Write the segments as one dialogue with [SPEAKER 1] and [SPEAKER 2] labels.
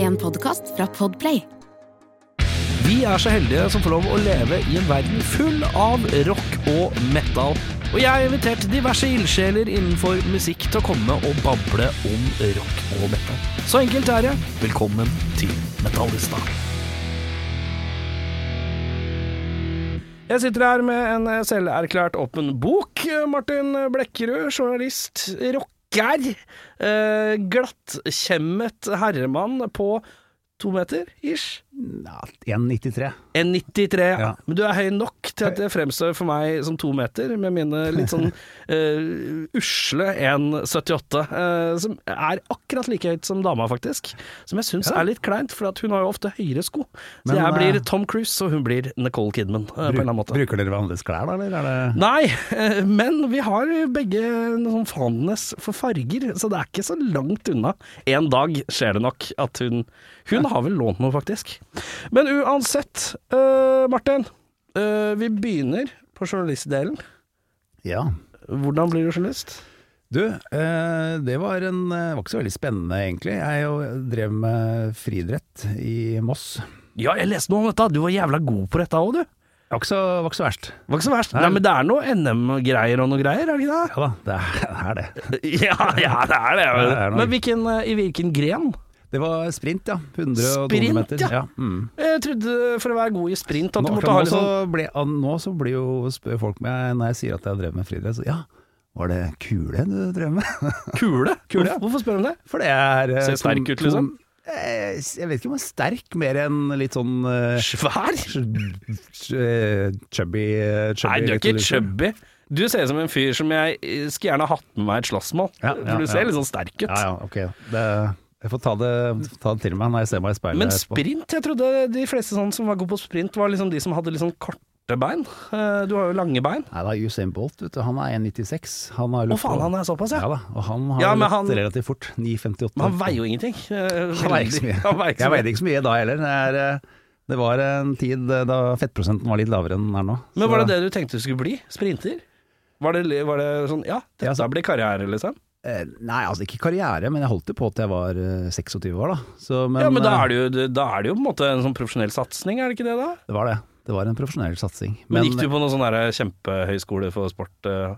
[SPEAKER 1] En podkast fra Podplay.
[SPEAKER 2] Vi er så heldige som får lov å leve i en verden full av rock og metal. Og jeg har invitert diverse ildsjeler innenfor musikk til å komme og bable om rock og metal. Så enkelt er det. Velkommen til Metallista. Jeg sitter her med en selverklært åpen bok. Martin Blekkerud, journalist, rocker. Eh, Glattkjemmet herremann på to meter, ish.
[SPEAKER 3] Ja, 1,93.
[SPEAKER 2] 1,93.
[SPEAKER 3] Ja.
[SPEAKER 2] Men du er høy nok til at det fremstår for meg som to meter, med mine litt sånn eh, usle 1,78, eh, som er akkurat like høyt som dama, faktisk. Som jeg syns er litt kleint, for at hun har jo ofte høyere sko. Så
[SPEAKER 3] Men,
[SPEAKER 2] jeg
[SPEAKER 3] eh,
[SPEAKER 2] blir Tom Cruise, og hun blir Nicole Kidman, eh, på en eller annen måte.
[SPEAKER 3] Bruker dere hverandres klær, da, eller? Er det
[SPEAKER 2] Nei, eh, men vi har begge en sånn fanenes for farger, så det er ikke så langt unna. En dag skjer det nok at hun Hun har vel lånt noe, faktisk. Men uansett, eh, Martin. eh, vi begynner på journalistdelen.
[SPEAKER 3] Ja.
[SPEAKER 2] Hvordan blir du journalist?
[SPEAKER 3] Du, eh, det var, en, eh, var ikke så veldig spennende, egentlig. Jeg jo drev med friidrett i Moss. Det
[SPEAKER 2] Ja, jeg leste noe om dette. Du var jævla god på dette òg, du.
[SPEAKER 3] var ikke så, var ikke så verst.
[SPEAKER 2] Var ikke så verst. Nei, men det er noe NM-greier og noe greier, er det ikke det?
[SPEAKER 3] Ja da, det er, det er det.
[SPEAKER 2] Ja, ja det er det.
[SPEAKER 3] Ja, det er noe.
[SPEAKER 2] Men hvilken, eh, i hvilken gren?
[SPEAKER 3] Det var sprint, ja. 100 og
[SPEAKER 2] Sprint,
[SPEAKER 3] 200 meter.
[SPEAKER 2] ja.
[SPEAKER 3] mm.
[SPEAKER 2] Jeg eh, trodde for å være god i sprint at
[SPEAKER 3] nå,
[SPEAKER 2] du måtte
[SPEAKER 3] nå,
[SPEAKER 2] ha litt
[SPEAKER 3] så
[SPEAKER 2] sånn
[SPEAKER 3] ble, ah, nå så blir jo spør folk meg når jeg sier at jeg drev med friidrett, så ja, var det kule du drev med?
[SPEAKER 2] Kule?
[SPEAKER 3] Kule, ja.
[SPEAKER 2] Hvorfor, hvorfor spør du om det?
[SPEAKER 3] For det er eh,
[SPEAKER 2] Ser sterk
[SPEAKER 3] tom-
[SPEAKER 2] ut, liksom?
[SPEAKER 3] tom- eh, Jeg vet ikke om jeg er sterk, mer enn litt sånn eh,
[SPEAKER 2] Svær?
[SPEAKER 3] Chubby, eh, chubby liksom.
[SPEAKER 2] Nei, du er ikke
[SPEAKER 3] litt-
[SPEAKER 2] chubby. Du ser ut som en fyr som jeg eh, skulle gjerne hatt med meg i et slagsmål.
[SPEAKER 3] Ja, ja,
[SPEAKER 2] for du ser
[SPEAKER 3] ja.
[SPEAKER 2] litt sånn sterk ut.
[SPEAKER 3] Ja, ja, ok. Det, jeg får ta det, ta det til meg når jeg ser meg i speilet
[SPEAKER 2] Men
[SPEAKER 3] etterpå.
[SPEAKER 2] sprint, jeg trodde de fleste sånn som var gode på sprint, var liksom de som hadde litt sånn korte bein. Eh, Du har jo lange bein.
[SPEAKER 3] Nei, da, Usain Bolt, vet du, han er 1,96. Han har
[SPEAKER 2] Å faen, han er såpass,
[SPEAKER 3] ja.
[SPEAKER 2] ja.
[SPEAKER 3] da, og han har
[SPEAKER 2] Ja, men
[SPEAKER 3] løpt
[SPEAKER 2] han-
[SPEAKER 3] relativt fort. 9,58.
[SPEAKER 2] Men han veier jo ingenting. Eh,
[SPEAKER 3] Han veier ikke så mye.
[SPEAKER 2] Han veier ikke så
[SPEAKER 3] Jeg
[SPEAKER 2] mye.
[SPEAKER 3] veide ikke så mye da heller. Det, er, eh, det var en tid eh, da fettprosenten var litt lavere enn den er nå.
[SPEAKER 2] Men var det det du tenkte du skulle bli? Sprinter? Var det, var det sånn Ja,
[SPEAKER 3] Ja,
[SPEAKER 2] dette
[SPEAKER 3] så-
[SPEAKER 2] blir karriere, liksom.
[SPEAKER 3] Nei, altså ikke karriere, men jeg holdt det på til jeg var eh, 26 år, da. Så, men,
[SPEAKER 2] ja, men da
[SPEAKER 3] eh,
[SPEAKER 2] er, det jo, da er det jo på en måte en sånn profesjonell satsing, er det ikke det, da?
[SPEAKER 3] Det var det. Det var en profesjonell satsing.
[SPEAKER 2] Men, gikk du på noen sånn der kjempehøyskole for sport? eh?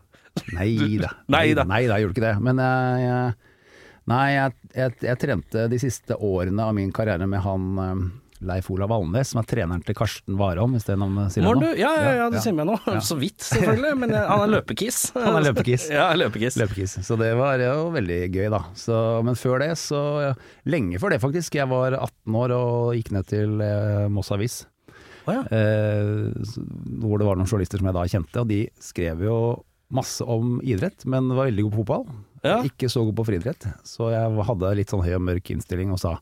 [SPEAKER 3] Nei da.
[SPEAKER 2] Nei da.
[SPEAKER 3] Nei da, jeg gjorde ikke det. Men eh, jeg, jeg, nei, jeg, jeg, jeg trente de siste årene av min karriere med han eh, Leif Olav Alnes, som er treneren til Karsten Warholm, hvis det navnet sier
[SPEAKER 2] Morn,
[SPEAKER 3] deg
[SPEAKER 2] du?
[SPEAKER 3] noe.
[SPEAKER 2] Ja, ja, ja, det
[SPEAKER 3] Ja,
[SPEAKER 2] sier meg nå.
[SPEAKER 3] ja.
[SPEAKER 2] Så vidt, selvfølgelig. Men eh, han er løpekiss.
[SPEAKER 3] Han er løpekiss.
[SPEAKER 2] ja, løpekiss.
[SPEAKER 3] Løpekiss. Så det var jo veldig gøy, da. Så, men før det, så Lenge før det, faktisk. Jeg var 18 år og gikk ned til eh, Moss Avis.
[SPEAKER 2] Å, ja.
[SPEAKER 3] Eh, s- hvor det var noen journalister som jeg da kjente, og de skrev jo masse om idrett, men var veldig god på fotball.
[SPEAKER 2] Ja.
[SPEAKER 3] Ikke så god på friidrett, så jeg hadde litt sånn høy og mørk innstilling og sa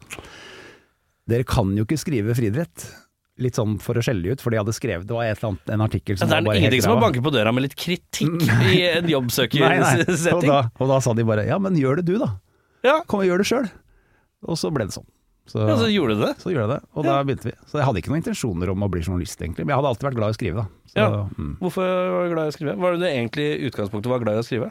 [SPEAKER 3] dere kan jo ikke skrive friidrett. Litt sånn for å skjelle ut, for de hadde skrevet Det var et eller annet, en artikkel
[SPEAKER 2] Det
[SPEAKER 3] som
[SPEAKER 2] er
[SPEAKER 3] var bare helt
[SPEAKER 2] ingenting som å
[SPEAKER 3] ræva.
[SPEAKER 2] banke på døra med litt kritikk i en
[SPEAKER 3] Nei, nei. Og
[SPEAKER 2] jobbsøkersetting.
[SPEAKER 3] da, og da sa de bare ja, men gjør det du, da.
[SPEAKER 2] Ja,
[SPEAKER 3] Kom og gjør det sjøl. Og så ble det sånn. Så,
[SPEAKER 2] ja, så
[SPEAKER 3] så,
[SPEAKER 2] gjorde du det.
[SPEAKER 3] gjorde jeg det, og da begynte vi. Så jeg hadde ikke noen intensjoner om å bli journalist, egentlig. Men jeg hadde alltid vært glad i å skrive, da. Så,
[SPEAKER 2] Ja.
[SPEAKER 3] mm.
[SPEAKER 2] Hvorfor var du glad i å skrive? Var det det egentlig i utgangspunktet var glad i å skrive?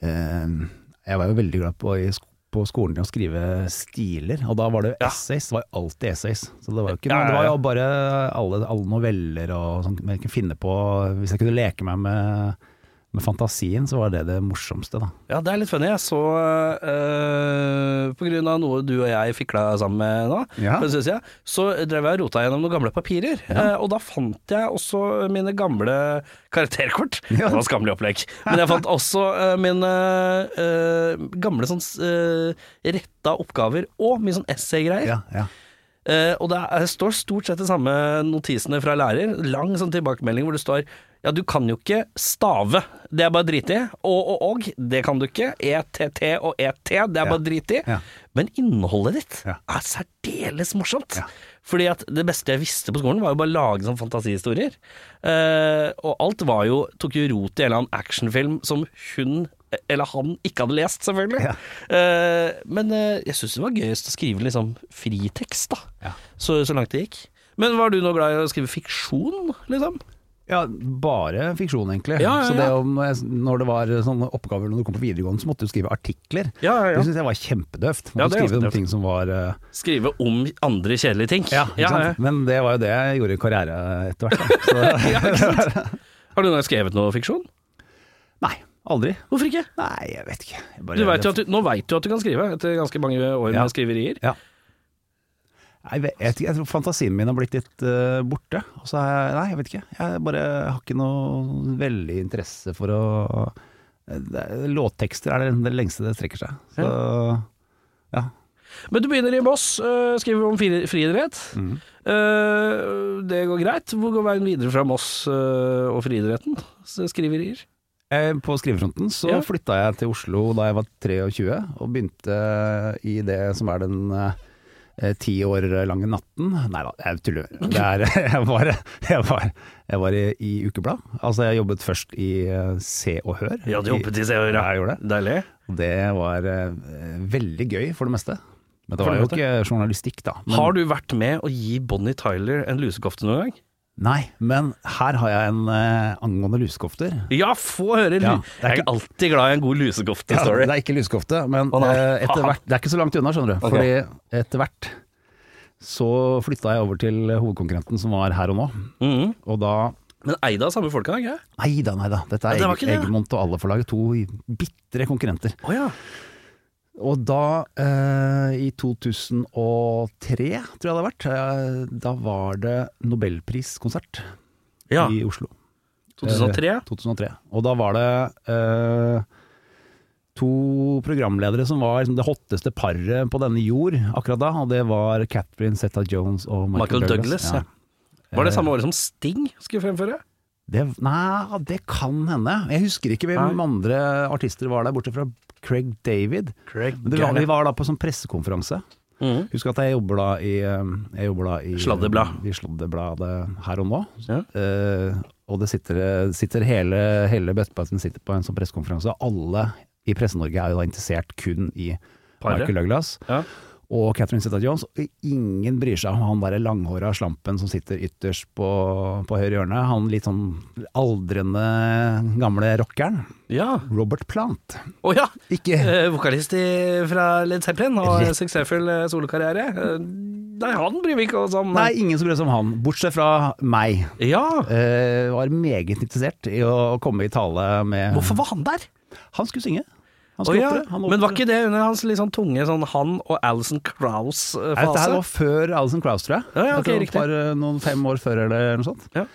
[SPEAKER 3] Eh, jeg var jo veldig glad på, i sk- på skolen i å skrive stiler, og da var det jo
[SPEAKER 2] Ja.
[SPEAKER 3] essays. Det var jo alltid essays. Så det var jo ikke
[SPEAKER 2] Ja,
[SPEAKER 3] noe,
[SPEAKER 2] ja,
[SPEAKER 3] det var
[SPEAKER 2] ja.
[SPEAKER 3] jo bare alle, alle noveller og sånn. Jeg kunne finne på Hvis jeg kunne leke meg med, med fantasien, så var det det morsomste, da.
[SPEAKER 2] Ja, det er litt funny. Jeg så eh, På grunn av noe du og jeg fikla sammen med nå,
[SPEAKER 3] Ja.
[SPEAKER 2] for det synes jeg, så drev jeg og rota gjennom noen gamle papirer. eh, og da fant jeg også mine gamle karakterkort.
[SPEAKER 3] Ja.
[SPEAKER 2] Det var skammelig opplegg. Men jeg fant også eh, mine eh, gamle sånn eh, retta oppgaver og mye sånn essaygreier.
[SPEAKER 3] Ja, ja.
[SPEAKER 2] Eh, og det er, står stort sett de samme notisene fra lærer. Lang sånn tilbakemelding hvor det står ja, du kan jo ikke stave, det er bare drit i. Og og og, det kan du ikke. ETT og ET, det er bare drit i.
[SPEAKER 3] ja.
[SPEAKER 2] Men innholdet ditt
[SPEAKER 3] Ja.
[SPEAKER 2] er særdeles morsomt.
[SPEAKER 3] Ja.
[SPEAKER 2] Fordi at det beste jeg visste på skolen, var jo bare å lage sånne fantasihistorier. Eh, og alt var jo, tok jo rot i en eller annen actionfilm som hun eller han ikke hadde lest, selvfølgelig. Eh, men eh, jeg syns det var gøyest å skrive liksom fritekst, da.
[SPEAKER 3] Ja.
[SPEAKER 2] Så, så langt det gikk. Men var du nå glad i å skrive fiksjon, liksom?
[SPEAKER 3] Ja, bare fiksjon, egentlig.
[SPEAKER 2] Ja, ja,
[SPEAKER 3] Så det
[SPEAKER 2] ja.
[SPEAKER 3] om, når jeg- når det var sånne oppgaver når du kom på videregående, så måtte du skrive artikler.
[SPEAKER 2] Ja, ja, ja.
[SPEAKER 3] Det syns jeg var kjempedøvt. Man
[SPEAKER 2] Ja,
[SPEAKER 3] måtte
[SPEAKER 2] det er
[SPEAKER 3] skrive om
[SPEAKER 2] døvt.
[SPEAKER 3] ting som var eh,
[SPEAKER 2] Skrive om andre kjedelige ting.
[SPEAKER 3] ja, ikke sant? Men det var jo det jeg gjorde i karriere etter hvert. da. Så,
[SPEAKER 2] Har du noen gang skrevet noe fiksjon?
[SPEAKER 3] nei, aldri.
[SPEAKER 2] Hvorfor ikke?
[SPEAKER 3] Nei, jeg vet ikke. Jeg bare-
[SPEAKER 2] Du vet jo at du, nå veit du at du kan skrive, etter ganske mange år
[SPEAKER 3] Ja.
[SPEAKER 2] med skriverier.
[SPEAKER 3] Ja. Nei, Jeg vet ikke, jeg tror fantasien min har blitt litt eh, borte. Og så har jeg, nei, jeg vet ikke. Jeg bare har ikke noe veldig interesse for å eh, det er- Låttekster er det, det lengste det strekker seg. Så, ja.
[SPEAKER 2] Men du begynner i Moss, øh, skriver om fri- friidrett.
[SPEAKER 3] mm.
[SPEAKER 2] Øh, det går greit. Hvor går veien videre fra Moss øh, og friidretten? Så Skriverier.
[SPEAKER 3] Eh, På skrivefronten så
[SPEAKER 2] Ja.
[SPEAKER 3] flytta jeg til Oslo da jeg var 23, og begynte i det som er den eh, ti år lange natten. Nei da, jeg tuller. Det er, jeg, var, jeg, var, jeg var i, i ukeblad. Altså, jeg jobbet først i eh, Se og Hør.
[SPEAKER 2] i Se og
[SPEAKER 3] Ja, jeg gjorde det.
[SPEAKER 2] Deilig.
[SPEAKER 3] Og Det var eh, veldig gøy, for det meste. Men det
[SPEAKER 2] For
[SPEAKER 3] var
[SPEAKER 2] det
[SPEAKER 3] jo ikke journalistikk, da. Men,
[SPEAKER 2] Har du vært med å gi Bonnie Tyler en lusekofte noen gang?
[SPEAKER 3] Nei, men her har jeg en eh, angående lusekofter.
[SPEAKER 2] Ja, få høre! lu-
[SPEAKER 3] Ja, det er
[SPEAKER 2] jeg er
[SPEAKER 3] ikke-
[SPEAKER 2] alltid glad i en god
[SPEAKER 3] Ja,
[SPEAKER 2] lusekofte-story.
[SPEAKER 3] det er ikke lusekofte, men
[SPEAKER 2] Å, nei.
[SPEAKER 3] eh, etter hvert Det er ikke så langt unna, skjønner du.
[SPEAKER 2] Ok.
[SPEAKER 3] Fordi etter hvert så flytta jeg over til hovedkonkurrenten som var her og nå,
[SPEAKER 2] Mhm.
[SPEAKER 3] og da
[SPEAKER 2] Men eid av samme folka, ikke sant?
[SPEAKER 3] Nei da, nei da. Dette
[SPEAKER 2] Ja,
[SPEAKER 3] er
[SPEAKER 2] det var
[SPEAKER 3] Eg-
[SPEAKER 2] ikke det, da.
[SPEAKER 3] Egmont og Alle-forlaget, to bitre konkurrenter.
[SPEAKER 2] Å ja.
[SPEAKER 3] Og da, eh, i 2003, tror jeg det hadde vært, eh, da var det nobelpriskonsert
[SPEAKER 2] ja.
[SPEAKER 3] i eh, Oslo.
[SPEAKER 2] 2003.
[SPEAKER 3] 2003. Og da var det eh, to programledere som var liksom, det hotteste paret på denne jord akkurat da, og det var Catherine Zeta-Jones og Michael,
[SPEAKER 2] Michael Douglas.
[SPEAKER 3] Douglas. Eh,
[SPEAKER 2] ja. Var det samme året som Sting skulle fremføre?
[SPEAKER 3] Det, nei, det kan hende. Jeg husker ikke hvem
[SPEAKER 2] Nei.
[SPEAKER 3] andre artister var der, bortsett fra Craig David.
[SPEAKER 2] Craig
[SPEAKER 3] Men det var, vi var da på sånn pressekonferanse.
[SPEAKER 2] Mhm.
[SPEAKER 3] Husk at jeg jobber da i, eh, jeg jobber da i
[SPEAKER 2] Sladdeblad.
[SPEAKER 3] I Sladdebladet her og nå.
[SPEAKER 2] Ja.
[SPEAKER 3] Eh, og det sitter, sitter hele, hele Bøtteplassen sitter på en sånn pressekonferanse. Alle i Presse-Norge er jo da interessert kun i
[SPEAKER 2] Paret.
[SPEAKER 3] Michael Douglas
[SPEAKER 2] Ja.
[SPEAKER 3] og Catherine Zeta-Jones. og Ingen bryr seg om han derre langhåra slampen som sitter ytterst på, på høyre hjørne. Han litt sånn aldrende gamle rockeren.
[SPEAKER 2] ja.
[SPEAKER 3] Robert Plant.
[SPEAKER 2] Å ja!
[SPEAKER 3] Ikke
[SPEAKER 2] Eh, vokalist i, fra Led Zeppelin og
[SPEAKER 3] Rett.
[SPEAKER 2] en suksessfull eh, solokarriere. Eh, nei, han bryr vi ikke oss om.
[SPEAKER 3] Nei, ingen som bryr seg om han, bortsett fra meg.
[SPEAKER 2] Ja.
[SPEAKER 3] Eh, var meget interessert i å komme i tale med
[SPEAKER 2] Hvorfor var han der?
[SPEAKER 3] Han skulle synge. Eh, Han
[SPEAKER 2] Å
[SPEAKER 3] skulle
[SPEAKER 2] ja.
[SPEAKER 3] opptre. Han
[SPEAKER 2] Men var
[SPEAKER 3] opptre.
[SPEAKER 2] ikke det under hans litt sånn tunge sånn han og Alison eh,
[SPEAKER 3] Nei, Dette her
[SPEAKER 2] Krauss-fase?
[SPEAKER 3] var før Alison Krauss, tror jeg.
[SPEAKER 2] Ja, ja, ok,
[SPEAKER 3] Dette var
[SPEAKER 2] riktig.
[SPEAKER 3] Bare eh, noen fem år før eller noe sånt.
[SPEAKER 2] Ja.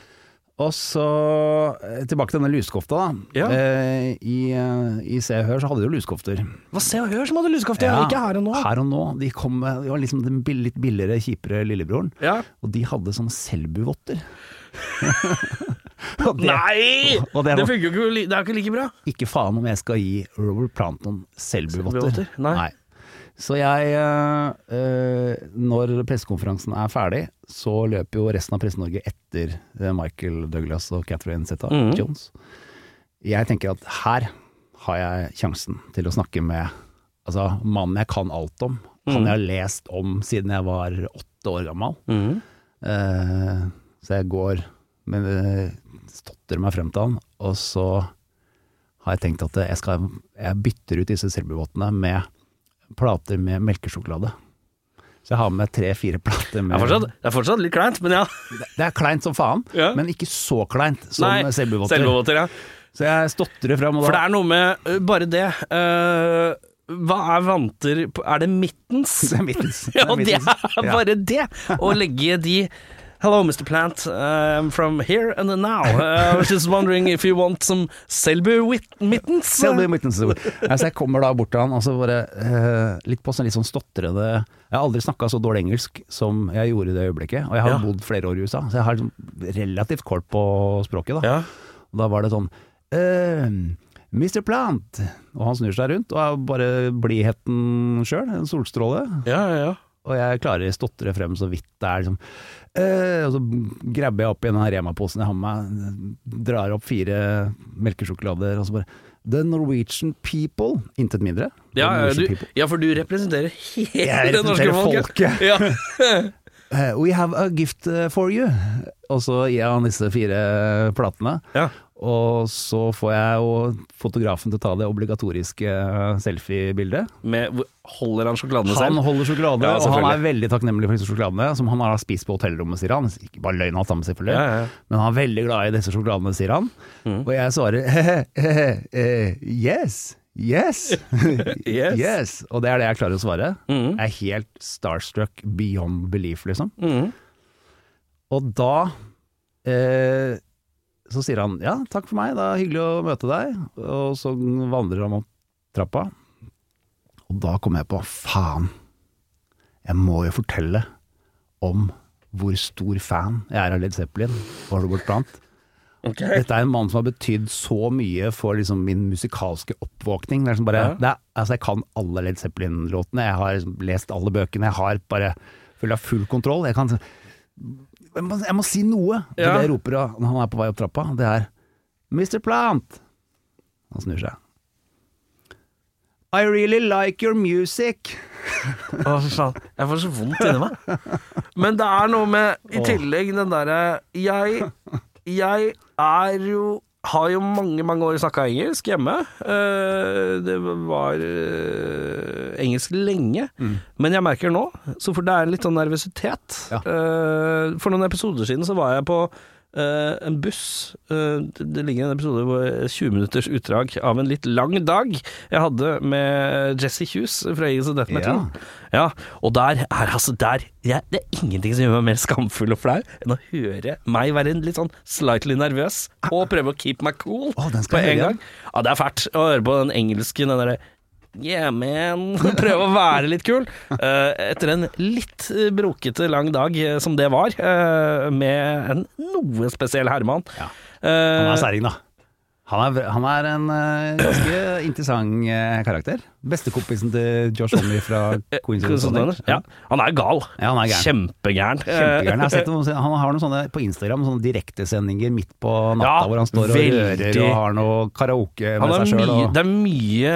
[SPEAKER 3] Og så eh, tilbake til denne lusekofta, da.
[SPEAKER 2] Ja.
[SPEAKER 3] Eh, i, eh, I Se og Hør så hadde de jo lusekofter.
[SPEAKER 2] Hva Se og Hør som hadde lusekofte, ja. ikke her og nå.
[SPEAKER 3] Her og nå. De, kom med, de var liksom den bill- litt billigere, kjipere lillebroren.
[SPEAKER 2] Ja.
[SPEAKER 3] Og de hadde sånn Selbu-votter. Og det-
[SPEAKER 2] Nei!
[SPEAKER 3] Og det
[SPEAKER 2] det,
[SPEAKER 3] var-
[SPEAKER 2] funker jo ikke, li- det er jo ikke like bra.
[SPEAKER 3] ikke faen om jeg skal gi Robert Plant noen Selbu-votter.
[SPEAKER 2] Selbu-votter? Nei.
[SPEAKER 3] Så jeg eh, eh, Når pressekonferansen er ferdig, så løper jo resten av Presse-Norge etter eh, Michael Douglas og Catherine Zeta
[SPEAKER 2] Mhm.
[SPEAKER 3] Jones. Jeg tenker at her har jeg sjansen til å snakke med altså, mannen jeg kan alt om. Han jeg har lest om siden jeg var åtte år gammel.
[SPEAKER 2] Mhm.
[SPEAKER 3] Eh, så jeg går men eh, stotter meg frem til han, og så har jeg tenkt at jeg, skal, jeg bytter ut disse Selbu-vottene med plater med melkesjokolade. Så jeg har med tre-fire plater
[SPEAKER 2] Det,
[SPEAKER 3] med
[SPEAKER 2] er fortsatt, det er fortsatt litt kleint, men ja.
[SPEAKER 3] Det er kleint som faen,
[SPEAKER 2] Ja.
[SPEAKER 3] men ikke så kleint som Selbu-votter.
[SPEAKER 2] Selbuvotter, ja.
[SPEAKER 3] Så jeg stotrer frem, og
[SPEAKER 2] For det
[SPEAKER 3] da
[SPEAKER 2] er noe med øh, bare det. øh, hva er vanter på- Er det mittens?
[SPEAKER 3] Det er mittens.
[SPEAKER 2] Ja, og det
[SPEAKER 3] mittens.
[SPEAKER 2] er
[SPEAKER 3] Ja.
[SPEAKER 2] bare det! Å legge de Hello, Mr. Plant. I'm from here and now. Uh, I was just wondering if you want some Selbu wit- mittens?
[SPEAKER 3] Selv om det er mitt neste ord. Nei, så jeg kommer da bort til han, og så bare eh, litt på sånn litt sånn stotrende Jeg har aldri snakka så dårlig engelsk som jeg gjorde i det øyeblikket. Og jeg har
[SPEAKER 2] Ja.
[SPEAKER 3] bodd flere år i USA, så jeg har liksom relativt kål på språket. Da
[SPEAKER 2] Ja.
[SPEAKER 3] Og da var det sånn «Ehm, Mr. Plant! Og han snur seg rundt og er bare blidheten sjøl, en solstråle.
[SPEAKER 2] ja, ja, ja.
[SPEAKER 3] Og jeg klarer å stotre frem så vidt det er liksom «Eh», Og så grabber jeg opp i den her Rema-posen jeg har med meg, drar opp fire melkesjokolader og så bare The Norwegian people, intet mindre. The
[SPEAKER 2] Ja,
[SPEAKER 3] Norwegian
[SPEAKER 2] du,
[SPEAKER 3] people.
[SPEAKER 2] ja, for du representerer hele
[SPEAKER 3] Jeg
[SPEAKER 2] det norske
[SPEAKER 3] representerer
[SPEAKER 2] folket.
[SPEAKER 3] folket.
[SPEAKER 2] Ja.
[SPEAKER 3] eh, We have a gift eh, for you. Og så gir han disse fire platene.
[SPEAKER 2] Ja.
[SPEAKER 3] Og så får jeg jo fotografen til å ta det obligatoriske eh, selfiebildet.
[SPEAKER 2] Med, hvor- holder han sjokoladene
[SPEAKER 3] Han
[SPEAKER 2] selv?
[SPEAKER 3] holder sjokolade,
[SPEAKER 2] Ja,
[SPEAKER 3] og han er
[SPEAKER 2] selvfølgelig.
[SPEAKER 3] veldig takknemlig for disse sjokoladene, som han har spist på hotellrommet, sier han. Ikke bare løgn alt sammen, selvfølgelig.
[SPEAKER 2] Ja, ja, ja.
[SPEAKER 3] Men han er veldig glad i disse sjokoladene, sier han. Og jeg svarer eh, yes. Yes.
[SPEAKER 2] Yes. Mm,
[SPEAKER 3] yes. Og det er det jeg klarer å svare. Jeg er helt starstruck beyond belief, liksom.
[SPEAKER 2] Mhm.
[SPEAKER 3] Og da eh, så sier han ja, takk for meg, det er hyggelig å møte deg. Og så vandrer han opp trappa. Og da kom jeg på faen, jeg må jo fortelle om hvor stor fan jeg er av Led Zeppelin og Robert Plant.
[SPEAKER 2] Ok.
[SPEAKER 3] Dette er en mann som har betydd så mye for liksom min musikalske oppvåkning. Det er liksom bare,
[SPEAKER 2] Ja.
[SPEAKER 3] det er, altså jeg kan alle Led Zeppelin-låtene, jeg har liksom lest alle bøkene, jeg har bare føler jeg har full kontroll. Jeg, kan, jeg, må, jeg må si noe! Og
[SPEAKER 2] Ja.
[SPEAKER 3] Det jeg roper av når han er på vei opp trappa, det er Mr. Plant! Han snur seg. I really like your music!
[SPEAKER 2] Å, fy faen. Jeg får så vondt inni meg. Men det er noe med I tillegg den derre Jeg Jeg er jo har jo mange mange år snakka engelsk hjemme. Eh, Det var eh, engelsk lenge.
[SPEAKER 3] Mm.
[SPEAKER 2] Men jeg merker nå, så for det er litt sånn nervøsitet
[SPEAKER 3] Ja.
[SPEAKER 2] Eh, For noen episoder siden så var jeg på eh, en buss Eh, Det det ligger en episode hvor 20 minutters utdrag av en litt lang dag jeg hadde med Jesse Hughes fra Eagles of Death Metal.
[SPEAKER 3] Ja.
[SPEAKER 2] Ja, og der er altså der jeg, Det er ingenting som gjør meg mer skamfull og flau enn å høre meg være en litt sånn slightly nervøs og prøve å keep meg cool
[SPEAKER 3] Å, den skal
[SPEAKER 2] på
[SPEAKER 3] jeg
[SPEAKER 2] en
[SPEAKER 3] høre
[SPEAKER 2] gang. Ja, det er fælt å høre på den engelske, den derre Yeah, man. Prøve å være litt kul. Eh, etter en litt eh, brokete lang dag eh, som det var, eh, med en noe spesiell herremann.
[SPEAKER 3] Ja. Han
[SPEAKER 2] Eh,
[SPEAKER 3] er særing, da. Han er, han er en eh, ganske interessant eh, karakter. Bestekompisen til Josh Homme fra Queens of the
[SPEAKER 2] sånn,
[SPEAKER 3] Stone Age.
[SPEAKER 2] ja, eh, han er gal.
[SPEAKER 3] Ja, han er gæren.
[SPEAKER 2] Kjempegæren.
[SPEAKER 3] Kjempegæren. altså. Jeg har sett noen, han har noen sånne på Instagram, sånne direktesendinger midt på natta
[SPEAKER 2] Ja,
[SPEAKER 3] hvor han står og
[SPEAKER 2] veldig.
[SPEAKER 3] rører og har noe karaoke med
[SPEAKER 2] Han har
[SPEAKER 3] seg sjøl.
[SPEAKER 2] mye,
[SPEAKER 3] Og...
[SPEAKER 2] det er mye,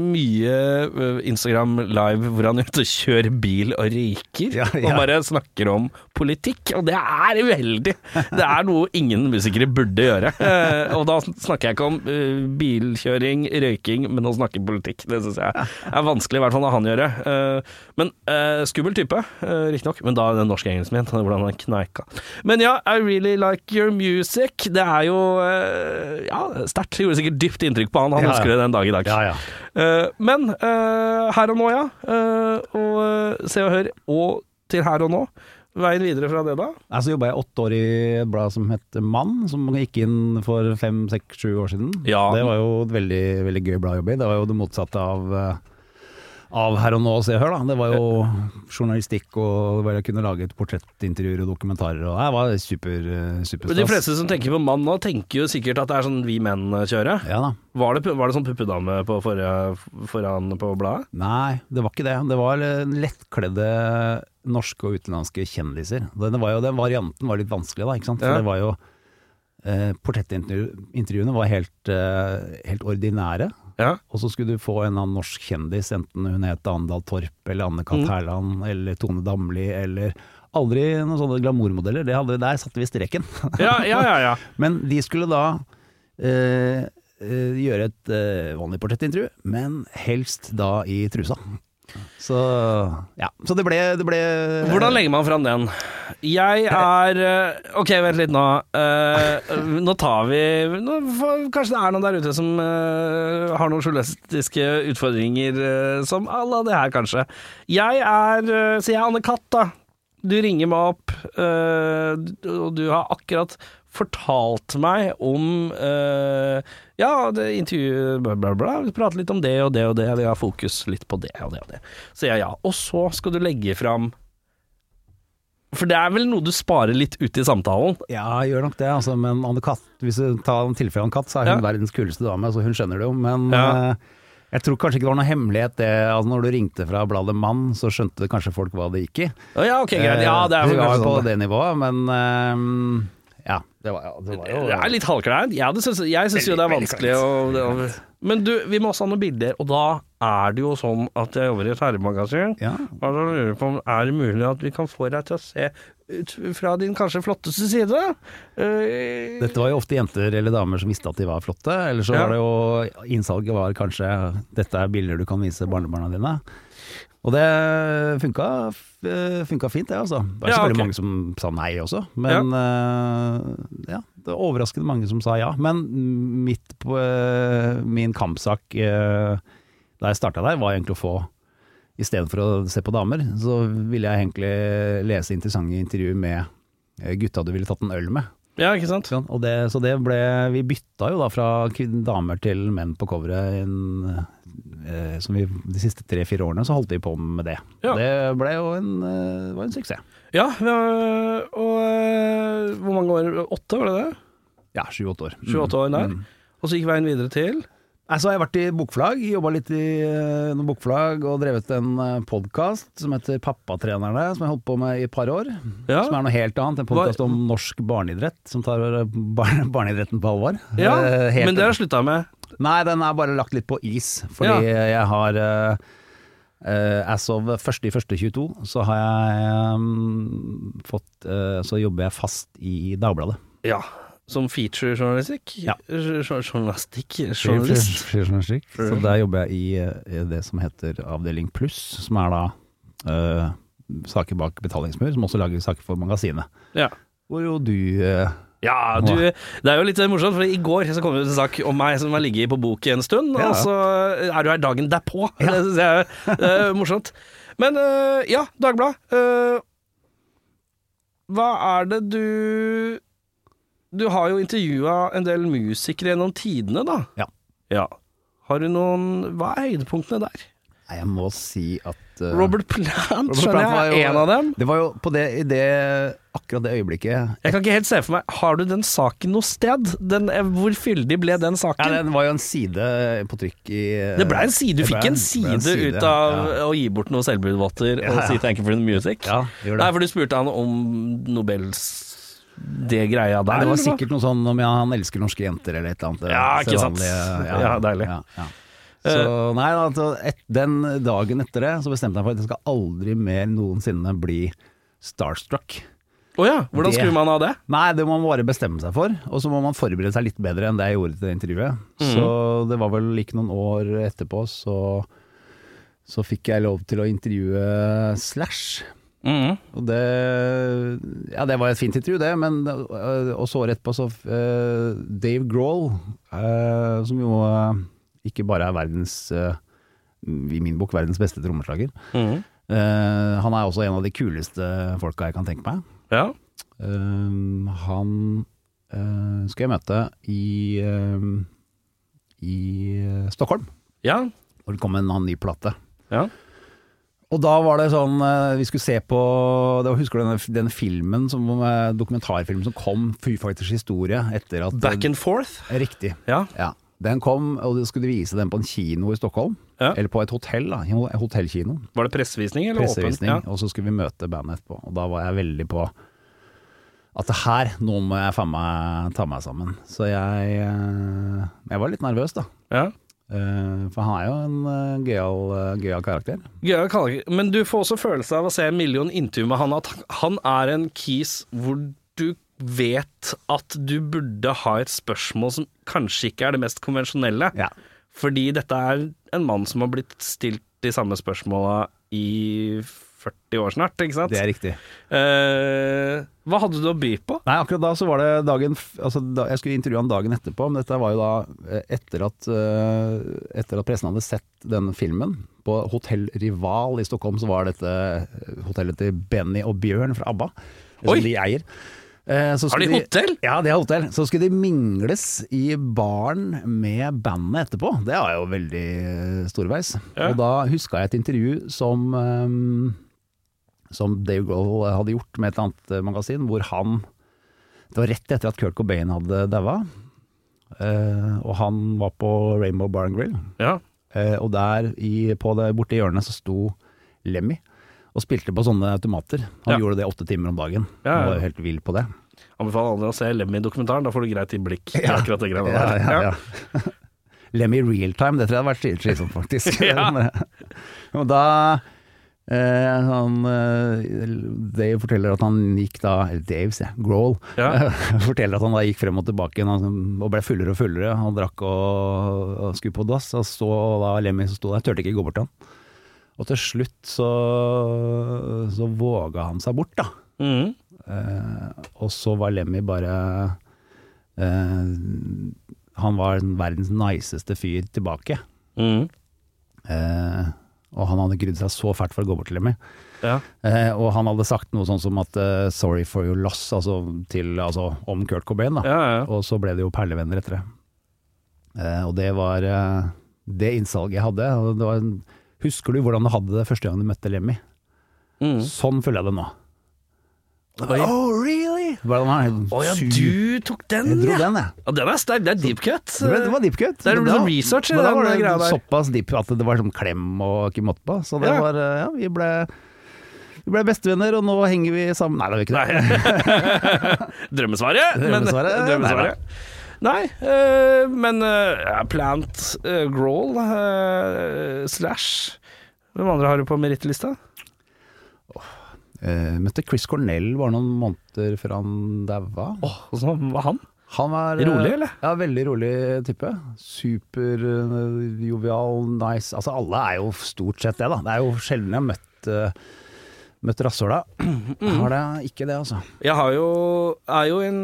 [SPEAKER 2] mye øh, Instagram live hvor han er ute og kjører bil og røyker,
[SPEAKER 3] Ja, ja.
[SPEAKER 2] og bare snakker om politikk, og det er uheldig! Det er noe ingen musikere burde gjøre. Eh, Og da snakker jeg ikke om øh, bilkjøring, røyking, men å snakke politikk. Det syns jeg er vanskelig, i hvert fall når han gjør det. Eh, Men eh, skummel type, eh, riktignok, men da er den norske engelsken min, hvordan han kneika. Men ja, I really like your music. Det er jo eh, ja, sterkt. Det gjorde sikkert dypt inntrykk på han. Han
[SPEAKER 3] Ja, ja.
[SPEAKER 2] husker det den dag i dag.
[SPEAKER 3] Ja, ja.
[SPEAKER 2] Eh, men eh, her og nå, ja. Eh, og eh, Se og Hør og til her og nå. Veien videre fra det, da?
[SPEAKER 3] Nei, Så jobba jeg åtte år i et blad som het Mann, som gikk inn for fem, seks, sju år siden.
[SPEAKER 2] Ja.
[SPEAKER 3] Det var jo et veldig, veldig gøy blad å jobbe i. Det var jo det motsatte av eh, av Her og Nå og Se og Hør, da. Det var jo journalistikk og bare kunne lage et portrettintervjuer og dokumentarer og Det var super, eh, superstas.
[SPEAKER 2] De fleste som tenker på mann nå, tenker jo sikkert at det er sånn vi menn kjører.
[SPEAKER 3] Ja da.
[SPEAKER 2] Var det, pu- var det sånn puppedame på forrige foran på bladet?
[SPEAKER 3] Nei, det var ikke det. Det var eh, lettkledde norske og utenlandske kjendiser. Det- det var jo, den varianten var litt vanskelig, da. ikke sant? For
[SPEAKER 2] Ja.
[SPEAKER 3] det var jo eh, Portrettintervjuene var helt, eh, helt ordinære.
[SPEAKER 2] Ja.
[SPEAKER 3] Og så skulle du få en eller annen norsk kjendis, enten hun het Andal Torp eller Anne-Kat.
[SPEAKER 2] Mm.
[SPEAKER 3] Hærland eller Tone Damli eller Aldri noen sånne glamourmodeller. Det hadde, der satte vi streken.
[SPEAKER 2] Ja, ja, ja. ja.
[SPEAKER 3] Men de skulle da eh, eh, gjøre et eh, vanlig portrettintervju, men helst da i trusa. Så ja, så det ble, det ble
[SPEAKER 2] Hvordan legger man fram den? Jeg er eh, Ok, vent litt nå. Eh, Nå tar vi nå, får- Kanskje det er noen der ute som eh, har noen journalistiske utfordringer eh, som à la det her, kanskje. Jeg er eh, Så jeg er Anne Katt, da. Du ringer meg opp, eh, d- og du har akkurat fortalt meg om eh, Ja, det intervjuet bla, bla, bla. Vi prater litt om det og det og det, og vi har fokus litt på det og det og det. Sier jeg ja. Og så skal du legge fram for det er vel noe du sparer litt ut i samtalen?
[SPEAKER 3] Ja, gjør nok det, altså, men Anne Katt, hvis du tar en tilfelle Anne Katt, så er hun
[SPEAKER 2] Ja.
[SPEAKER 3] verdens kuleste dame, så hun skjønner det jo, men
[SPEAKER 2] Ja.
[SPEAKER 3] eh, jeg tror kanskje ikke det var noe hemmelighet det, altså når du ringte fra bladet Mann, så skjønte kanskje folk hva det gikk i.
[SPEAKER 2] Å ja, ok, greit. Ja, det er
[SPEAKER 3] Eh,
[SPEAKER 2] vel sånn.
[SPEAKER 3] vi var
[SPEAKER 2] kanskje
[SPEAKER 3] på
[SPEAKER 2] sånn.
[SPEAKER 3] det nivået, men eh, Ja, det var, ja, det var jo
[SPEAKER 2] Det er litt halvkleint. Jeg, hadde syns- jeg syns jo det er
[SPEAKER 3] Veldig,
[SPEAKER 2] vanskelig å det- Men du, vi må også ha noen bilder, og da er det jo sånn at jeg jobber i et herremagasin.
[SPEAKER 3] Ja.
[SPEAKER 2] Og da lurer jeg på om er det mulig at vi kan få deg til å se ut fra din kanskje flotteste side? Eh,
[SPEAKER 3] Dette var jo ofte jenter eller damer som visste at de var flotte, eller så
[SPEAKER 2] Ja.
[SPEAKER 3] var det jo Innsalget var kanskje 'dette er bilder du kan vise barnebarna dine'. Og det funka, f- funka fint, det altså. Det var
[SPEAKER 2] Ja, ok.
[SPEAKER 3] selvfølgelig mange som sa nei også, men eh, ja, det var overraskende mange som sa ja. Men mitt på, eh, min kampsak eh, da jeg starta der, var egentlig å få Istedenfor å se på damer, så ville jeg egentlig lese interessante intervjuer med eh, gutta du ville tatt en øl med.
[SPEAKER 2] ja, ikke sant?
[SPEAKER 3] Ikke sant? Og det, så det ble Vi bytta jo da fra kvin- damer til menn på coveret en, eh, som vi, de siste tre-fire årene så holdt vi på med det.
[SPEAKER 2] Ja.
[SPEAKER 3] Det ble jo en, eh, var en suksess.
[SPEAKER 2] Ja, vi har- og eh, hvor mange år? Åtte, var det det?
[SPEAKER 3] Ja, sju-åtte år. Mm.
[SPEAKER 2] Sju-åtte år der.
[SPEAKER 3] Mm.
[SPEAKER 2] Og så gikk veien videre til
[SPEAKER 3] Nei, så har jeg vært i bokflag, jobba litt i eh, noen bokflag og drevet en podkast som heter Pappatrenerne, som jeg holdt på med i et par år.
[SPEAKER 2] Ja,
[SPEAKER 3] Som er noe helt annet. En podkast
[SPEAKER 2] Hva-
[SPEAKER 3] om norsk barneidrett, som tar barne, barneidretten på alvor.
[SPEAKER 2] ja
[SPEAKER 3] Eh, helt-
[SPEAKER 2] men det har jeg slutta med.
[SPEAKER 3] Nei, den er bare lagt litt på is, fordi
[SPEAKER 2] Ja.
[SPEAKER 3] jeg har eh, eh, As of 1.1.22 så har jeg eh, fått eh, Så jobber jeg fast i Dagbladet.
[SPEAKER 2] Ja. Som featurejournalistikk?
[SPEAKER 3] Ja.
[SPEAKER 2] Jo- jo- Journalistikk? Journalist?
[SPEAKER 3] Så der jobber jeg i, eh, i det som heter Avdeling Pluss, som er da eh, saker bak betalingsmur, som også lager saker for magasinet.
[SPEAKER 2] Ja.
[SPEAKER 3] Hvor jo du eh,
[SPEAKER 2] Ja, du, det er jo litt morsomt, for i går så kom det ut en sak om meg som har ligget på bok i en stund,
[SPEAKER 3] Ja.
[SPEAKER 2] og så er du her dagen derpå. Det syns jeg er eh, morsomt. Men eh, ja, Dagbladet. eh, hva er det du Du har jo intervjua en del musikere gjennom tidene, da.
[SPEAKER 3] Ja.
[SPEAKER 2] Ja. Har du noen Hva er høydepunktene der?
[SPEAKER 3] Nei, jeg må si at eh,
[SPEAKER 2] Robert Plant,
[SPEAKER 3] Robert
[SPEAKER 2] skjønner
[SPEAKER 3] Plant var
[SPEAKER 2] jeg,
[SPEAKER 3] jo-
[SPEAKER 2] er en av dem.
[SPEAKER 3] Det var jo på det, i det, akkurat det øyeblikket
[SPEAKER 2] Jeg kan ikke helt se for meg Har du den saken noe sted? Den, eh, hvor fyldig ble den
[SPEAKER 3] Ja,
[SPEAKER 2] saken?
[SPEAKER 3] den var jo en side på trykk i
[SPEAKER 2] Det ble en side, Du
[SPEAKER 3] Det ble
[SPEAKER 2] fikk en
[SPEAKER 3] det
[SPEAKER 2] side,
[SPEAKER 3] ble en
[SPEAKER 2] ut av
[SPEAKER 3] ja.
[SPEAKER 2] å gi bort noen selvbudvatter
[SPEAKER 3] Ja,
[SPEAKER 2] og
[SPEAKER 3] ja.
[SPEAKER 2] si 'thank you for the music'.
[SPEAKER 3] Ja, det gjorde det.
[SPEAKER 2] Nei, for du spurte han om Nobels det greia der.
[SPEAKER 3] Nei, det
[SPEAKER 2] eller
[SPEAKER 3] var
[SPEAKER 2] hva?
[SPEAKER 3] sikkert noe sånn om ja, han elsker norske jenter eller et eller annet. det
[SPEAKER 2] Ja, ikke sant.
[SPEAKER 3] sedvanlige,
[SPEAKER 2] Ja, deilig. Eh.
[SPEAKER 3] ja, ja. Så nei, altså, et, den dagen etter det så bestemte jeg for at jeg skal aldri mer noensinne bli starstruck.
[SPEAKER 2] Å ja, hvordan
[SPEAKER 3] Det-
[SPEAKER 2] skrur man av det?
[SPEAKER 3] Nei, det må man bare bestemme seg for, og så må man forberede seg litt bedre enn det jeg gjorde til det intervjuet.
[SPEAKER 2] Mhm.
[SPEAKER 3] Så det var vel ikke noen år etterpå, så, så fikk jeg lov til å intervjue Slash.
[SPEAKER 2] Mhm.
[SPEAKER 3] Og det, ja, det var et fint intervju, det. Men øh, og så rett på så øh, Dave Grohl, øh, som jo øh, ikke bare er verdens øh, i min bok verdens beste trommeslager.
[SPEAKER 2] Mhm.
[SPEAKER 3] øh, han er også en av de kuleste folka jeg kan tenke meg.
[SPEAKER 2] Ja.
[SPEAKER 3] Ehm, han øh, skal jeg møte i, øh, i øh, Stockholm,
[SPEAKER 2] ja.
[SPEAKER 3] hvor det kommer en annen ny plate.
[SPEAKER 2] Ja.
[SPEAKER 3] Og da var det sånn eh, Vi skulle se på det var, Husker du denne, denne filmen som, eh, Dokumentarfilmen som kom Foo Fighters historie etter at
[SPEAKER 2] Back and forth.
[SPEAKER 3] Riktig
[SPEAKER 2] Ja.
[SPEAKER 3] ja. Den kom Og de skulle vise den på en kino i Stockholm
[SPEAKER 2] Ja.
[SPEAKER 3] Eller på et hotell da En hotellkino
[SPEAKER 2] Var det pressevisning eller
[SPEAKER 3] Pressevisning
[SPEAKER 2] åpen?
[SPEAKER 3] Og så skulle vi møte bandet etterpå Og da var jeg veldig på At det her Nå må jeg faen meg ta meg sammen Så jeg eh, Jeg var litt nervøs da
[SPEAKER 2] Ja. ja.
[SPEAKER 3] Eh, For han er jo en eh, gøyal eh, gøyal karakter
[SPEAKER 2] Gøy å kalle det- Men du får også følelse av å se en million intervju med han at han er en kis hvor du vet at du burde ha et spørsmål som kanskje ikke er det mest konvensjonelle.
[SPEAKER 3] Ja
[SPEAKER 2] Fordi dette er en mann som har blitt stilt de samme spørsmåla i 40 år snart, ikke sant?
[SPEAKER 3] Det er riktig
[SPEAKER 2] Eh, hva hadde du å by på?
[SPEAKER 3] Nei, akkurat da så var det dagen f- altså da, Jeg skulle intervjue han dagen etterpå, men dette var jo da eh, etter at, eh, etter at pressen hadde sett denne filmen. På Hotell Rival i Stockholm så var dette eh, hotellet til Benny og Bjørn fra ABBA,
[SPEAKER 2] Oi!
[SPEAKER 3] som de eier. Eh, så
[SPEAKER 2] Har de
[SPEAKER 3] skulle
[SPEAKER 2] hotell?
[SPEAKER 3] Ja, de har hotell. Så skulle de mingles i baren med bandet etterpå. Det var jo veldig eh, storveis.
[SPEAKER 2] Ja.
[SPEAKER 3] Og da huska jeg et intervju som eh, som Dave Grohl hadde gjort med et annet eh, magasin, hvor han Det var rett etter at Kurt Cobain hadde daua, eh, og han var på Rainbow Bar and Grill.
[SPEAKER 2] Ja.
[SPEAKER 3] eh, og der i, på det, borte i hjørnet så sto Lemmy og spilte på sånne automater. Han
[SPEAKER 2] Ja.
[SPEAKER 3] gjorde det åtte timer om dagen.
[SPEAKER 2] Ja, ja.
[SPEAKER 3] Han var jo helt vill på det.
[SPEAKER 2] Anbefaler alle å se Lemmy-dokumentaren, da får du greit innblikk i
[SPEAKER 3] Ja.
[SPEAKER 2] akkurat det greiene
[SPEAKER 3] Ja,
[SPEAKER 2] der.
[SPEAKER 3] ja, ja. Lemmy real time, det tror jeg hadde vært stilig slitsomt, faktisk.
[SPEAKER 2] Ja.
[SPEAKER 3] Men, og da eh, han, eh, Dave forteller at han gikk da eller Dave, sier jeg. Grohl.
[SPEAKER 2] Ja.
[SPEAKER 3] forteller at han da gikk frem og tilbake igjen, han- og ble fullere og fullere. Han drakk og, og skulle på dass, og så da Lemmy som sto der, turte ikke gå bort til han. Og til slutt så, så våga han seg bort, da.
[SPEAKER 2] Mhm.
[SPEAKER 3] Eh, og så var Lemmy bare eh, Han var den verdens niceste fyr tilbake.
[SPEAKER 2] Mhm.
[SPEAKER 3] Eh, og han hadde grudd seg så fælt for å gå bort til Lemmy.
[SPEAKER 2] Ja.
[SPEAKER 3] Eh, og han hadde sagt noe sånn som at eh, 'sorry for your loss', altså, til, altså om Kurt Cobain. Da.
[SPEAKER 2] Ja, ja, ja.
[SPEAKER 3] Og så ble det jo perlevenner etter det. Eh, og det var eh, det innsalget jeg hadde. Og det var en, husker du hvordan du hadde det første gang du møtte Lemmy?
[SPEAKER 2] Mhm.
[SPEAKER 3] Sånn føler jeg det nå.
[SPEAKER 2] Oi.
[SPEAKER 3] Oh, really? Hvordan er det?
[SPEAKER 2] Å ja,
[SPEAKER 3] Sur-
[SPEAKER 2] du tok den,
[SPEAKER 3] Jeg dro
[SPEAKER 2] ja!
[SPEAKER 3] den, jeg.
[SPEAKER 2] ja den er sterk, det er deep cut.
[SPEAKER 3] Det, ble, det var deep cut.
[SPEAKER 2] Det er noe
[SPEAKER 3] Men da-
[SPEAKER 2] sånn research i
[SPEAKER 3] men da
[SPEAKER 2] den
[SPEAKER 3] var det
[SPEAKER 2] greia der.
[SPEAKER 3] Såpass deep at det var sånn klem og ikke måtte på. Så det
[SPEAKER 2] Ja.
[SPEAKER 3] var eh, Ja, vi ble, vi ble bestevenner, og nå henger vi sammen Nei, det er jo ikke det.
[SPEAKER 2] Drømmesvaret. men-
[SPEAKER 3] Drømmesvaret,
[SPEAKER 2] drømmesvaret. Nei, eh, men eh, Plant, eh, Growl, eh, Slash Hvem andre har du på merittlista?
[SPEAKER 3] Eh, møtte Chris Cornell bare noen måneder før han daua.
[SPEAKER 2] Åh, Åssen var han?
[SPEAKER 3] Han var eh,
[SPEAKER 2] Rolig, eller?
[SPEAKER 3] Ja, veldig rolig type. Superjovial, nice. Altså alle er jo stort sett det, da. Det er jo sjelden jeg har møtt uh, Møtt rasshøla.
[SPEAKER 2] Mm-hmm.
[SPEAKER 3] Har det ikke det, altså.
[SPEAKER 2] Jeg har jo, er jo i en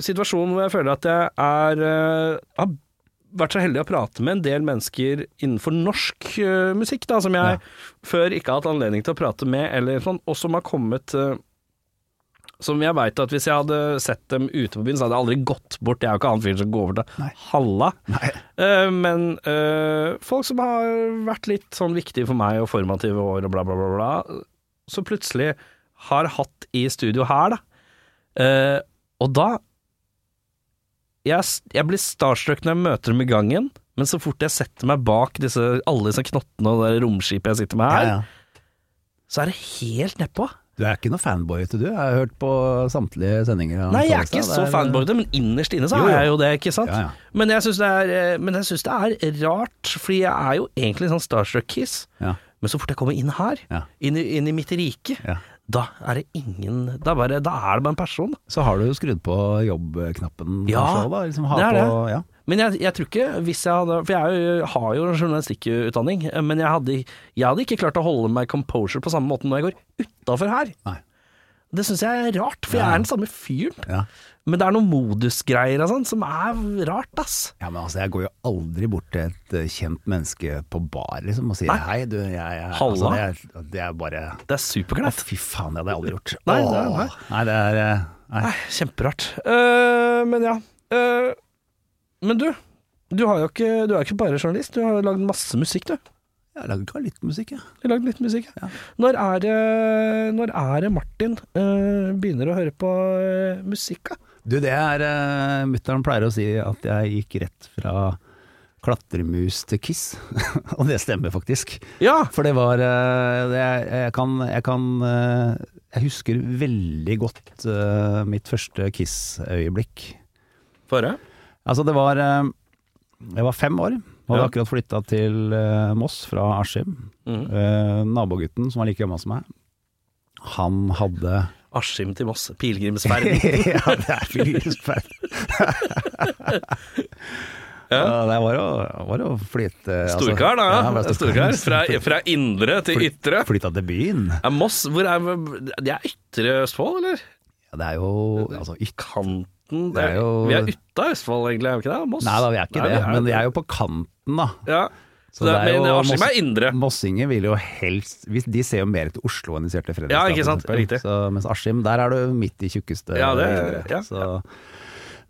[SPEAKER 2] situasjon hvor jeg føler at jeg er eh, har vært så heldig å prate med en del mennesker innenfor norsk eh, musikk, da, som jeg
[SPEAKER 3] Ja.
[SPEAKER 2] før ikke har hatt anledning til å prate med, eller sånn, og som har kommet eh, som jeg veit at hvis jeg hadde sett dem ute på byen, så hadde jeg aldri gått bort. Jeg er jo ikke han fyren som går over til
[SPEAKER 3] Nei.
[SPEAKER 2] Halla.
[SPEAKER 3] Nei.
[SPEAKER 2] Eh, men eh, folk som har vært litt sånn viktige for meg og formative år og bla, bla, bla, bla så plutselig har hatt i studio her, da. Eh, og da jeg, s- jeg blir starstruck når jeg møter dem i gangen, men så fort jeg setter meg bak disse, alle disse knottene og det romskipet jeg sitter med her,
[SPEAKER 3] Ja, ja.
[SPEAKER 2] så er det helt nedpå.
[SPEAKER 3] Du er ikke noe fanboy, vet du. Jeg har hørt på samtlige sendinger. av
[SPEAKER 2] Nei, jeg er
[SPEAKER 3] Tollestad.
[SPEAKER 2] ikke så
[SPEAKER 3] Det er-
[SPEAKER 2] fanboy, men innerst inne så
[SPEAKER 3] Jo, jo.
[SPEAKER 2] er jeg jo det, ikke sant?
[SPEAKER 3] Ja, ja.
[SPEAKER 2] Men jeg syns det, er, eh, men jeg synes det er rart, fordi jeg er jo egentlig en sånn starstruck-kiss.
[SPEAKER 3] Ja.
[SPEAKER 2] Men så fort jeg kommer inn her,
[SPEAKER 3] Ja.
[SPEAKER 2] inn, i, inn i mitt rike,
[SPEAKER 3] Ja.
[SPEAKER 2] da er det ingen Da, bare, da er det bare en person. da.
[SPEAKER 3] Så har du jo skrudd på jobbknappen.
[SPEAKER 2] Ja,
[SPEAKER 3] kanskje, da. Liksom, ha
[SPEAKER 2] det er
[SPEAKER 3] på, Ja.
[SPEAKER 2] Men jeg, jeg tror ikke hvis jeg hadde For jeg er jo- har jo en journalistikkutdanning, eh, men jeg hadde, jeg hadde ikke klart å holde meg composure på samme måte når jeg går utafor her.
[SPEAKER 3] Nei.
[SPEAKER 2] Det syns jeg er rart, for jeg er den samme fyren.
[SPEAKER 3] Ja.
[SPEAKER 2] Men det er noen modusgreier og sånn som er rart, ass.
[SPEAKER 3] ja, men altså, jeg går jo aldri bort til et eh, kjent menneske på bar liksom, og sier
[SPEAKER 2] Nei.
[SPEAKER 3] hei, du, jeg, jeg
[SPEAKER 2] Halla.
[SPEAKER 3] Altså, det, er, det er bare
[SPEAKER 2] Det er
[SPEAKER 3] Å,
[SPEAKER 2] superkleint.
[SPEAKER 3] fy faen, det hadde jeg aldri gjort.
[SPEAKER 2] Nei, det
[SPEAKER 3] Åh.
[SPEAKER 2] er- nei.
[SPEAKER 3] nei, det er eh, nei.
[SPEAKER 2] Nei, kjemperart. Eh, men ja. Eh, men du, du, har jo ikke, du er jo ikke bare journalist. Du har jo lagd masse musikk, du.
[SPEAKER 3] Jeg lager ikke litt musikk, jeg.
[SPEAKER 2] Du har lagd litt musikk.
[SPEAKER 3] Ja.
[SPEAKER 2] Når, er det, når er det Martin eh, begynner å høre på eh, musikk, da?
[SPEAKER 3] Du, det er uh, Mutter'n pleier å si at jeg gikk rett fra klatremus til Kiss, og det stemmer faktisk.
[SPEAKER 2] Ja!
[SPEAKER 3] For det var eh, det, jeg, kan, jeg kan eh, Jeg husker veldig godt eh, mitt første Kiss-øyeblikk.
[SPEAKER 2] Få høre.
[SPEAKER 3] Altså, det var eh, Jeg var fem år. Hadde
[SPEAKER 2] Ja.
[SPEAKER 3] akkurat flytta til eh, Moss fra Askim.
[SPEAKER 2] Mhm.
[SPEAKER 3] Eh, nabogutten, som var like gammel som meg, han hadde
[SPEAKER 2] Askim til Moss, pilegrimsferden.
[SPEAKER 3] Ja, altså. det er flygersperd. ja. Det var jo, var jo flyt... eh, altså-
[SPEAKER 2] Storkar, da.
[SPEAKER 3] Ja, det var
[SPEAKER 2] Storkar. Fra, fra indre til
[SPEAKER 3] Flyt-
[SPEAKER 2] ytre.
[SPEAKER 3] Flytta til byen.
[SPEAKER 2] Ja, Moss, hvor er Det er ytre Østfold, eller?
[SPEAKER 3] Ja, det er jo altså, yt-
[SPEAKER 2] Kanten
[SPEAKER 3] Det er jo-
[SPEAKER 2] Vi er ytta Østfold, egentlig, er vi ikke det? Moss?
[SPEAKER 3] Nei da, vi er ikke
[SPEAKER 2] Nei,
[SPEAKER 3] det, men vi er jo på kanten, da.
[SPEAKER 2] Ja. Så det,
[SPEAKER 3] jo-
[SPEAKER 2] men Askim er
[SPEAKER 3] Moss-
[SPEAKER 2] indre.
[SPEAKER 3] Mossinger vil jo helst hvis- De ser jo mer til Oslo enn de ser til Fredrikstad.
[SPEAKER 2] Ja, ikke sant?
[SPEAKER 3] for eksempel.
[SPEAKER 2] Riktig.
[SPEAKER 3] Så, mens Askim, der er du midt i tjukkeste
[SPEAKER 2] Ja, det-
[SPEAKER 3] indre.
[SPEAKER 2] ja,
[SPEAKER 3] så.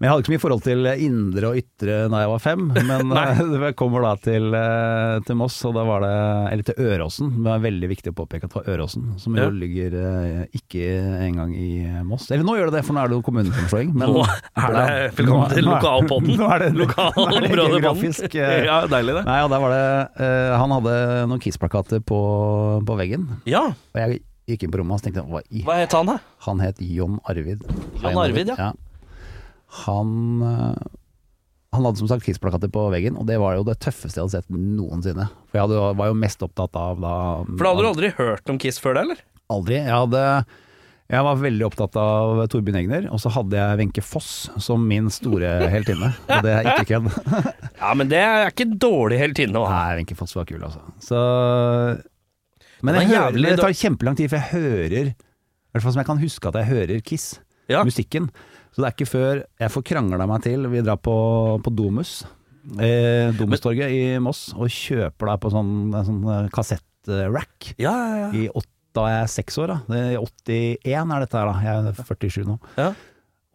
[SPEAKER 3] Men jeg hadde ikke så mye forhold til indre og ytre da jeg var fem, men eh, jeg kommer da til, eh, til Moss, og da var det Eller til Øråsen, det var veldig viktig å påpeke at det var Øråsen, som
[SPEAKER 2] Ja.
[SPEAKER 3] jo ligger eh, ikke engang i eh, Moss. Eller nå gjør det det, for nå er det jo kommunesammenslåing. men-
[SPEAKER 2] Nå er det velkommen til
[SPEAKER 3] Nå er-
[SPEAKER 2] lokalpodden.
[SPEAKER 3] Nå er det
[SPEAKER 2] Lokalområdepodden.
[SPEAKER 3] geografisk, eh,
[SPEAKER 2] Ja, deilig det.
[SPEAKER 3] Nei, og der var det eh, Han hadde noen Kiss-plakater på, på veggen,
[SPEAKER 2] Ja.
[SPEAKER 3] og jeg gikk inn på rommet hans, tenkte jeg hva i
[SPEAKER 2] Hva het han, da?
[SPEAKER 3] Han het John Arvid.
[SPEAKER 2] John Arvid, ja.
[SPEAKER 3] Han, eh, han hadde som sagt Kiss-plakater på veggen, og det var jo det tøffeste jeg hadde sett noensinne. For jeg hadde, var jo mest opptatt av da
[SPEAKER 2] For da hadde du aldri hørt om Kiss før det, eller?
[SPEAKER 3] Aldri. Jeg, hadde, jeg var veldig opptatt av Torbjørn Egner, og så hadde jeg Wenche Foss som min store heltinne. Og det er ikke kødd.
[SPEAKER 2] Ja, men det er ikke dårlig heltinne å ha.
[SPEAKER 3] Nei, Wenche Foss var kul, altså. Så Men
[SPEAKER 2] Det
[SPEAKER 3] jeg
[SPEAKER 2] var
[SPEAKER 3] hører,
[SPEAKER 2] jævlig
[SPEAKER 3] det tar kjempelang tid, for jeg hører I hvert fall som jeg kan huske at jeg hører Kiss,
[SPEAKER 2] Ja.
[SPEAKER 3] musikken. Så det er ikke før jeg får krangla meg til Vi drar på, på Domus, eh, Domustorget i Moss, og kjøper da på sånn, en sånn eh, kassettrack.
[SPEAKER 2] Ja, ja, ja.
[SPEAKER 3] I åt- da er jeg seks år, da. Det- I 81 er dette her, da. Jeg er 47 nå.
[SPEAKER 2] ja.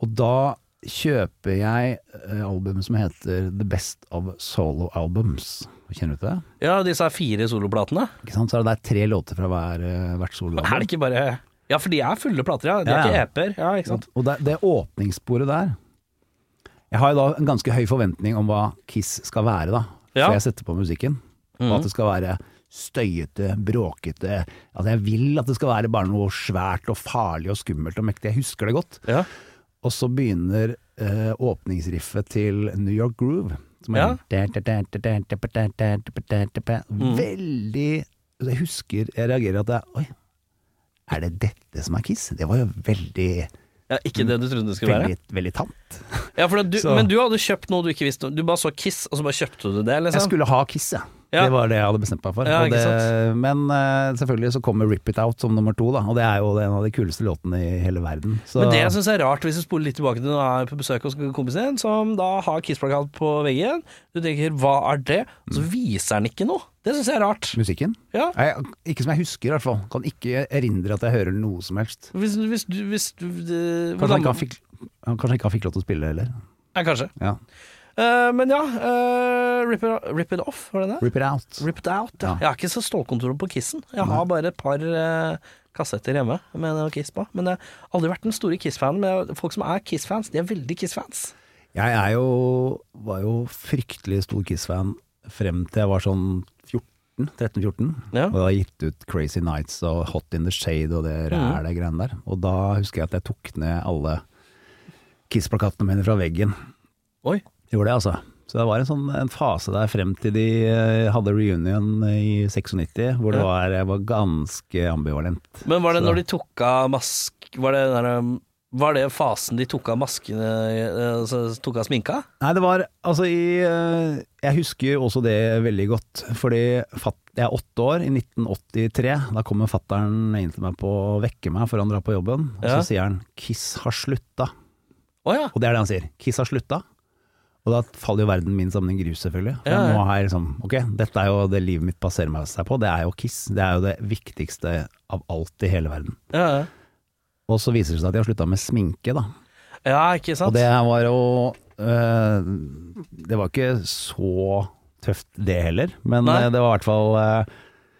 [SPEAKER 3] Og da kjøper jeg eh, albumet som heter The Best of Solo Albums. Kjenner du til det?
[SPEAKER 2] ja disse her fire soloplatene.
[SPEAKER 3] Ikke sant? Så er det der tre låter fra hver, eh, hvert soloalbum.
[SPEAKER 2] Er det ikke bare Ja, for de er fulle plater, ja. De
[SPEAKER 3] Ja,
[SPEAKER 2] er
[SPEAKER 3] ja.
[SPEAKER 2] ikke EP-er. Ja, ikke sant.
[SPEAKER 3] Og det, det åpningssporet der Jeg har jo da en ganske høy forventning om hva Kiss skal være, da.
[SPEAKER 2] Ja. Mhm.
[SPEAKER 3] Før jeg setter på musikken. Og at det skal være støyete, bråkete Altså jeg vil at det skal være bare noe svært og farlig og skummelt og mektig. Jeg husker det godt.
[SPEAKER 2] Ja.
[SPEAKER 3] Og så begynner eh, åpningsriffet til New York Groove. Som
[SPEAKER 2] Ja.
[SPEAKER 3] er Mm. Veldig altså, Jeg husker jeg reagerer at det er Oi, er det dette som er Kiss? Det var jo veldig,
[SPEAKER 2] ja. Ikke det du trodde det skulle være.
[SPEAKER 3] veldig, veldig tamt.
[SPEAKER 2] Ja, for du,
[SPEAKER 3] Så-
[SPEAKER 2] Men du hadde kjøpt noe du ikke visste om. Du bare så Kiss, og så bare kjøpte du det,
[SPEAKER 3] Jeg
[SPEAKER 2] liksom?
[SPEAKER 3] skulle ha Kiss, ja.
[SPEAKER 2] Ja.
[SPEAKER 3] Det var det jeg hadde bestemt meg for.
[SPEAKER 2] Ja,
[SPEAKER 3] og
[SPEAKER 2] ikke
[SPEAKER 3] det, men eh, selvfølgelig så kommer Rip It Out som nummer to, da. Og det er jo en av de kuleste låtene i hele verden. Så,
[SPEAKER 2] Men det jeg syns er rart, hvis du spoler litt tilbake til når du er på besøk hos kompisen din, som da har Kiss-plakat på veggen, du tenker 'hva er det', og så
[SPEAKER 3] Mm.
[SPEAKER 2] viser han ikke noe. Det syns jeg er rart.
[SPEAKER 3] musikken?
[SPEAKER 2] Ja.
[SPEAKER 3] Nei, ikke som jeg husker, i hvert fall. Kan ikke erindre at jeg hører noe som helst.
[SPEAKER 2] Hvis, hvis du, hvis du eh, det,
[SPEAKER 3] Kanskje han ikke han fikk, han kanskje ikke han fikk lov til å spille heller.
[SPEAKER 2] Ja, kanskje.
[SPEAKER 3] Ja.
[SPEAKER 2] Eh, men ja, eh, rip, it, rip It Off, var det det?
[SPEAKER 3] Rip it out.
[SPEAKER 2] Rip It Out, ja.
[SPEAKER 3] Ja.
[SPEAKER 2] Jeg har ikke så stålkontroll på Kissen. Jeg har bare et par eh, kassetter hjemme med noe Kiss på. Men jeg har aldri vært den store Kiss-fanen. Men folk som er Kiss-fans, de er veldig Kiss-fans.
[SPEAKER 3] Jeg er jo, var jo fryktelig stor Kiss-fan frem til jeg var sånn 14, 13-14.
[SPEAKER 2] Ja.
[SPEAKER 3] Og da har jeg gitt ut Crazy Nights og Hot in the Shade og det
[SPEAKER 2] Mm.
[SPEAKER 3] ræle greiene der. Og da husker jeg at jeg tok ned alle Kiss-plakatene mine fra veggen.
[SPEAKER 2] Oi.
[SPEAKER 3] Gjorde det, altså. Så det var en, sånn, en fase der frem til de eh, hadde reunion i 96, hvor det
[SPEAKER 2] Ja.
[SPEAKER 3] var, jeg var ganske ambivalent.
[SPEAKER 2] Men var det
[SPEAKER 3] Så-
[SPEAKER 2] når de tok av mask... Var det, den der, um, var det fasen de tok av maskene eh, altså, Tok av sminka?
[SPEAKER 3] Nei, det var Altså, i, eh, jeg husker også det veldig godt. Fordi fatt, jeg er åtte år, i 1983. Da kommer fattern inn til meg på å vekke meg før han drar på jobben. Og
[SPEAKER 2] Ja.
[SPEAKER 3] så sier han 'Kiss har slutta'.
[SPEAKER 2] Å ja.
[SPEAKER 3] Og det er det han sier. 'Kiss har slutta'. Og da faller jo verden min som en grus, selvfølgelig. For
[SPEAKER 2] Ja, ja.
[SPEAKER 3] Nå har jeg liksom Ok, dette er jo det livet mitt baserer meg seg på. Det er jo Kiss. Det er jo det viktigste av alt i hele verden.
[SPEAKER 2] Ja,
[SPEAKER 3] Og så viser det seg at de har slutta med sminke, da.
[SPEAKER 2] ja. ja ikke sant?
[SPEAKER 3] Og det var jo eh, Det var ikke så tøft det heller, men
[SPEAKER 2] Nei.
[SPEAKER 3] eh, det var i hvert fall eh,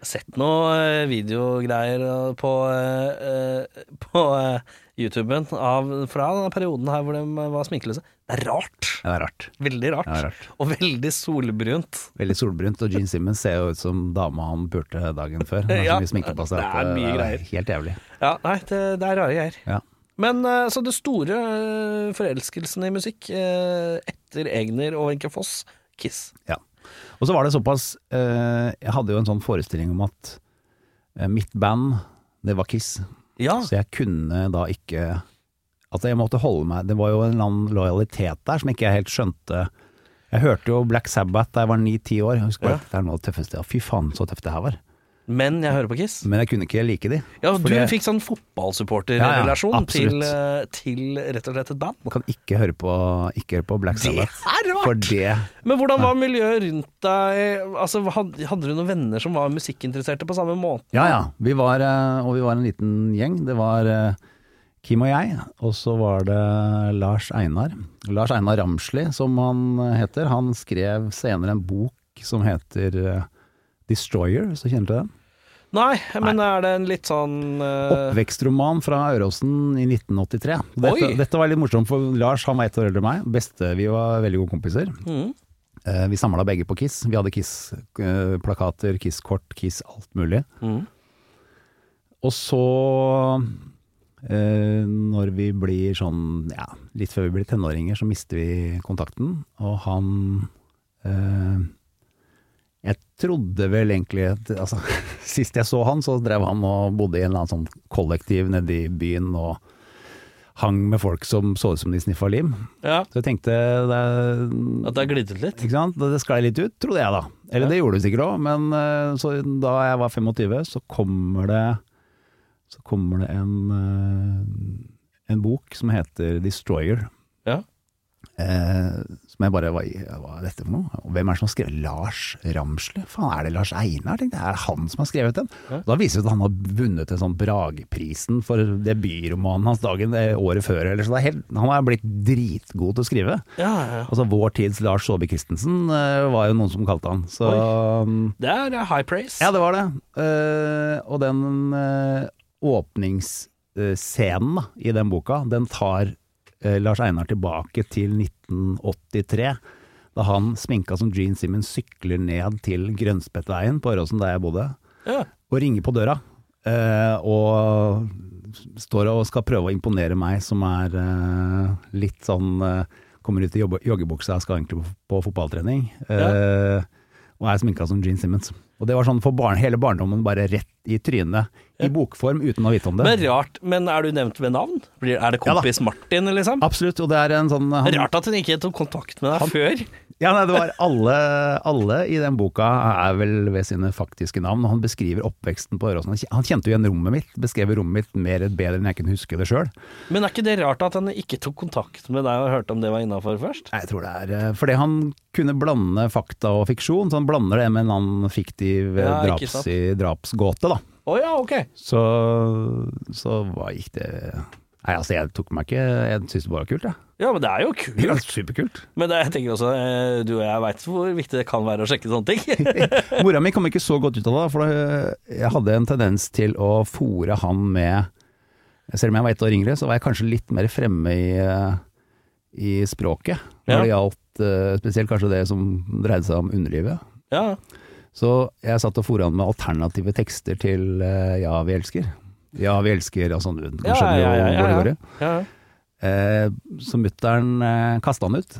[SPEAKER 2] Jeg har sett noe eh, videogreier eh, på, eh, eh, på eh, YouTuben av, fra den perioden her hvor de eh, var sminkeløse. Det er rart.
[SPEAKER 3] Det er rart.
[SPEAKER 2] Veldig rart.
[SPEAKER 3] Det er rart.
[SPEAKER 2] Og veldig solbrunt.
[SPEAKER 3] Veldig solbrunt, og Gene Simmons ser jo ut som dama han pulte dagen før. Han har
[SPEAKER 2] Ja.
[SPEAKER 3] så mye sminke på seg.
[SPEAKER 2] Det er
[SPEAKER 3] at eh,
[SPEAKER 2] mye greier.
[SPEAKER 3] Helt jævlig.
[SPEAKER 2] Ja, nei, det, det er rare greier.
[SPEAKER 3] Ja.
[SPEAKER 2] Men eh, så det store eh, forelskelsen i musikk eh, etter Egner og Wenche Foss, Kiss.
[SPEAKER 3] Ja. Og så var det såpass eh, Jeg hadde jo en sånn forestilling om at eh, mitt band, det var Kiss.
[SPEAKER 2] Ja,
[SPEAKER 3] Så jeg kunne da ikke At jeg måtte holde meg Det var jo en eller annen lojalitet der som ikke jeg helt skjønte. Jeg hørte jo Black Sabbath da jeg var ni-ti år. Jeg husker bare
[SPEAKER 2] Ja.
[SPEAKER 3] at det er noe av det tøffeste. Fy faen, så tøft det her var.
[SPEAKER 2] men jeg hører på Kiss.
[SPEAKER 3] Men jeg kunne ikke like de.
[SPEAKER 2] Ja, Du
[SPEAKER 3] Fordi jeg
[SPEAKER 2] fikk sånn fotballsupporterrelasjon
[SPEAKER 3] Ja, ja,
[SPEAKER 2] til,
[SPEAKER 3] absolutt.
[SPEAKER 2] eh, til rett og slett et band.
[SPEAKER 3] kan ikke høre på, ikke høre på Black
[SPEAKER 2] Det
[SPEAKER 3] Sabbath.
[SPEAKER 2] er rart!
[SPEAKER 3] For det
[SPEAKER 2] Men hvordan var miljøet rundt deg? Altså, had- hadde du noen venner som var musikkinteresserte på samme måte?
[SPEAKER 3] Ja ja. Vi var, eh, og vi var en liten gjeng. Det var eh, Kim og jeg, og så var det Lars Einar. Lars Einar Ramsli, som han eh, heter. Han skrev senere en bok som heter eh, Destroyer, så kjenner du til den?
[SPEAKER 2] Nei, men er det en litt sånn eh,
[SPEAKER 3] Oppvekstroman fra Øråsen i 1983. Dette,
[SPEAKER 2] Oi!
[SPEAKER 3] dette var litt morsomt, for Lars han var ett år eldre enn meg. Beste, vi var veldig gode kompiser.
[SPEAKER 2] Mhm.
[SPEAKER 3] Eh, Vi samla begge på Kiss. eh,
[SPEAKER 2] mm.
[SPEAKER 3] Vi hadde Kiss-plakater, Kiss-kort, Kiss alt mulig.
[SPEAKER 2] Mhm.
[SPEAKER 3] Og så, eh, når vi blir sånn, ja, litt før vi blir tenåringer, så mister vi kontakten. Og han eh, Jeg trodde vel egentlig at altså, Sist jeg så han, så drev han og bodde i en eller annen sånn kollektiv nede i byen og hang med folk som så ut som de sniffa lim.
[SPEAKER 2] Ja,
[SPEAKER 3] Så jeg tenkte det,
[SPEAKER 2] At det har glidd ut litt?
[SPEAKER 3] ikke sant? Det sklei litt ut, trodde jeg da. Eller det gjorde det sikkert òg, men eh, så da jeg var 25, så kommer det Så kommer det en eh, En bok som heter 'Destroyer'.
[SPEAKER 2] Ja.
[SPEAKER 3] Eh, som jeg bare var i, Hva er dette for noe? Og hvem er det som har skrevet Lars Ramsle? Faen, er det Lars Einar? Tenkte jeg, er det han som har skrevet den?
[SPEAKER 2] Ja.
[SPEAKER 3] Da viser det seg at han har vunnet en sånn Brageprisen for debutromanen hans dagen eh, året før. Eller, så det er helt, han er blitt dritgod til å skrive.
[SPEAKER 2] Ja, ja, ja.
[SPEAKER 3] Altså Vår tids Lars Saabye Christensen eh, var jo noen som kalte han. Så um,
[SPEAKER 2] Det er eh, high praise.
[SPEAKER 3] Ja, det var det. Eh, og den eh, åpningsscenen da, i den boka, den tar eh, Lars Einar tilbake til 1983. Da han sminka som Gene Simmons sykler ned til Grønspettveien på Åråsen, der jeg bodde,
[SPEAKER 2] Ja.
[SPEAKER 3] og ringer på døra. eh, og står og skal prøve å imponere meg, som er eh, litt sånn eh, Kommer ut i jobbe- joggebuksa og skal egentlig på, på fotballtrening. eh, Og er sminka som Gene Simmons. Og det var sånn for barn, hele barndommen, bare rett i trynet. I bokform, uten å vite om det.
[SPEAKER 2] Men rart. Men er du nevnt ved navn? Blir, er det
[SPEAKER 3] Ja da.
[SPEAKER 2] kompis Martin, liksom?
[SPEAKER 3] Absolutt. Og det er en sånn han,
[SPEAKER 2] Rart at hun ikke tok kontakt med deg før.
[SPEAKER 3] Ja, nei, det var alle, alle i den boka er vel ved sine faktiske navn. og Han beskriver oppveksten på Øråsen. Han kj- Han kjente jo igjen rommet mitt, beskrev rommet mitt mer bedre enn jeg kunne huske det sjøl.
[SPEAKER 2] Men er ikke det rart at han ikke tok kontakt med deg og hørte om det var innafor først?
[SPEAKER 3] Jeg tror det er eh, Fordi han kunne blande fakta og fiksjon, så han blander det med en annen fiktiv eh,
[SPEAKER 2] Ja, ikke
[SPEAKER 3] draps, drapsgåte, da.
[SPEAKER 2] Å ja, ok.
[SPEAKER 3] Så, så hva gikk det Nei, altså, jeg tok meg ikke Jeg syntes det bare var kult, jeg.
[SPEAKER 2] Ja, men det er jo
[SPEAKER 3] Ja.
[SPEAKER 2] kult.
[SPEAKER 3] Superkult.
[SPEAKER 2] Men det, jeg tenker også, eh, du og jeg veit hvor viktig det kan være å sjekke sånne ting.
[SPEAKER 3] Mora mi kom ikke så godt ut av det, da, for eh, jeg hadde en tendens til å fòre han med Selv om jeg var ett år yngre, så var jeg kanskje litt mer fremme i, eh, i språket. Når det gjaldt eh, spesielt kanskje det som dreide seg om underlivet.
[SPEAKER 2] ja.
[SPEAKER 3] Så jeg satt og fôret han med alternative tekster til eh, Ja, vi elsker. Ja, vi elsker, altså du kan
[SPEAKER 2] Ja,
[SPEAKER 3] skjønne
[SPEAKER 2] ja, ja, ja,
[SPEAKER 3] hvor det går i.
[SPEAKER 2] ja.
[SPEAKER 3] Eh, så mutter'n eh, kasta han ut.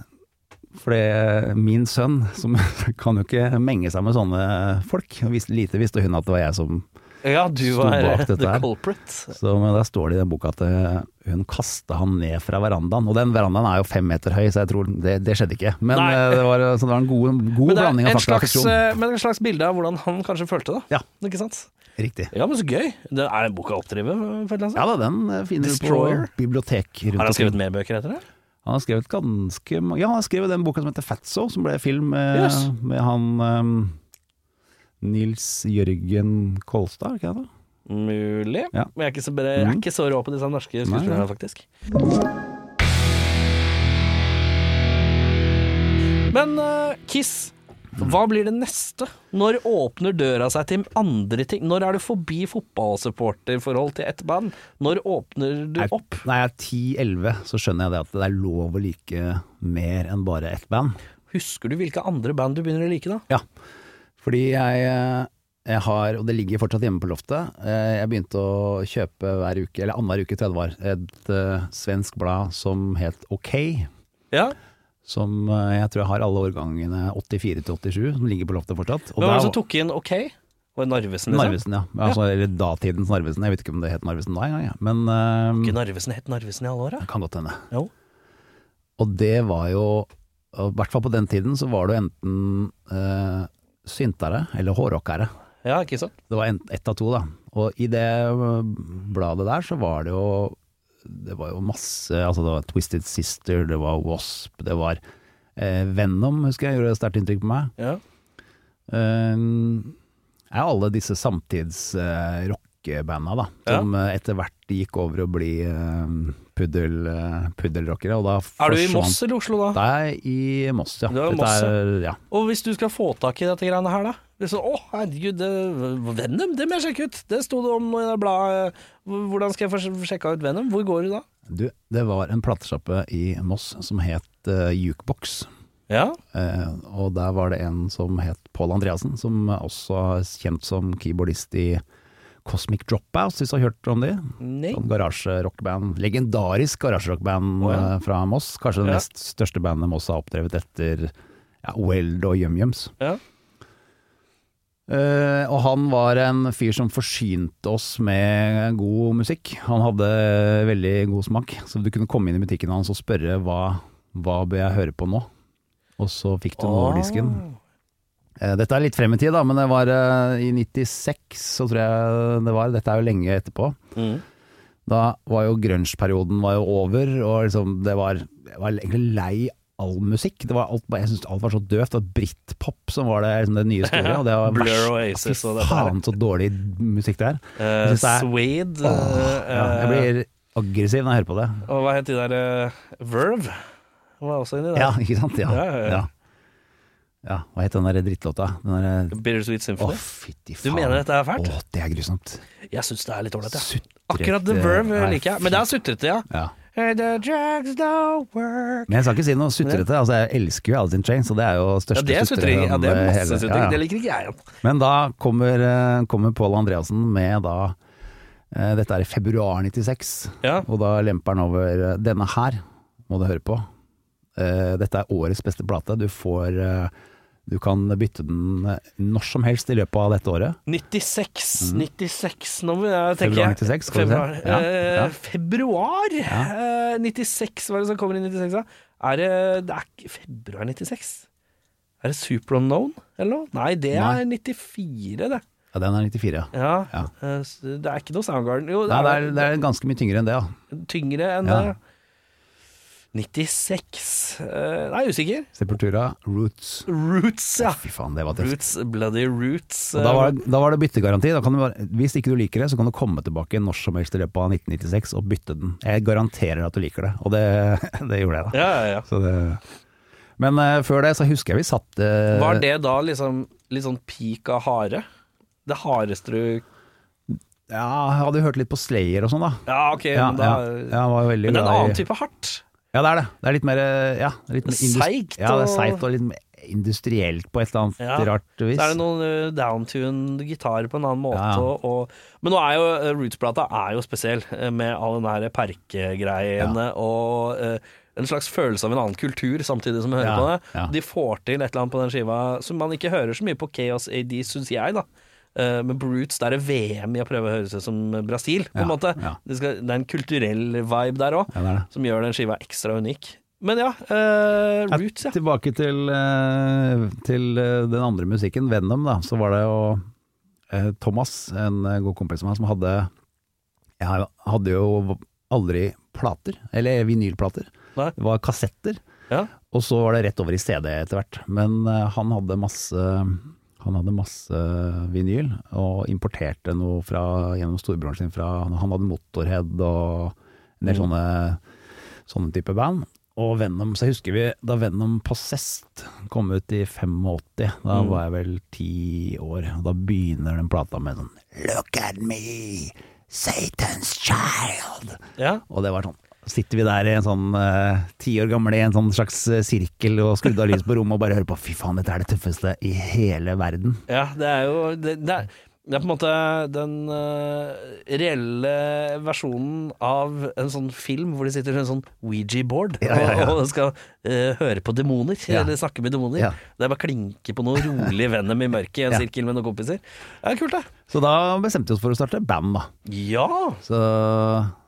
[SPEAKER 3] Fordi eh, min sønn som kan jo ikke menge seg med sånne folk. Og visste, lite visste hun at det var jeg som
[SPEAKER 2] ja du
[SPEAKER 3] Sto
[SPEAKER 2] var eh,
[SPEAKER 3] bak dette
[SPEAKER 2] the
[SPEAKER 3] her.
[SPEAKER 2] culprit.
[SPEAKER 3] Så men der står det i den boka at eh, hun kasta han ned fra verandaen. Og den verandaen er jo fem meter høy, så jeg tror det, det skjedde ikke. Men
[SPEAKER 2] Nei.
[SPEAKER 3] eh, det var, så det var en god, god
[SPEAKER 2] Men det
[SPEAKER 3] blanding
[SPEAKER 2] er en
[SPEAKER 3] av fakta og
[SPEAKER 2] slags,
[SPEAKER 3] fiksjon.
[SPEAKER 2] eh, men en slags bilde av hvordan han kanskje følte det.
[SPEAKER 3] Ja.
[SPEAKER 2] Ikke sant?
[SPEAKER 3] Riktig.
[SPEAKER 2] Ja, men så gøy. Det er den boka å oppdrive? føler jeg, altså.
[SPEAKER 3] Ja da, den eh, finner du på
[SPEAKER 2] Destroyer.
[SPEAKER 3] bibliotek rundt
[SPEAKER 2] Har han
[SPEAKER 3] omkring.
[SPEAKER 2] skrevet mer bøker etter det?
[SPEAKER 3] Han har skrevet ganske mange Ja, han har skrevet den boka som heter Fatso, som ble film eh,
[SPEAKER 2] Yes.
[SPEAKER 3] med han eh, Nils Jørgen Kolstad, er ikke det? da?
[SPEAKER 2] Mulig.
[SPEAKER 3] Ja. Mm.
[SPEAKER 2] Men jeg er, ikke så, jeg er ikke så rå på disse norske skuespillerne, faktisk. Men eh, Kiss, hva blir det neste? Når åpner døra seg til andre ting? Når er du forbi fotballsupporterforhold til ett band? Når åpner du
[SPEAKER 3] Er-
[SPEAKER 2] opp?
[SPEAKER 3] Nei, jeg er 10-11, så skjønner jeg det at det er lov å like mer enn bare ett band.
[SPEAKER 2] Husker du hvilke andre band du begynner å like da?
[SPEAKER 3] Ja, fordi jeg, eh, jeg har, og det ligger fortsatt hjemme på loftet, eh, jeg begynte å kjøpe hver uke, eller annenhver uke til det var, et eh, svensk blad som het OK,
[SPEAKER 2] Ja.
[SPEAKER 3] som eh, jeg tror jeg har alle årgangene 84 til 87, som ligger på loftet fortsatt. Og
[SPEAKER 2] Hvem var
[SPEAKER 3] der-
[SPEAKER 2] det som tok inn OK? Var det Narvesen? Liksom?
[SPEAKER 3] Narvesen, ja. Altså, Eller datidens Narvesen. Jeg vet ikke om det het Narvesen da engang, jeg. men eh,
[SPEAKER 2] Ikke Narvesen het Narvesen i alle år, da?
[SPEAKER 3] det kan godt hende.
[SPEAKER 2] Jo.
[SPEAKER 3] Og det var jo og I hvert fall på den tiden så var det jo enten eh, syntere eller hårrockere.
[SPEAKER 2] Ja, ikke sant?
[SPEAKER 3] Det var en, ett av to, da. Og i det eh, bladet der så var det jo Det var jo masse Altså det var Twisted Sister, det var Wasp, det var eh, Venom, husker jeg gjorde et sterkt inntrykk på meg.
[SPEAKER 2] Ja.
[SPEAKER 3] Um, er alle disse samtids eh, rockebanda da, som eh, etter hvert gikk over å bli eh, puddel, eh, puddelrockere. Og da
[SPEAKER 2] Er du i
[SPEAKER 3] forsvant-
[SPEAKER 2] Moss eller Oslo da?
[SPEAKER 3] Det er i Moss, ja.
[SPEAKER 2] Du er i
[SPEAKER 3] Dette
[SPEAKER 2] Moss, ja.
[SPEAKER 3] er- ja.
[SPEAKER 2] Og hvis du skal få tak i dette greiene her, da liksom, Å, herregud, det, Venom, det må jeg sjekke ut! Det sto det om i det bladet. Hvordan skal jeg få sjekka ut Venom? Hvor går du da?
[SPEAKER 3] Du, det var en platesjappe i Moss som het eh, Jukebox.
[SPEAKER 2] Ja.
[SPEAKER 3] Eh, og der var det en som het Pål Andreassen, som også er kjent som keyboardist i Cosmic Dropouts, hvis du har hørt om de?
[SPEAKER 2] Nei.
[SPEAKER 3] Sånn garasjerockband. Legendarisk garasjerockband
[SPEAKER 2] Å, ja.
[SPEAKER 3] eh, fra Moss. Kanskje det
[SPEAKER 2] Ja.
[SPEAKER 3] nest største bandet Moss har oppdrevet etter ja, Weld og YumYums.
[SPEAKER 2] Ja.
[SPEAKER 3] Eh, og han var en fyr som forsynte oss med god musikk. Han hadde veldig god smak, så du kunne komme inn i butikken hans og spørre hva, hva bør jeg høre på nå? Og så fikk du
[SPEAKER 2] Ah.
[SPEAKER 3] nåledisken. Eh, Dette er litt frem i tid, da, men det var eh, i 96, så tror jeg det var. Dette er jo lenge etterpå.
[SPEAKER 2] Mm.
[SPEAKER 3] Da var jo grunge-perioden var jo over, og liksom det var, jeg var egentlig lei all musikk. Det var alt, jeg syntes alt var så døvt. Det var britpop som var det, liksom det nye store. Og det var
[SPEAKER 2] Blur
[SPEAKER 3] verst.
[SPEAKER 2] og Oasis og
[SPEAKER 3] Fy
[SPEAKER 2] det der.
[SPEAKER 3] faen, så dårlig musikk det er.
[SPEAKER 2] Eh,
[SPEAKER 3] synes det er-
[SPEAKER 2] Swede eh,
[SPEAKER 3] Ja, jeg blir aggressiv når jeg hører på det.
[SPEAKER 2] Og hva het de der eh, Verve? Var også inni der.
[SPEAKER 3] Ja, ikke sant? Ja.
[SPEAKER 2] Ja, ja, ja.
[SPEAKER 3] ja. ja hva het den der drittlåta? Den der,
[SPEAKER 2] Bittersweet
[SPEAKER 3] å,
[SPEAKER 2] Symphony.
[SPEAKER 3] fytti
[SPEAKER 2] Du
[SPEAKER 3] faen.
[SPEAKER 2] mener dette er fælt?
[SPEAKER 3] Å, det er grusomt.
[SPEAKER 2] Jeg syns det er litt ålreit, jeg.
[SPEAKER 3] Sutrete.
[SPEAKER 2] Akkurat The Verve
[SPEAKER 3] Nei,
[SPEAKER 2] liker jeg, men det er sutrete, ja.
[SPEAKER 3] Ja.
[SPEAKER 2] Hey, the drugs don't work.
[SPEAKER 3] Men jeg skal ikke si noe sutrete. Altså, jeg elsker jo Alice in Chains, og det er jo
[SPEAKER 2] Ja,
[SPEAKER 3] største
[SPEAKER 2] det er sutring. Ja, det er
[SPEAKER 3] hele-
[SPEAKER 2] masse sutring.
[SPEAKER 3] Ja, ja.
[SPEAKER 2] Det liker ikke jeg. ja.
[SPEAKER 3] Men da kommer, eh, kommer Pål Andreassen med da eh, Dette er i februar 96,
[SPEAKER 2] Ja.
[SPEAKER 3] og da lemper han over eh, Denne her må du høre på. Eh, Dette er årets beste plate. Du får eh, Du kan bytte den eh, når som helst i løpet av dette året.
[SPEAKER 2] 96, 96 Nå må jeg tenke
[SPEAKER 3] Mhm. Februar 96, skal vi se.
[SPEAKER 2] Februar,
[SPEAKER 3] Ja, ja.
[SPEAKER 2] Eh, februar eh, 96, hva er det som kommer i 96 da? Er det, det er ikke februar 96? Er det Super Unknown, eller noe? Nei, det er 94 det.
[SPEAKER 3] Ja, den er 94, ja.
[SPEAKER 2] Ja,
[SPEAKER 3] Ja.
[SPEAKER 2] eh, s- det er ikke noe Soundgarden. Jo,
[SPEAKER 3] Nei, det er, det er ganske mye tyngre enn det, ja.
[SPEAKER 2] tyngre enn
[SPEAKER 3] Ja.
[SPEAKER 2] det. 96, eh, nei, usikker.
[SPEAKER 3] Sepultura, Roots.
[SPEAKER 2] Roots, ja.
[SPEAKER 3] Fy faen, det var tøft.
[SPEAKER 2] Roots, bloody roots. eh.
[SPEAKER 3] Og da, var, da var det byttegaranti. Da kan du bare, hvis ikke du liker det, så kan du komme tilbake når som helst i løpet av 1996 og bytte den. Jeg garanterer at du liker det, og det, det gjorde jeg da.
[SPEAKER 2] Ja, ja, ja.
[SPEAKER 3] Så det, men eh, før det så husker jeg vi satt eh,
[SPEAKER 2] Var det da liksom litt sånn peak av hare? Det hardeste du
[SPEAKER 3] Ja, jeg hadde hørt litt på Slayer og sånn da.
[SPEAKER 2] Ja, ok,
[SPEAKER 3] Ja,
[SPEAKER 2] men da
[SPEAKER 3] ja, ja, var jo veldig
[SPEAKER 2] Men det er en
[SPEAKER 3] glad i-
[SPEAKER 2] annen type hardt.
[SPEAKER 3] Ja, det er det. Det er litt mer eh, ja, litt mer indus-
[SPEAKER 2] Seigt
[SPEAKER 3] Ja, det er
[SPEAKER 2] og-
[SPEAKER 3] seigt og litt mer industrielt på et eller annet
[SPEAKER 2] Ja.
[SPEAKER 3] rart vis.
[SPEAKER 2] Så er det noen eh, downtuned gitar på en annen måte
[SPEAKER 3] Ja, ja.
[SPEAKER 2] og- og Men nå er jo eh, Roots-plata er jo spesiell, eh, med all den her perkegreiene og eh, en slags følelse av en annen kultur samtidig som vi hører
[SPEAKER 3] Ja,
[SPEAKER 2] på det.
[SPEAKER 3] ja.
[SPEAKER 2] De får til et eller annet på den skiva som man ikke hører så mye på Chaos AD, syns jeg, da. Eh, Med Brutes, der er VM i å prøve å høres ut som eh, Brasil, på en
[SPEAKER 3] Ja,
[SPEAKER 2] måte.
[SPEAKER 3] ja.
[SPEAKER 2] Det, skal, det er en kulturell vibe der òg,
[SPEAKER 3] Ja, det er det.
[SPEAKER 2] som gjør den skiva ekstra unik. Men ja, eh,
[SPEAKER 3] Ja,
[SPEAKER 2] Roots, ja.
[SPEAKER 3] Tilbake til, eh, til eh, den andre musikken, Venom, da, så var det jo eh, Thomas, en eh, god kompis av meg, som hadde Jeg hadde jo aldri plater, eller vinylplater.
[SPEAKER 2] Nei.
[SPEAKER 3] Det var kassetter,
[SPEAKER 2] ja.
[SPEAKER 3] og så var det rett over i CD etter hvert. Men eh, han hadde masse han hadde masse vinyl, og importerte noe fra, gjennom storebroren sin fra Han hadde Motorhead og en del sånne, sånne type band. Og Venom, så jeg husker vi da Venom Possessed kom ut i 85, da var jeg vel ti år, og da begynner den plata med sånn Look at me, Satan's child.
[SPEAKER 2] ja.
[SPEAKER 3] Og det var sånn Sitter vi der i en sånn eh, ti år gamle i en sånn slags eh, sirkel og skrudd av lys på rommet og bare hører på fy faen, dette er det tøffeste i hele verden.
[SPEAKER 2] Ja, det er jo Det, det, er, det er på en måte den eh, reelle versjonen av en sånn film hvor de sitter i en sånn Ouija-board
[SPEAKER 3] Ja, ja, ja.
[SPEAKER 2] og, og skal eh, høre på demoner,
[SPEAKER 3] Ja.
[SPEAKER 2] eller snakke med demoner.
[SPEAKER 3] Ja.
[SPEAKER 2] Det er bare klinke på noe rolig venom i mørket i en
[SPEAKER 3] Ja.
[SPEAKER 2] sirkel med noen kompiser. Det er kult, det.
[SPEAKER 3] Så da bestemte vi oss for å starte band, da.
[SPEAKER 2] Ja!
[SPEAKER 3] Så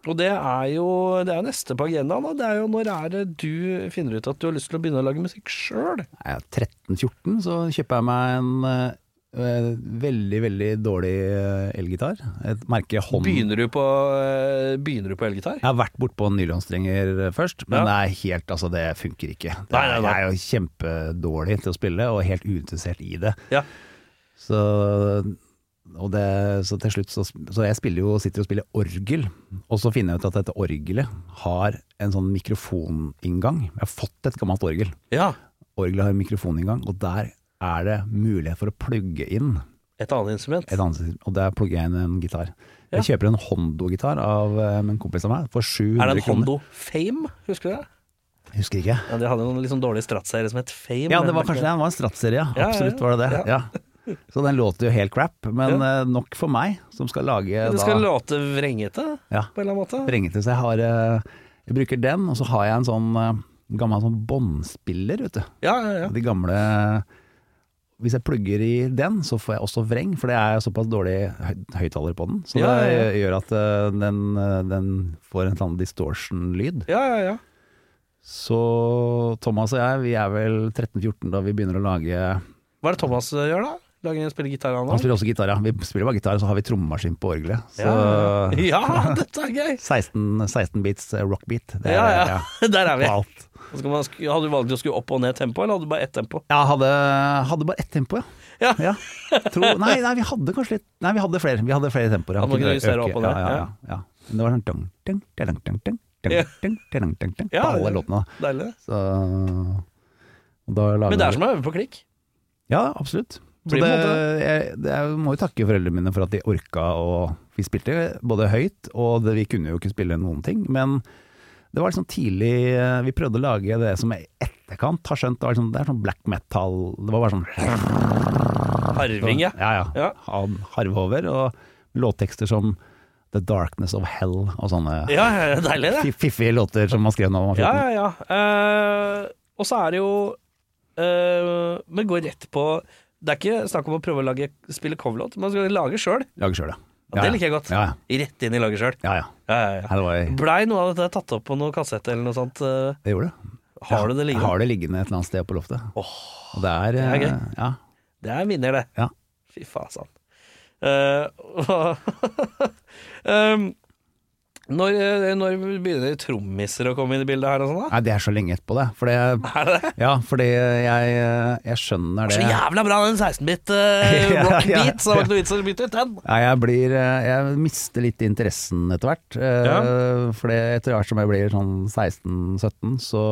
[SPEAKER 2] Og det er jo det er jo neste på agendaen. da. Det er jo når er det du finner ut at du har lyst til å begynne å lage musikk sjøl?
[SPEAKER 3] er jeg 13-14, så kjøper jeg meg en eh, veldig, veldig dårlig eh, elgitar. Et merke Hånd.
[SPEAKER 2] Begynner du på, eh, begynner du på elgitar?
[SPEAKER 3] Jeg har vært bortpå nylonstrenger eh, først, men
[SPEAKER 2] Ja.
[SPEAKER 3] det er helt, altså det funker ikke. Det
[SPEAKER 2] Nei, nei,
[SPEAKER 3] er,
[SPEAKER 2] nei.
[SPEAKER 3] Jeg er jo kjempedårlig til å spille, og helt uinteressert i det.
[SPEAKER 2] Ja.
[SPEAKER 3] Så, og det, så til slutt så, så jeg spiller jo, sitter og spiller orgel, og så finner jeg ut at dette orgelet har en sånn mikrofoninngang. Jeg har fått et gammelt orgel.
[SPEAKER 2] ja.
[SPEAKER 3] Orgelet har en mikrofoninngang, og der er det mulighet for å plugge inn
[SPEAKER 2] Et annet instrument?
[SPEAKER 3] et annet, og der plugger jeg inn en gitar. Jeg
[SPEAKER 2] Ja.
[SPEAKER 3] kjøper en Hondo-gitar av eh, en kompis av meg for 700
[SPEAKER 2] Er det en
[SPEAKER 3] kroner.
[SPEAKER 2] Hondo Fame, husker du det?
[SPEAKER 3] Husker ikke.
[SPEAKER 2] Ja, de hadde noen litt sånn dårlige stratseiere som het Fame.
[SPEAKER 3] Ja, det var kanskje det. Det var en strattserie, ja.
[SPEAKER 2] Ja, ja,
[SPEAKER 3] Absolutt var det det. Ja. Så den låter jo helt crap, men eh, nok for meg, som skal lage
[SPEAKER 2] Det
[SPEAKER 3] da
[SPEAKER 2] skal låte vrengete,
[SPEAKER 3] Ja.
[SPEAKER 2] på en eller annen måte.
[SPEAKER 3] Brengete. Så jeg, har, eh, jeg bruker den, og så har jeg en sånn eh, gammel sånn båndspiller, vet du.
[SPEAKER 2] Ja, ja, ja.
[SPEAKER 3] De gamle Hvis jeg plugger i den, så får jeg også vreng, for det er såpass dårlig høy- høyttaler på den. Så
[SPEAKER 2] Ja,
[SPEAKER 3] det
[SPEAKER 2] ja,
[SPEAKER 3] gjør at eh, den, eh, den får en sånn distortion-lyd.
[SPEAKER 2] ja, ja, ja.
[SPEAKER 3] Så Thomas og jeg, vi er vel 13-14 da vi begynner å lage
[SPEAKER 2] Hva er det Thomas eh, gjør, da? Lager han spiller gitar, han
[SPEAKER 3] Han
[SPEAKER 2] òg?
[SPEAKER 3] spiller også gitar, ja. Vi spiller bare gitar, og så har vi trommemaskin på orgelet. Så
[SPEAKER 2] Ja, ja, ja, dette er gøy!
[SPEAKER 3] 16, 16 beats eh, rockbeat. Det er,
[SPEAKER 2] Ja, ja.
[SPEAKER 3] ja,
[SPEAKER 2] Der er vi.
[SPEAKER 3] på alt.
[SPEAKER 2] Og så kan man sk- Hadde du valgt å skru opp og ned tempo, eller hadde du bare ett tempo?
[SPEAKER 3] Jeg hadde, hadde bare ett tempo, ja.
[SPEAKER 2] Ja.
[SPEAKER 3] Tro, nei, nei, vi hadde kanskje litt Nei, vi hadde flere. Vi hadde flere tempoer. ja.
[SPEAKER 2] Ja, man kunne
[SPEAKER 3] Kunne
[SPEAKER 2] justere
[SPEAKER 3] øke-
[SPEAKER 2] opp og ned,
[SPEAKER 3] Ja, ja, ja, ja. Men Det var sånn dang, dang, dang, dang, dang, dang,
[SPEAKER 2] Ja.
[SPEAKER 3] dang, dang, dang, dang, på
[SPEAKER 2] Ja,
[SPEAKER 3] alle
[SPEAKER 2] det-
[SPEAKER 3] låtene. da.
[SPEAKER 2] Deilig. det.
[SPEAKER 3] Så og da lager
[SPEAKER 2] Men det er
[SPEAKER 3] vi-
[SPEAKER 2] som å øve på klikk.
[SPEAKER 3] Ja, absolutt. Så
[SPEAKER 2] Blir
[SPEAKER 3] det,
[SPEAKER 2] på en
[SPEAKER 3] jeg, det, jeg må jo takke foreldrene mine for at de orka og Vi spilte både høyt, og det, vi kunne jo ikke spille noen ting, men det var liksom tidlig eh, Vi prøvde å lage det som jeg i etterkant har skjønt, det, var liksom, det er sånn black metal Det var bare sånn
[SPEAKER 2] Harving, ja.
[SPEAKER 3] Ja, ja.
[SPEAKER 2] Ja.
[SPEAKER 3] Han harvehover, og låttekster som The Darkness of Hell og sånne
[SPEAKER 2] Ja, ja, ja, deilig, det.
[SPEAKER 3] fi- fiffige låter som man skrev da man var
[SPEAKER 2] Ja,
[SPEAKER 3] 14.
[SPEAKER 2] ja, ja. Eh, og så er det jo eh, Men gå rett på Det er ikke snakk om å prøve å lage, spille coverlåt, man skal lage sjøl.
[SPEAKER 3] Lager sjøl, ja.
[SPEAKER 2] Ja, det liker jeg godt.
[SPEAKER 3] Ja, ja.
[SPEAKER 2] Rett inn i lage sjøl.
[SPEAKER 3] ja, ja.
[SPEAKER 2] Ja, ja, ja.
[SPEAKER 3] Nei, det, var,
[SPEAKER 2] Blei noe av dette tatt opp på noe kassett eller noe sånt? eh,
[SPEAKER 3] det gjorde det.
[SPEAKER 2] Har du det
[SPEAKER 3] Jeg
[SPEAKER 2] liggende?
[SPEAKER 3] har det liggende et eller annet sted på loftet. og det er,
[SPEAKER 2] det er
[SPEAKER 3] eh, Ja,
[SPEAKER 2] Det er en vinner, det.
[SPEAKER 3] Ja.
[SPEAKER 2] Fy fasan. Eh, og- um, når, eh, når begynner trommiser å komme inn i bildet her og sånn, da?
[SPEAKER 3] Nei, det er så lenge etterpå, det. For det
[SPEAKER 2] Er det det?
[SPEAKER 3] ja, fordi jeg, eh, jeg skjønner
[SPEAKER 2] Så
[SPEAKER 3] det.
[SPEAKER 2] jævla bra den 16-bit uh,
[SPEAKER 3] Ja, ja,
[SPEAKER 2] rock-beat, så det var
[SPEAKER 3] ja.
[SPEAKER 2] ikke noe vits i å bytte ut den.
[SPEAKER 3] Nei, jeg, blir, eh, jeg mister litt interessen etter hvert. Ja. For etter hvert som jeg blir sånn 16-17, så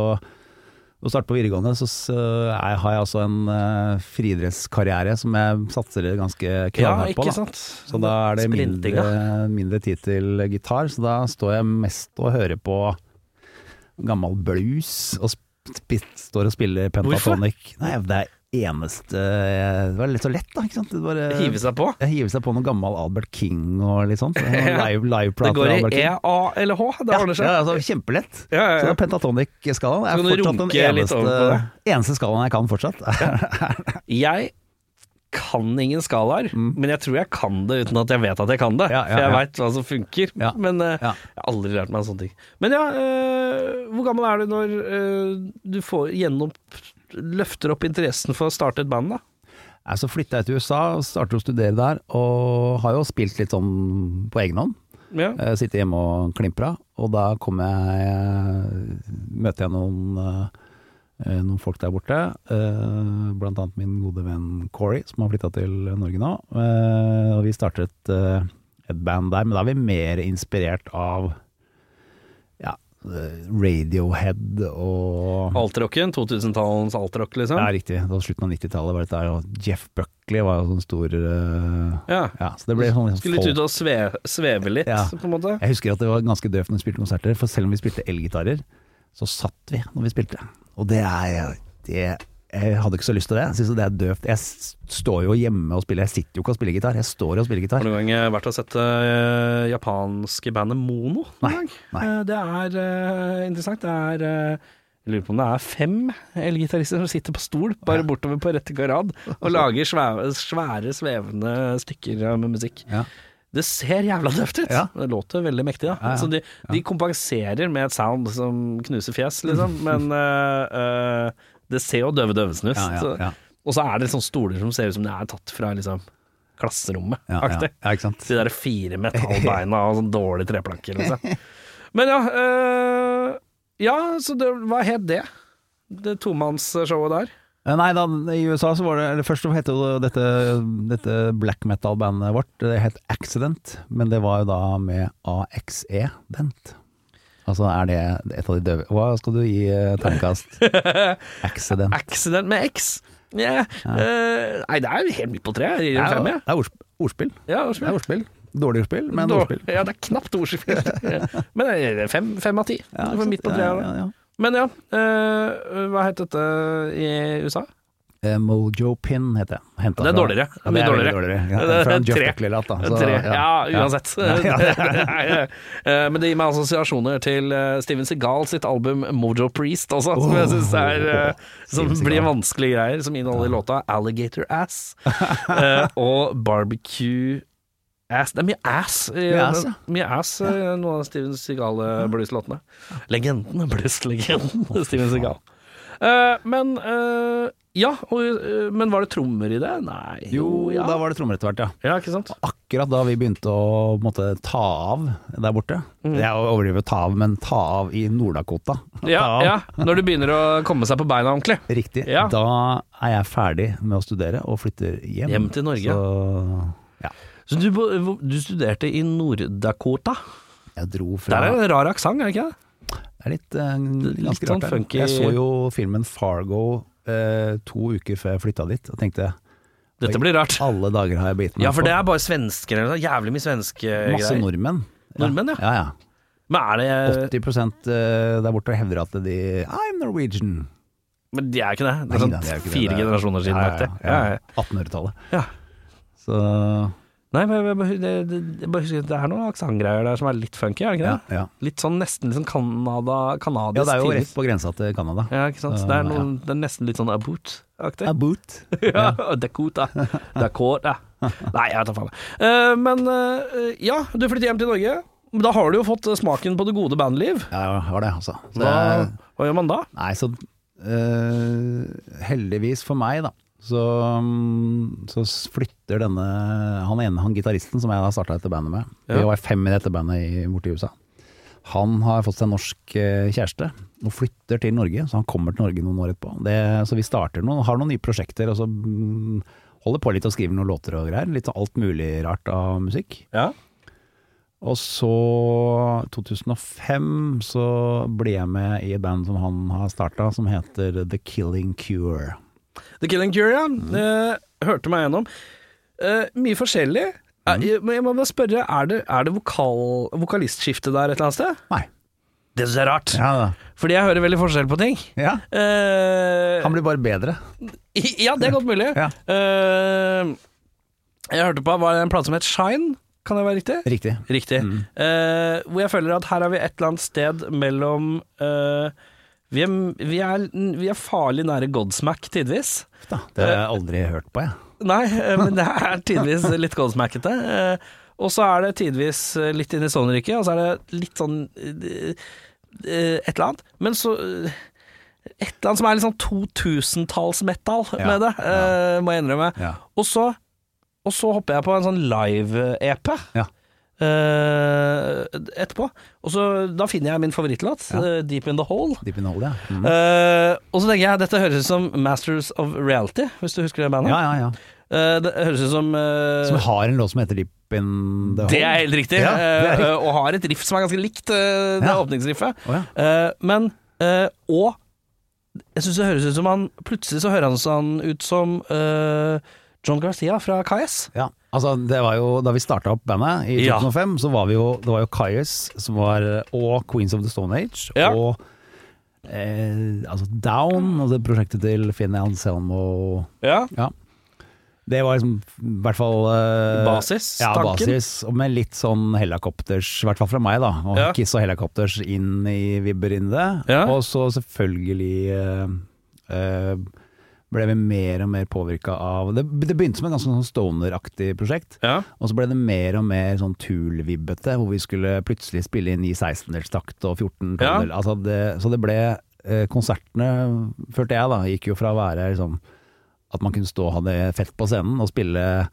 [SPEAKER 3] og starte på videregående, så s- er, har jeg altså en eh, friidrettskarriere som jeg satser ganske
[SPEAKER 2] Ja,
[SPEAKER 3] knallhardt på.
[SPEAKER 2] ikke
[SPEAKER 3] Da.
[SPEAKER 2] sant?
[SPEAKER 3] Så da er det mindre,
[SPEAKER 2] Sprintinga.
[SPEAKER 3] mindre tid til gitar, så da står jeg mest og hører på gammel blues og sp- sp- står og spiller pentatonic. Nei, det er eneste eh, Det var litt så lett, da. ikke sant? Det bare,
[SPEAKER 2] Hive seg på.
[SPEAKER 3] jeg hiver seg på noe gammel Albert King og litt sånn, sånt. Noen Live,
[SPEAKER 2] Det
[SPEAKER 3] liveplater av
[SPEAKER 2] går
[SPEAKER 3] Albert
[SPEAKER 2] i E,
[SPEAKER 3] King.
[SPEAKER 2] A eller H. Det
[SPEAKER 3] Ja,
[SPEAKER 2] ordner seg.
[SPEAKER 3] ja, altså, kjempelett.
[SPEAKER 2] Ja, ja, ja.
[SPEAKER 3] Så den pentatonic-skalaen
[SPEAKER 2] Så kan
[SPEAKER 3] er
[SPEAKER 2] du
[SPEAKER 3] fortsatt den
[SPEAKER 2] runke litt
[SPEAKER 3] eneste,
[SPEAKER 2] over på
[SPEAKER 3] eneste skalaen jeg kan fortsatt.
[SPEAKER 2] Jeg kan ingen skalaer, men jeg tror jeg kan det uten at jeg vet at jeg kan det.
[SPEAKER 3] Mm. Ja, ja,
[SPEAKER 2] for jeg
[SPEAKER 3] ja.
[SPEAKER 2] veit hva som funker,
[SPEAKER 3] Ja,
[SPEAKER 2] men eh,
[SPEAKER 3] ja.
[SPEAKER 2] jeg har aldri lært meg sånne ting. Men ja, eh, hvor gammel er du når eh, du får gjennom løfter opp interessen for å starte et band, da?
[SPEAKER 3] Nei, Så flytta jeg til USA, startet å studere der, og har jo spilt litt sånn på egen hånd.
[SPEAKER 2] Ja.
[SPEAKER 3] Eh, Sitte hjemme og klimpra, og da kom jeg Møter jeg noen eh, noen folk der borte, eh, blant annet min gode venn Corey, som har flytta til Norge nå. Eh, Og vi startet eh, et band der, men da er vi mer inspirert av ja, eh, Radiohead og
[SPEAKER 2] Altrocken, 2000-tallens altrock, liksom?
[SPEAKER 3] Ja, riktig. Det var slutten av 90-tallet var dette her, og Jeff Buckley var jo sånn stor eh,
[SPEAKER 2] Ja.
[SPEAKER 3] Ja, så det ble sånn liksom
[SPEAKER 2] Skulle litt
[SPEAKER 3] folk-
[SPEAKER 2] ut og sve, sveve litt,
[SPEAKER 3] Ja.
[SPEAKER 2] på en måte?
[SPEAKER 3] Jeg husker at det var ganske døvt når vi spilte konserter, for selv om vi spilte elgitarer, så satt vi når vi spilte. Og det er det, Jeg hadde ikke så lyst til det. Jeg synes det er døvt. Jeg s- står jo hjemme og spiller. Jeg sitter jo ikke og spiller gitar. Jeg står og spiller gitar.
[SPEAKER 2] Har du noen gang eh, vært og sett det japanske bandet Mono?
[SPEAKER 3] Nei,
[SPEAKER 2] noen gang?
[SPEAKER 3] nei.
[SPEAKER 2] Eh, Det er eh, interessant. Det er eh, jeg lurer på om det er fem elgitarister som sitter på stol bare bortover på rette rad og lager svære, svære svevende stykker med musikk.
[SPEAKER 3] Ja.
[SPEAKER 2] Det ser jævla døvt ut.
[SPEAKER 3] Ja.
[SPEAKER 2] Det låter veldig mektig. Da.
[SPEAKER 3] Ja, ja.
[SPEAKER 2] Så de, de kompenserer med et sound som knuser fjes, liksom. Men eh, eh, det ser jo døve døvesen ut.
[SPEAKER 3] Ja, ja,
[SPEAKER 2] Så-
[SPEAKER 3] ja.
[SPEAKER 2] Og så er det sånne stoler som ser ut som de er tatt fra liksom, klasserommet.
[SPEAKER 3] Ja, ja,
[SPEAKER 2] aktig.
[SPEAKER 3] ja, ikke sant.
[SPEAKER 2] De der fire metallbeina og sånn dårlig treplanke, liksom. Men ja øh, Ja, så det, hva het det? Det tomannsshowet der?
[SPEAKER 3] Eh, Nei, da, i USA så var det eller Først så het jo dette, dette black metal-bandet vårt Det het Accident, men det var jo da med AXE-dent. Altså er det et av de døve Hva skal du gi eh, terningkast? Accident.
[SPEAKER 2] Accident med X? Yeah. øh, nei, det er helt midt på treet. Jeg gir en fem,
[SPEAKER 3] det
[SPEAKER 2] jeg.
[SPEAKER 3] er ordsp- ordspill.
[SPEAKER 2] Ja,
[SPEAKER 3] Det er
[SPEAKER 2] ordspill.
[SPEAKER 3] ordspill. Dårlig ordspill, men
[SPEAKER 2] Dår-
[SPEAKER 3] ordspill.
[SPEAKER 2] Ja, det er knapt ordspill. Ja. Men det er fem, fem av ti.
[SPEAKER 3] Ja,
[SPEAKER 2] Det var
[SPEAKER 3] ikke
[SPEAKER 2] midt på treet.
[SPEAKER 3] sant?
[SPEAKER 2] da.
[SPEAKER 3] Ja, ja, ja.
[SPEAKER 2] Men ja, øh, hva het dette i USA?
[SPEAKER 3] Eh, Mojo Pin heter jeg. Hentet
[SPEAKER 2] Det er
[SPEAKER 3] fra-
[SPEAKER 2] dårligere.
[SPEAKER 3] Ja, det
[SPEAKER 2] Mye
[SPEAKER 3] er veldig
[SPEAKER 2] dårligere.
[SPEAKER 3] dårligere. Ja, det er fra en
[SPEAKER 2] Tre.
[SPEAKER 3] Jeff Buckley-låt, da. Så,
[SPEAKER 2] Tre.
[SPEAKER 3] Altså, ja.
[SPEAKER 2] Ja, uansett. Eh, Men det gir meg assosiasjoner til eh, Steven Seagal sitt album Mojo Priest også, som jeg synes er eh, Som
[SPEAKER 3] Oh. Steven Seagal.
[SPEAKER 2] blir vanskelige greier, som inneholder låta Alligator Ass eh, og Barbecue Ass. Det er mye ass i
[SPEAKER 3] Mye ass, ja.
[SPEAKER 2] mye ass, i noen av Steven eh, Seagal-blueslåtene. Legenden, blueslegenden Steven Seagal. Eh, men eh, ja, og, eh, men var det trommer i det? Nei.
[SPEAKER 3] Jo,
[SPEAKER 2] ja.
[SPEAKER 3] da var det trommer etter hvert, ja.
[SPEAKER 2] ja, ikke sant?
[SPEAKER 3] Akkurat da vi begynte å på en måte, ta av der borte.
[SPEAKER 2] Mm.
[SPEAKER 3] Jeg overdriver ta av, men ta av i Nord-Dakota.
[SPEAKER 2] Ja,
[SPEAKER 3] Ta av.
[SPEAKER 2] ja, når du begynner å komme seg på beina ordentlig.
[SPEAKER 3] Riktig.
[SPEAKER 2] Ja.
[SPEAKER 3] Da er jeg ferdig med å studere og flytter hjem.
[SPEAKER 2] Hjem til Norge.
[SPEAKER 3] Så ja.
[SPEAKER 2] Så du, bo- du studerte i Nord-Dakota.
[SPEAKER 3] Jeg dro fra
[SPEAKER 2] Der er det en rar aksent, er det ikke det?
[SPEAKER 3] Det er litt, eh, ganske
[SPEAKER 2] sånn
[SPEAKER 3] rart. der.
[SPEAKER 2] funky-
[SPEAKER 3] Jeg så jo filmen Fargo eh, to uker før jeg flytta dit, og tenkte
[SPEAKER 2] Dette blir rart.
[SPEAKER 3] alle dager har jeg begitt meg
[SPEAKER 2] Ja, for det
[SPEAKER 3] på.
[SPEAKER 2] er bare svensker eller noe. Jævlig mye svenske
[SPEAKER 3] Masse
[SPEAKER 2] greier.
[SPEAKER 3] nordmenn.
[SPEAKER 2] Nordmenn, ja.
[SPEAKER 3] ja,
[SPEAKER 2] Men er det
[SPEAKER 3] 80 eh, der borte hevder at de I'm Norwegian.
[SPEAKER 2] Men de er jo ikke det. Det
[SPEAKER 3] Nei,
[SPEAKER 2] er sånn
[SPEAKER 3] det er jo ikke det.
[SPEAKER 2] fire
[SPEAKER 3] Det er-
[SPEAKER 2] generasjoner siden.
[SPEAKER 3] Ja, ja,
[SPEAKER 2] aktig.
[SPEAKER 3] ja,
[SPEAKER 2] Ja,
[SPEAKER 3] ja.
[SPEAKER 2] ja.
[SPEAKER 3] 1800-tallet.
[SPEAKER 2] Ja.
[SPEAKER 3] Så
[SPEAKER 2] Nei, men jeg bare- det- det- jeg bare husker at det er noen aksentgreier der som er litt funky, er det ikke
[SPEAKER 3] ja,
[SPEAKER 2] det?
[SPEAKER 3] ja.
[SPEAKER 2] Litt sånn nesten litt sånn Canada,
[SPEAKER 3] ja,
[SPEAKER 2] kanadisk
[SPEAKER 3] det er jo
[SPEAKER 2] til-
[SPEAKER 3] rett på grensa til Canada.
[SPEAKER 2] Ja, ikke sant. Det er, noen, det er nesten litt sånn aboot-aktig.
[SPEAKER 3] A boot.
[SPEAKER 2] Ja, Dakota. Dakota. Nei, jeg vet da faen. Eh, men eh, ja, du flytter hjem til Norge. Men Da har du jo fått smaken på det gode bandliv.
[SPEAKER 3] Ja, jeg har det, altså. Så
[SPEAKER 2] Hva,
[SPEAKER 3] det-
[SPEAKER 2] hva gjør man da?
[SPEAKER 3] Nei, så øh, heldigvis for meg, da, så, mm, så s- flytter denne Han ene, han gitaristen som jeg har starta dette bandet med,
[SPEAKER 2] Ja.
[SPEAKER 3] vi var fem i dette bandet i, borte i USA, han har fått seg norsk eh, kjæreste og flytter til Norge, så han kommer til Norge noen år etterpå. Det, så vi starter noen, har noen nye prosjekter, og så mm, holder på litt og skriver noen låter og greier. Litt av alt mulig rart av musikk.
[SPEAKER 2] Ja.
[SPEAKER 3] Og så 2005 så ble jeg med i et band som han har starta, som heter The Killing Cure.
[SPEAKER 2] The Killing Cure, ja. Eh, hørte meg gjennom. Eh, mye forskjellig. Eh, jeg- Men jeg må bare spørre, er det, er det vokal, vokalistskifte der et eller annet sted?
[SPEAKER 3] Nei.
[SPEAKER 2] Det syns jeg er rart,
[SPEAKER 3] Ja, da.
[SPEAKER 2] fordi jeg hører veldig forskjell på ting.
[SPEAKER 3] ja.
[SPEAKER 2] Eh,
[SPEAKER 3] Han blir bare bedre.
[SPEAKER 2] ja, det er godt mulig.
[SPEAKER 3] Ja.
[SPEAKER 2] Eh, jeg hørte på var det en plate som het Shine, kan det være riktig?
[SPEAKER 3] Riktig.
[SPEAKER 2] Riktig. Eh, hvor jeg føler at her er vi et eller annet sted mellom eh, vi, er, vi, er, vi er farlig nære Godsmack tidvis.
[SPEAKER 3] Da. Det har jeg aldri hørt på, jeg.
[SPEAKER 2] Nei, eh, men det er tidvis litt Godsmackete. Eh, og så er det tidvis eh, litt inn i Sonriket, og så er det litt sånn eh, eh, et eller annet. Men så eh, Et eller annet som er litt sånn 2000-talls-metal med det, eh, må jeg innrømme.
[SPEAKER 3] Ja.
[SPEAKER 2] Og så, og så hopper jeg på en sånn live-EP
[SPEAKER 3] Ja.
[SPEAKER 2] eh, etterpå. Og så, da finner jeg min favorittlåt, eh, 'Deep In The Hole'.
[SPEAKER 3] Deep in Hole, ja. Mm.
[SPEAKER 2] Eh, og så tenker jeg dette høres ut som Masters of Reality, hvis du husker det bandet.
[SPEAKER 3] Ja, ja, ja.
[SPEAKER 2] Eh, det høres ut som, eh,
[SPEAKER 3] Som har en låt som heter Deep in The Hole.
[SPEAKER 2] Det er helt riktig,
[SPEAKER 3] Ja, det er
[SPEAKER 2] eh, og har et riff som er ganske likt eh, det
[SPEAKER 3] Ja.
[SPEAKER 2] åpningsriffet.
[SPEAKER 3] Å, ja.
[SPEAKER 2] Eh, men eh, Og jeg syns det høres ut som han Plutselig så høres han sånn ut som eh, John Garcia fra KS.
[SPEAKER 3] Ja, altså det var jo Da vi starta opp bandet i
[SPEAKER 2] Ja.
[SPEAKER 3] 2005, så var vi jo Det var jo Kaius som var Og Queens of the Stone Age
[SPEAKER 2] Ja.
[SPEAKER 3] og eh, altså Down og det prosjektet til Finn Anselmo
[SPEAKER 2] Ja.
[SPEAKER 3] Ja. Det var liksom i hvert fall eh,
[SPEAKER 2] Basis,
[SPEAKER 3] Ja,
[SPEAKER 2] tanken.
[SPEAKER 3] basis, og med litt sånn helikopters, i hvert fall fra meg, da. Og
[SPEAKER 2] Ja.
[SPEAKER 3] Kiss og helikopters inn i vibber inn i det.
[SPEAKER 2] Ja.
[SPEAKER 3] Og så selvfølgelig eh, eh, ble vi mer og mer påvirka av Det, det begynte som et ganske sånn stoner-aktig prosjekt.
[SPEAKER 2] Ja.
[SPEAKER 3] Og så ble det mer og mer sånn tul-vibbete, hvor vi skulle plutselig spille inn i 16-delstakt og 14
[SPEAKER 2] Ja.
[SPEAKER 3] tolvdel. altså det, Så det ble eh, Konsertene, følte jeg da, gikk jo fra å være liksom at man kunne stå og ha det fett på scenen og spille,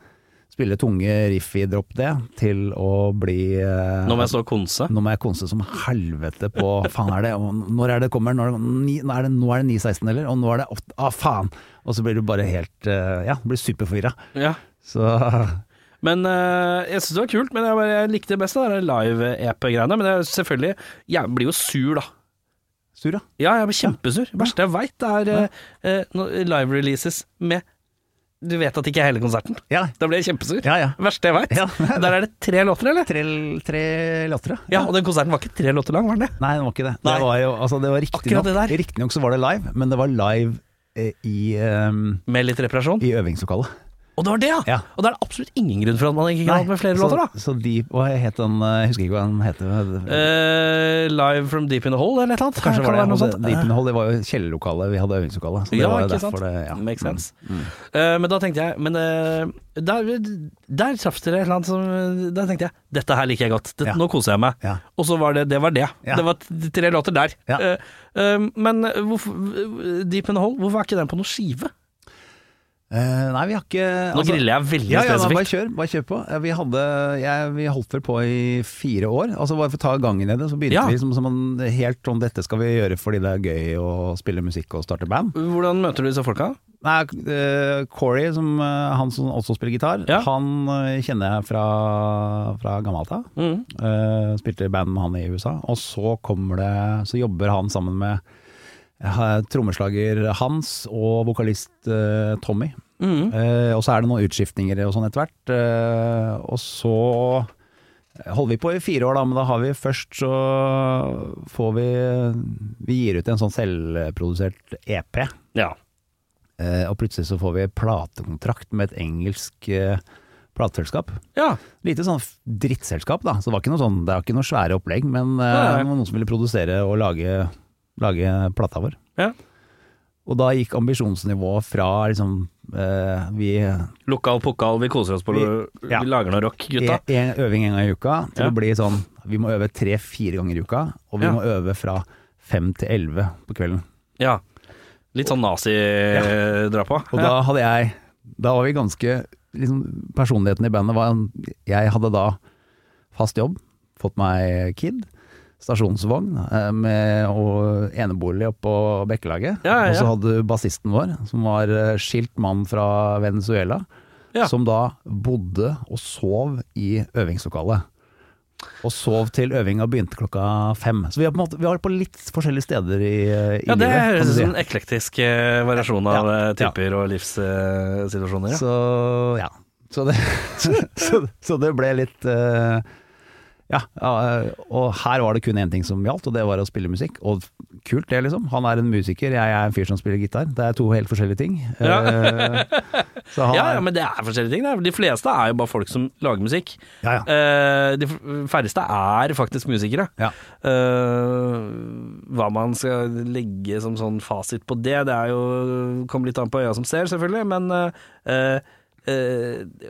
[SPEAKER 3] spille tunge riff i drop D, til å bli eh,
[SPEAKER 2] Nå må jeg stå og konse.
[SPEAKER 3] nå må jeg konse som helvete på Faen, er det og Når er det kommer? Når, er det- ni- nå er det, nå er det 9.16, eller? Og nå er det 8 Ah, faen! Og så blir du bare helt eh, Ja, blir superforvirra.
[SPEAKER 2] Ja.
[SPEAKER 3] Så
[SPEAKER 2] Men eh, jeg syns det var kult, men jeg, bare, jeg likte det best det der live-EP-greiene. Men jeg, selvfølgelig, jeg blir jo sur, da.
[SPEAKER 3] sur, ja.
[SPEAKER 2] Ja, jeg blir kjempesur. Det verste jeg veit, er eh, eh, når live releases med Du vet at det ikke er hele konserten.
[SPEAKER 3] Ja,
[SPEAKER 2] Da blir jeg kjempesur.
[SPEAKER 3] ja. ja.
[SPEAKER 2] Verste jeg veit.
[SPEAKER 3] Ja.
[SPEAKER 2] Der er det tre låter, eller?
[SPEAKER 3] Tre, tre låter,
[SPEAKER 2] Ja, og den konserten var ikke tre låter lang, var den det?
[SPEAKER 3] Nei, det var ikke det.
[SPEAKER 2] Nei.
[SPEAKER 3] Det var jo, altså det var riktig
[SPEAKER 2] Akkurat
[SPEAKER 3] nok,
[SPEAKER 2] det der.
[SPEAKER 3] riktig nok så var det live, men det var live eh, i, ehm,
[SPEAKER 2] Med litt reparasjon.
[SPEAKER 3] i øvingslokalet.
[SPEAKER 2] Og det var det, ja!
[SPEAKER 3] Ja.
[SPEAKER 2] Og da er det absolutt ingen grunn for at man ikke kan ha med flere
[SPEAKER 3] så,
[SPEAKER 2] låter, da.
[SPEAKER 3] Så de, hva het den, eh, jeg husker ikke hva den heter.
[SPEAKER 2] Eh, live from deep in the hole, eller et eller annet. Kanskje
[SPEAKER 3] Kan
[SPEAKER 2] var det altså, noe sånt.
[SPEAKER 3] Og Deep in the Hole, det var jo kjellerlokalet, vi hadde øvingslokale. Så det
[SPEAKER 2] Ja,
[SPEAKER 3] var jo
[SPEAKER 2] ikke sant.
[SPEAKER 3] derfor det ja.
[SPEAKER 2] Makes
[SPEAKER 3] Mm.
[SPEAKER 2] sense. Eh, men da tenkte jeg Men eh, der, der traff dere et eller annet som Da tenkte jeg dette her liker jeg godt. Det,
[SPEAKER 3] Ja.
[SPEAKER 2] Nå koser jeg meg.
[SPEAKER 3] Ja.
[SPEAKER 2] Og så var det det. var Det
[SPEAKER 3] Ja.
[SPEAKER 2] Det var t- tre låter der.
[SPEAKER 3] Ja.
[SPEAKER 2] Eh, eh, men hvorfor, Deep in the Hole, hvorfor er ikke den på noen skive?
[SPEAKER 3] Eh, nei, vi har ikke
[SPEAKER 2] Nå griller jeg veldig
[SPEAKER 3] Ja, ja, da, bare
[SPEAKER 2] spesifikt.
[SPEAKER 3] kjør, bare kjør på. Eh, Vi, hadde, jeg, vi holdt vel på i fire år. Altså Bare for å ta gangen i det, så begynte
[SPEAKER 2] Ja.
[SPEAKER 3] vi som, som en helt sånn Dette skal vi gjøre fordi det er gøy å spille musikk og starte band.
[SPEAKER 2] Hvordan møter du disse folka?
[SPEAKER 3] Nei, eh, Corey, som, eh, han som også spiller gitar,
[SPEAKER 2] Ja.
[SPEAKER 3] han eh, kjenner jeg fra, fra gammelt av.
[SPEAKER 2] Mm.
[SPEAKER 3] Eh, spilte i band med han i USA, og så kommer det Så jobber han sammen med eh, trommeslager Hans og vokalist eh, Tommy.
[SPEAKER 2] Mm.
[SPEAKER 3] Eh, og så er det noen utskiftninger og sånn etter hvert. Eh, og så holder vi på i fire år, da, men da har vi først så får vi Vi gir ut en sånn selvprodusert EP,
[SPEAKER 2] Ja.
[SPEAKER 3] eh, og plutselig så får vi platekontrakt med et engelsk eh, plateselskap.
[SPEAKER 2] ja.
[SPEAKER 3] Lite sånn f- drittselskap, da. Så det var ikke noe sånn, det var ikke noe svære opplegg, men eh,
[SPEAKER 2] Nei, nei.
[SPEAKER 3] det var noen som ville produsere og lage, lage plata vår.
[SPEAKER 2] Ja.
[SPEAKER 3] Og da gikk ambisjonsnivået fra liksom eh, vi
[SPEAKER 2] Lokal pokal, vi koser oss på
[SPEAKER 3] Vi- ja.
[SPEAKER 2] Vi lager noe rock, gutta.
[SPEAKER 3] e- en øving en gang i uka til
[SPEAKER 2] Ja.
[SPEAKER 3] å bli sånn vi må øve tre-fire ganger i uka, og vi
[SPEAKER 2] Ja.
[SPEAKER 3] må øve fra fem til elleve på kvelden.
[SPEAKER 2] Ja. Litt sånn nazi-drapa.
[SPEAKER 3] Og da hadde jeg Da var vi ganske liksom, Personligheten i bandet var Jeg hadde da fast jobb, fått meg kid, stasjonsvogn eh, med, og enebolig oppå Bekkelaget.
[SPEAKER 2] Ja, ja,
[SPEAKER 3] Og så
[SPEAKER 2] ja.
[SPEAKER 3] hadde du bassisten vår, som var eh, skilt mann fra Venezuela,
[SPEAKER 2] Ja.
[SPEAKER 3] som da bodde og sov i øvingslokalet. Og sov til øvinga begynte klokka fem. Så vi har på, en måte, vi har på litt forskjellige steder i, i
[SPEAKER 2] Ja, det
[SPEAKER 3] livet. kan
[SPEAKER 2] høres
[SPEAKER 3] du
[SPEAKER 2] ut
[SPEAKER 3] si.
[SPEAKER 2] som en eklektisk eh, variasjon av
[SPEAKER 3] Ja,
[SPEAKER 2] eh, typer og livssituasjoner. Ja.
[SPEAKER 3] Så ja. Så det, så, så det ble litt eh, ja, ja, eh, og her var det kun én ting som gjaldt, og det var å spille musikk. Og kult det, liksom. Han er en musiker, jeg er en fyr som spiller gitar. Det er to helt forskjellige ting.
[SPEAKER 2] Ja.
[SPEAKER 3] Eh, så han
[SPEAKER 2] Ja,
[SPEAKER 3] er-
[SPEAKER 2] ja, men det er forskjellige ting. det. De fleste er jo bare folk som lager musikk.
[SPEAKER 3] ja, ja.
[SPEAKER 2] Eh, De f- færreste er faktisk musikere.
[SPEAKER 3] Ja.
[SPEAKER 2] Eh, Hva man skal legge som sånn fasit på det, det er jo kommer litt an på øya som ser, selvfølgelig, men eh, eh,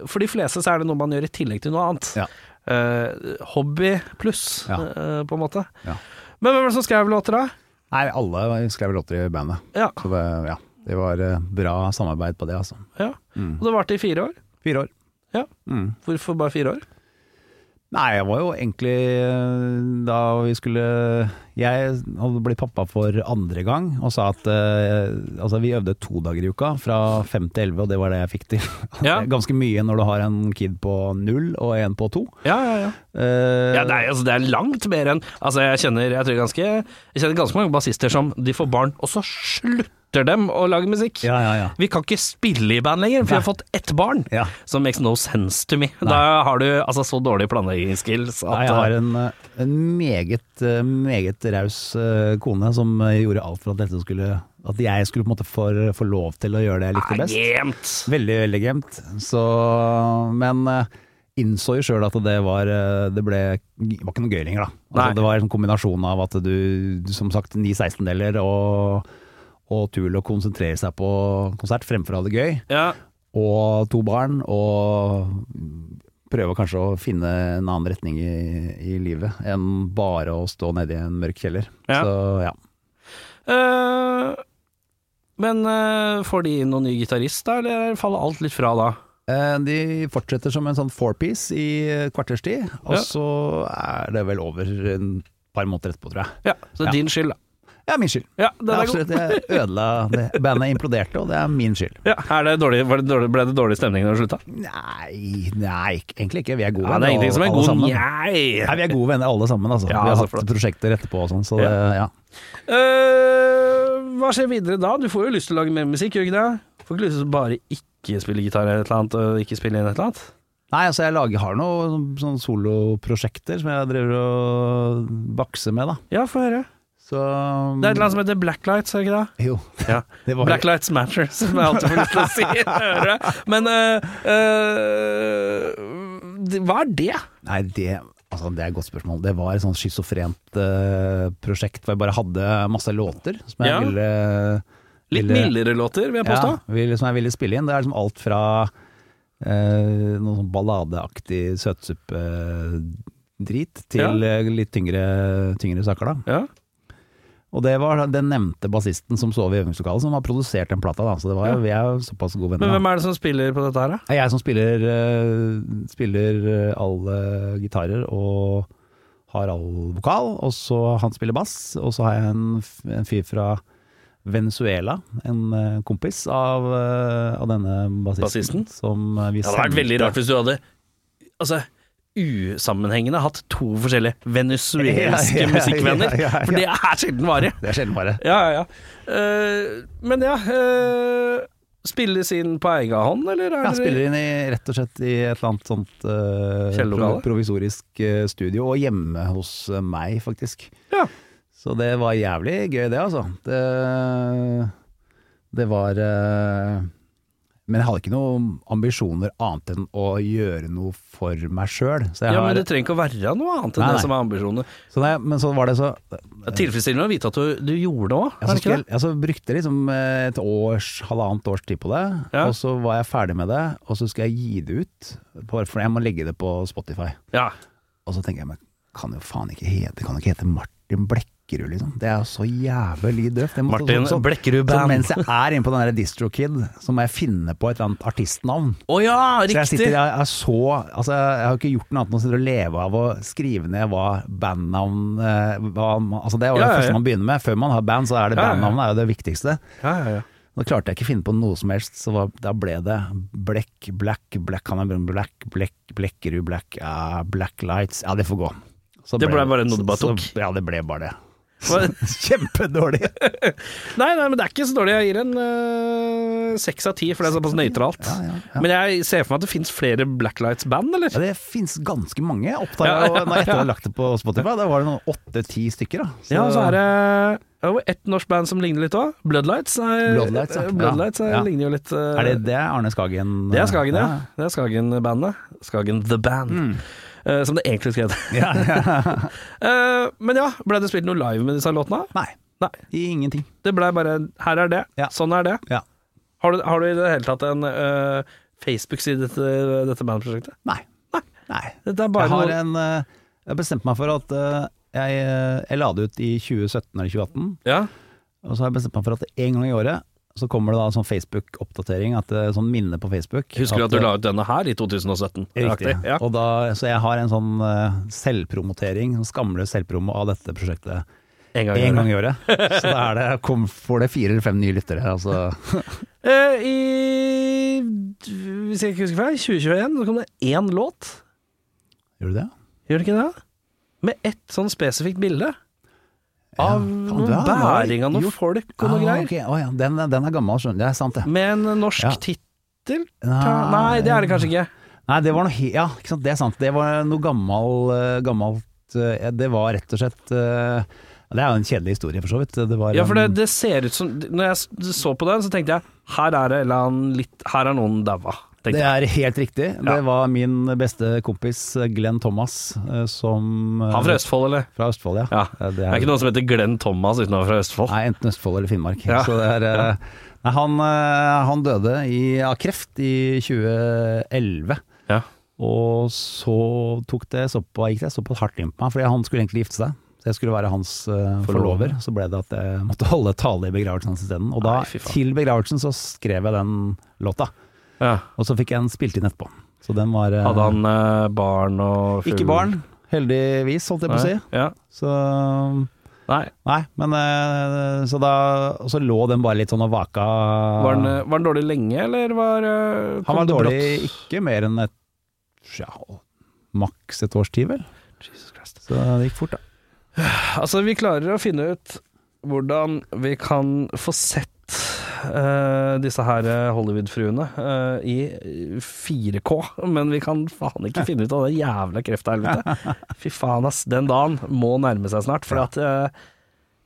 [SPEAKER 2] for de fleste så er det noe man gjør i tillegg til noe annet.
[SPEAKER 3] Ja.
[SPEAKER 2] Eh, hobby pluss,
[SPEAKER 3] Ja.
[SPEAKER 2] eh, på en måte.
[SPEAKER 3] Ja.
[SPEAKER 2] Men hvem var det som skrev låter, da?
[SPEAKER 3] Nei, alle skrev låter i bandet.
[SPEAKER 2] Ja,
[SPEAKER 3] Så det, ja, det var eh, bra samarbeid på det, altså.
[SPEAKER 2] ja. Og det varte i fire år.
[SPEAKER 3] Fire år.
[SPEAKER 2] Ja.
[SPEAKER 3] Mm.
[SPEAKER 2] Hvorfor bare fire år?
[SPEAKER 3] Nei, jeg var jo egentlig eh, da vi skulle Jeg hadde blitt pappa for andre gang og sa at eh, altså vi øvde to dager i uka, fra fem til elleve, og det var det jeg fikk til.
[SPEAKER 2] Ja.
[SPEAKER 3] Ganske mye når du har en kid på null og en på to.
[SPEAKER 2] Ja, ja, ja.
[SPEAKER 3] Eh,
[SPEAKER 2] Ja, det, er, altså, det er langt mer enn Altså, jeg kjenner, jeg tror ganske, jeg kjenner ganske mange bassister som de får barn, og så slutter dem å lage musikk.
[SPEAKER 3] ja, ja, ja.
[SPEAKER 2] Vi kan ikke spille i band lenger, for vi har fått ett barn.
[SPEAKER 3] Ja.
[SPEAKER 2] Som makes no sense to me. Da har du altså så dårlige planleggingsskills at
[SPEAKER 3] Nei, jeg har en, eh, en meget, eh, meget raus eh, kone som eh, gjorde alt for at, dette skulle, at jeg skulle på en måte få, få lov til å gjøre det jeg likte
[SPEAKER 2] Nei,
[SPEAKER 3] best.
[SPEAKER 2] jevnt.
[SPEAKER 3] Veldig, veldig gjemt. Så, men eh, innså jo sjøl at det var eh, Det ble, det var ikke noe gøy lenger, da. Altså,
[SPEAKER 2] Nei.
[SPEAKER 3] det var en kombinasjon av at du, som sagt, ni 16-deler og, og tur til å konsentrere seg på konsert fremfor å ha det gøy,
[SPEAKER 2] Ja.
[SPEAKER 3] og to barn, og prøve kanskje å finne en annen retning i, i livet enn bare å stå nede i en mørk kjeller.
[SPEAKER 2] Ja.
[SPEAKER 3] Så ja.
[SPEAKER 2] Eh, men eh, får de inn noen ny gitarist, da, eller faller alt litt fra da?
[SPEAKER 3] Eh, De fortsetter som en sånn four-piece i eh, kvarterstid, og
[SPEAKER 2] Ja.
[SPEAKER 3] så er det vel over en par måneder etterpå, tror jeg.
[SPEAKER 2] Ja, så det
[SPEAKER 3] Ja.
[SPEAKER 2] er din skyld, da.
[SPEAKER 3] Ja, min skyld.
[SPEAKER 2] Ja, den
[SPEAKER 3] Det er
[SPEAKER 2] er god.
[SPEAKER 3] absolutt, jeg ødela det. Bandet imploderte, og det er min skyld.
[SPEAKER 2] Ja, er det dårlig, var det dårlig, ble det dårlig stemning når du slutta?
[SPEAKER 3] Nei, nei, ikke- egentlig ikke. Vi er gode
[SPEAKER 2] Ja, det er ingenting som er
[SPEAKER 3] alle
[SPEAKER 2] god
[SPEAKER 3] sammen.
[SPEAKER 2] njei.
[SPEAKER 3] Nei, vi er gode venner alle sammen, altså.
[SPEAKER 2] Ja,
[SPEAKER 3] vi har
[SPEAKER 2] så
[SPEAKER 3] hatt
[SPEAKER 2] flott.
[SPEAKER 3] prosjekter etterpå og sånn, så det, ja.
[SPEAKER 2] Eh, hva skjer videre da? Du får jo lyst til å lage mer musikk, gjør du ikke det? Får ikke lyst til å bare ikke spille gitar eller et eller annet, og ikke spille inn et eller annet?
[SPEAKER 3] Nei, altså jeg lager, har noen sånne soloprosjekter som jeg driver og bakser med, da.
[SPEAKER 2] Ja, få høre.
[SPEAKER 3] Så
[SPEAKER 2] Det er et eller annet som heter blacklights, er det ikke det?
[SPEAKER 3] Jo.
[SPEAKER 2] Ja.
[SPEAKER 3] Det var-
[SPEAKER 2] Black Lights Matter, som jeg alltid får lyst til å si. Høre. Men øh, øh, det- hva er det?
[SPEAKER 3] Nei, det, altså, det er et godt spørsmål. Det var et sånt schizofrent eh, prosjekt hvor jeg bare hadde masse låter som jeg
[SPEAKER 2] Ja.
[SPEAKER 3] ville
[SPEAKER 2] Litt
[SPEAKER 3] ville-
[SPEAKER 2] mildere låter, vil jeg påstå.
[SPEAKER 3] Ja, vil, som jeg ville spille inn. Det er liksom alt fra eh, noe sånn balladeaktig søtsuppe-drit til eh, litt tyngre, tyngre saker, da.
[SPEAKER 2] Ja.
[SPEAKER 3] Og det var den nevnte bassisten som sov i øvingslokalet, som har produsert den plata, da. Så det var,
[SPEAKER 2] Ja.
[SPEAKER 3] vi er jo såpass gode
[SPEAKER 2] Men
[SPEAKER 3] venner.
[SPEAKER 2] hvem
[SPEAKER 3] da.
[SPEAKER 2] er det som spiller på dette her, da?
[SPEAKER 3] Det er jeg som spiller, eh, spiller eh, alle gitarer og har all vokal, og så han spiller bass, og så har jeg en, f- en fyr fra Venezuela, en eh, kompis av, eh, av denne bassisten.
[SPEAKER 2] Bassisten?
[SPEAKER 3] Som eh, vi
[SPEAKER 2] Det hadde vært
[SPEAKER 3] sendte-
[SPEAKER 2] veldig rart hvis du hadde Altså usammenhengende hatt to forskjellige venezuelske
[SPEAKER 3] Ja, ja, ja,
[SPEAKER 2] musikkvenner.
[SPEAKER 3] ja, ja, ja.
[SPEAKER 2] For det er sjelden varig.
[SPEAKER 3] Det er sjelden bare.
[SPEAKER 2] Ja, ja, ja. Eh, men ja eh, Spilles inn på egen hånd, eller? Er
[SPEAKER 3] Ja,
[SPEAKER 2] dere-
[SPEAKER 3] spiller inn i, rett og slett i et eller annet sånt eh,
[SPEAKER 2] Kjellerlokale?
[SPEAKER 3] pro- provisorisk eh, studio, og hjemme hos eh, meg, faktisk.
[SPEAKER 2] Ja.
[SPEAKER 3] Så det var jævlig gøy, det, altså. Det, det var eh, Men jeg hadde ikke noen ambisjoner annet enn å gjøre noe for meg sjøl. Så, jeg
[SPEAKER 2] ja,
[SPEAKER 3] har-
[SPEAKER 2] men det trenger ikke å være noe annet enn
[SPEAKER 3] Nei, nei.
[SPEAKER 2] det som er ambisjonene.
[SPEAKER 3] så, nei, men så var det så
[SPEAKER 2] Det er tilfredsstillende å vite at du, du gjorde det òg, er
[SPEAKER 3] Ja, så,
[SPEAKER 2] det ikke
[SPEAKER 3] skulle,
[SPEAKER 2] det?
[SPEAKER 3] ja, så brukte jeg liksom eh, et års, halvannet års tid på det,
[SPEAKER 2] Ja.
[SPEAKER 3] og så var jeg ferdig med det, og så skal jeg gi det ut, på, for jeg må legge det på Spotify.
[SPEAKER 2] Ja.
[SPEAKER 3] Og så tenker jeg, men kan jo faen ikke hete, det kan jo ikke hete Martin Blekkerud, liksom. Det er jo så jævlig døvt. Jeg må-
[SPEAKER 2] Martin
[SPEAKER 3] så- så-
[SPEAKER 2] Blekkerud
[SPEAKER 3] Så
[SPEAKER 2] Band.
[SPEAKER 3] sånn, mens jeg er inne på den der DistroKid, så må jeg finne på et eller annet artistnavn.
[SPEAKER 2] Å ja,
[SPEAKER 3] Så jeg sitter,
[SPEAKER 2] riktig!
[SPEAKER 3] jeg, er så, altså jeg har ikke gjort noe annet enn å sitte og leve av å skrive ned hva bandnavn eh, hva, man- altså Det er jo
[SPEAKER 2] Ja, ja,
[SPEAKER 3] det
[SPEAKER 2] ja.
[SPEAKER 3] første man begynner med. Før man har band, så er det
[SPEAKER 2] Ja, ja, ja.
[SPEAKER 3] bandnavnet er jo det viktigste.
[SPEAKER 2] Ja, ja, ja.
[SPEAKER 3] Nå klarte jeg ikke å finne på noe som helst, så var- da ble det Black, Black, Black, kan jeg bruke Black, Black, Blekkerud, Black, ja, Black Lights, ja det får gå. Så
[SPEAKER 2] Det ble bare noe du bare
[SPEAKER 3] så-
[SPEAKER 2] tok?
[SPEAKER 3] så- Ja, det ble bare det.
[SPEAKER 2] Hva-
[SPEAKER 3] Kjempedårlig.
[SPEAKER 2] Nei, nei, men det er ikke så dårlig. Jeg gir en øh, seks av ti, for det er såpass nøytralt.
[SPEAKER 3] Ja, ja, ja.
[SPEAKER 2] Men jeg ser for meg at det fins flere Blacklights-band, eller?
[SPEAKER 3] Ja, det finnes ganske mange, jeg oppdaga ja, etter at jeg hadde lagt det på Spotify, da var det noen åtte-ti stykker da. Så-
[SPEAKER 2] Ja, og så er det jo ett norsk band som ligner litt òg. Bloodlights. Er,
[SPEAKER 3] Bloodlights, ja.
[SPEAKER 2] eh, Bloodlights
[SPEAKER 3] Ja,
[SPEAKER 2] er,
[SPEAKER 3] ja.
[SPEAKER 2] ligner jo litt eh,
[SPEAKER 3] Er det det Arne Skagen?
[SPEAKER 2] det er Skagen, ja. Det er Skagen-bandet. Skagen The Band,
[SPEAKER 3] Mm.
[SPEAKER 2] eh, som det egentlig skulle hete.
[SPEAKER 3] Ja, ja.
[SPEAKER 2] Eh, men ja, ble det spilt noe live med disse låtene?
[SPEAKER 3] Nei,
[SPEAKER 2] Nei.
[SPEAKER 3] ingenting.
[SPEAKER 2] Det blei bare Her er det,
[SPEAKER 3] Ja.
[SPEAKER 2] sånn er det.
[SPEAKER 3] Ja.
[SPEAKER 2] Har du, har du i det hele tatt en eh, Facebook-side til dette bandprosjektet?
[SPEAKER 3] Nei. Nei.
[SPEAKER 2] Dette er bare
[SPEAKER 3] jeg har
[SPEAKER 2] noe
[SPEAKER 3] en eh, Jeg bestemte meg for at eh, jeg, eh, jeg la det ut i 2017 eller 2018,
[SPEAKER 2] ja.
[SPEAKER 3] og så har jeg bestemt meg for at en gang i året så kommer det da sånn Facebook-oppdatering, at det er sånn minne på Facebook. eh,
[SPEAKER 2] Husker du at eh, du la ut denne her i 2017?
[SPEAKER 3] Riktig.
[SPEAKER 2] Aktig, Ja.
[SPEAKER 3] Og da, så jeg har en sånn eh, selvpromotering, sånn skamløs selvpromo av dette prosjektet
[SPEAKER 2] En gang. i året.
[SPEAKER 3] en gang i året. Så da er det, kom, får det fire eller fem nye lyttere. Altså.
[SPEAKER 2] Eh, I Hvis jeg ikke husker feil, 2021 så kom det én låt.
[SPEAKER 3] Gjør du det?
[SPEAKER 2] Gjør det ikke det? Med ett sånn spesifikt bilde.
[SPEAKER 3] Ja.
[SPEAKER 2] Av
[SPEAKER 3] Faen,
[SPEAKER 2] noen
[SPEAKER 3] du har-
[SPEAKER 2] bæring av
[SPEAKER 3] gjort-
[SPEAKER 2] noen folk og noe
[SPEAKER 3] Ah,
[SPEAKER 2] greier.
[SPEAKER 3] ok. Å ja, den, den er gammel, skjønner du. Det er sant, det.
[SPEAKER 2] Med en eh, norsk
[SPEAKER 3] Ja.
[SPEAKER 2] tittel? Nei, det er Ah, det kanskje ikke.
[SPEAKER 3] Nei, det var noe he- Ja, ikke sant, det er sant. Det var noe gammel, eh, gammelt eh, Det var rett og slett eh, Det er jo en kjedelig historie, for så vidt. Det var,
[SPEAKER 2] Ja, for det,
[SPEAKER 3] en-
[SPEAKER 2] det ser ut som Når jeg s- så på den, så tenkte jeg her er det en eller annen litt Her er noen daua.
[SPEAKER 3] det
[SPEAKER 2] tenkte jeg.
[SPEAKER 3] er helt riktig.
[SPEAKER 2] Ja.
[SPEAKER 3] Det var min beste kompis eh, Glenn Thomas eh, som eh,
[SPEAKER 2] Han fra Østfold, eller?
[SPEAKER 3] Fra Østfold, ja.
[SPEAKER 2] Ja.
[SPEAKER 3] Eh,
[SPEAKER 2] Det er ikke noen som heter Glenn Thomas uten å være fra Østfold.
[SPEAKER 3] Nei, enten Østfold eller Finnmark.
[SPEAKER 2] Ja.
[SPEAKER 3] Så det er, eh, nei, han, eh, han døde i, av kreft i 2011.
[SPEAKER 2] Ja.
[SPEAKER 3] Og så tok det såpass, gikk det såpass hardt inn på meg, fordi han skulle egentlig gifte seg. Så jeg skulle være hans eh,
[SPEAKER 2] Forlover.
[SPEAKER 3] forlover. Så ble det at jeg måtte holde tale i begravelsen hans isteden. Og da,
[SPEAKER 2] Nei, fy faen.
[SPEAKER 3] til begravelsen, så skrev jeg den låta.
[SPEAKER 2] Ja.
[SPEAKER 3] Og så fikk jeg den spilt inn etterpå. Så den var eh,
[SPEAKER 2] Hadde han eh, barn og fugl?
[SPEAKER 3] Ikke barn, heldigvis, holdt jeg på å si.
[SPEAKER 2] Nei. Ja.
[SPEAKER 3] Så
[SPEAKER 2] Nei.
[SPEAKER 3] Nei, men eh, Så da Og så lå den bare litt sånn og vaka.
[SPEAKER 2] Var han, eh, var han dårlig lenge, eller var eh, kom
[SPEAKER 3] Han var
[SPEAKER 2] det
[SPEAKER 3] dårlig
[SPEAKER 2] brått?
[SPEAKER 3] ikke mer enn et ja, maks et års tid, vel.
[SPEAKER 2] Jesus Christ.
[SPEAKER 3] Så det gikk fort, da.
[SPEAKER 2] Altså, vi klarer å finne ut hvordan vi kan få sett eh, disse her eh, Hollywood-fruene eh, i 4K, men vi kan faen ikke finne ut av det jævla krefthelvetet. Fy faen, ass. Den dagen må nærme seg snart, for at eh,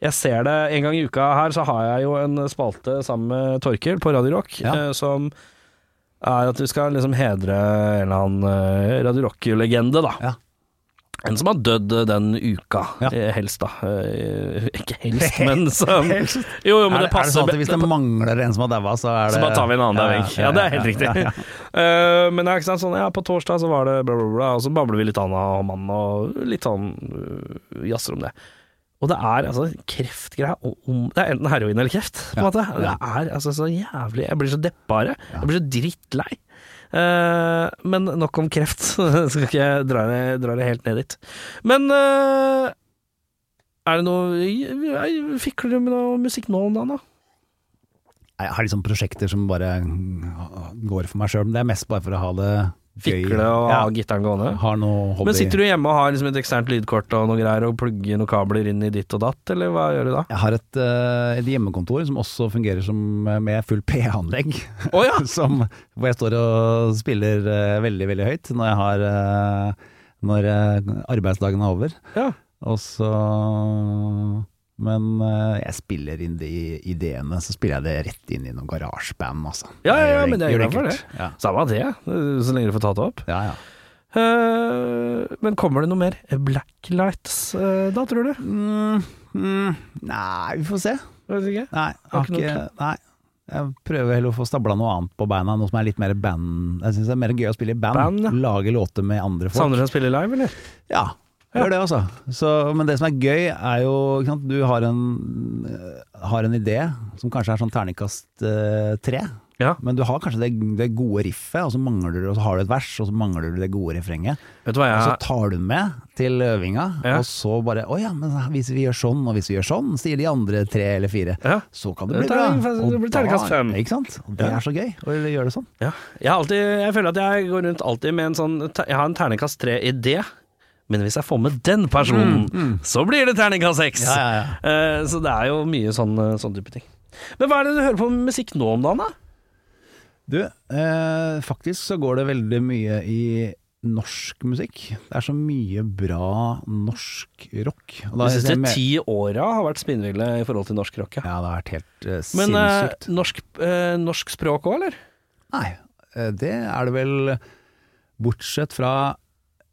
[SPEAKER 2] Jeg ser det en gang i uka her, så har jeg jo en spalte sammen med Torkil på Radio Rock,
[SPEAKER 3] Ja.
[SPEAKER 2] eh, som er at vi skal liksom hedre en eller annen eh, Radio Rock-legende, da.
[SPEAKER 3] Ja.
[SPEAKER 2] En som har dødd eh, den uka,
[SPEAKER 3] Ja.
[SPEAKER 2] eh, helst da. Eh, Ikke helst, men som Jo, jo, men
[SPEAKER 3] er,
[SPEAKER 2] det passer
[SPEAKER 3] er det sånn at
[SPEAKER 2] be-
[SPEAKER 3] hvis det mangler en som har daua, så er det
[SPEAKER 2] så bare tar vi en annen der vekk. Ja, det er helt
[SPEAKER 3] ja,
[SPEAKER 2] riktig.
[SPEAKER 3] ja, ja.
[SPEAKER 2] Eh, men det er ikke sant, sånn, ja, på torsdag så var det bla, bla, bla, og så babler vi litt an av mannen og litt sånn øh, jazzer om det. Og det er altså kreftgreia og om Det er enten heroin eller kreft, på en
[SPEAKER 3] Ja,
[SPEAKER 2] måte. Det
[SPEAKER 3] ja.
[SPEAKER 2] er altså så jævlig Jeg blir så deppa av det. Jeg blir så drittlei. Eh, men nok om kreft. Skal ikke jeg dra det, dra det helt ned dit. Men eh, er det noe Fikler du med noe musikk nå om dagen, da?
[SPEAKER 3] Jeg har liksom prosjekter som bare mm, går for meg sjøl, men det er mest bare for å ha det gøy.
[SPEAKER 2] Fikle og ha
[SPEAKER 3] ja,
[SPEAKER 2] gitaren gående?
[SPEAKER 3] Har noe hobby.
[SPEAKER 2] Men sitter du hjemme og har liksom et eksternt lydkort og noe greier, og plugger noen kabler inn i ditt og datt, eller hva gjør du da?
[SPEAKER 3] Jeg har et, eh, et hjemmekontor som også fungerer som eh, med full PA-anlegg.
[SPEAKER 2] Å ja!
[SPEAKER 3] som, hvor jeg står og spiller eh, veldig, veldig høyt når, jeg har, eh, når eh, arbeidsdagen er over.
[SPEAKER 2] Ja.
[SPEAKER 3] Og så Men eh, jeg spiller inn de ideene, så spiller jeg det rett inn i noen garasjeband, altså.
[SPEAKER 2] Ja, ja,
[SPEAKER 3] Jeg
[SPEAKER 2] ja,
[SPEAKER 3] gjør
[SPEAKER 2] men jeg er
[SPEAKER 3] gjør
[SPEAKER 2] glad for
[SPEAKER 3] enkelt. Ja.
[SPEAKER 2] Samme av det, så lenge du får tatt det opp.
[SPEAKER 3] Ja, ja.
[SPEAKER 2] Eh, men kommer det noe mer Blacklights eh, da, tror du?
[SPEAKER 3] Mm, mm, nei, vi får se.
[SPEAKER 2] Jeg vet ikke.
[SPEAKER 3] Nei, jeg,
[SPEAKER 2] Har
[SPEAKER 3] har
[SPEAKER 2] ikke
[SPEAKER 3] ikke, nei. jeg prøver heller å få stabla noe annet på beina, noe som er litt mer band. Jeg syns det er mer gøy å spille i band.
[SPEAKER 2] Band, ja.
[SPEAKER 3] Lage låter med andre folk.
[SPEAKER 2] Savner du å spille live, eller?
[SPEAKER 3] Ja, gjør det altså. Så, men det som er gøy er jo ikke sant, Du har en, øh, har en idé som kanskje er sånn terningkast øh, tre.
[SPEAKER 2] Ja.
[SPEAKER 3] Men du har kanskje det, det gode riffet, og så mangler du, og så har du et vers, og så mangler du det gode refrenget.
[SPEAKER 2] Vet du hva
[SPEAKER 3] Og så
[SPEAKER 2] jeg
[SPEAKER 3] tar du den med til øvinga,
[SPEAKER 2] Ja.
[SPEAKER 3] og så bare Å ja, men hvis vi gjør sånn, og hvis vi gjør sånn, sier de andre tre eller fire.
[SPEAKER 2] Ja.
[SPEAKER 3] Så kan det bli
[SPEAKER 2] Det
[SPEAKER 3] bra.
[SPEAKER 2] tar- det
[SPEAKER 3] Og
[SPEAKER 2] blir terningkast
[SPEAKER 3] da-
[SPEAKER 2] fem.
[SPEAKER 3] Ikke sant? Og det
[SPEAKER 2] Ja.
[SPEAKER 3] er så gøy å gjøre det sånn.
[SPEAKER 2] ja. jeg, har alltid, jeg føler at jeg går rundt alltid med en sånn Jeg har en terningkast tre-idé, men hvis jeg får med den personen, så blir det terningkast seks!
[SPEAKER 3] Ja, ja,
[SPEAKER 2] Eh, så det er jo mye sånn, sånn type ting. Men hva er det du hører på med musikk nå om dagen, da?
[SPEAKER 3] Du, eh, faktisk så går det veldig mye i norsk musikk. Det er så mye bra norsk rock. Og da
[SPEAKER 2] De siste
[SPEAKER 3] jeg med-
[SPEAKER 2] ti åra har vært spinnville i forhold til norsk rock, ja.
[SPEAKER 3] Ja, det har vært helt eh,
[SPEAKER 2] Men eh,
[SPEAKER 3] sinnssykt.
[SPEAKER 2] norsk, eh, norsk språk òg, eller?
[SPEAKER 3] Nei, eh, det er det vel Bortsett fra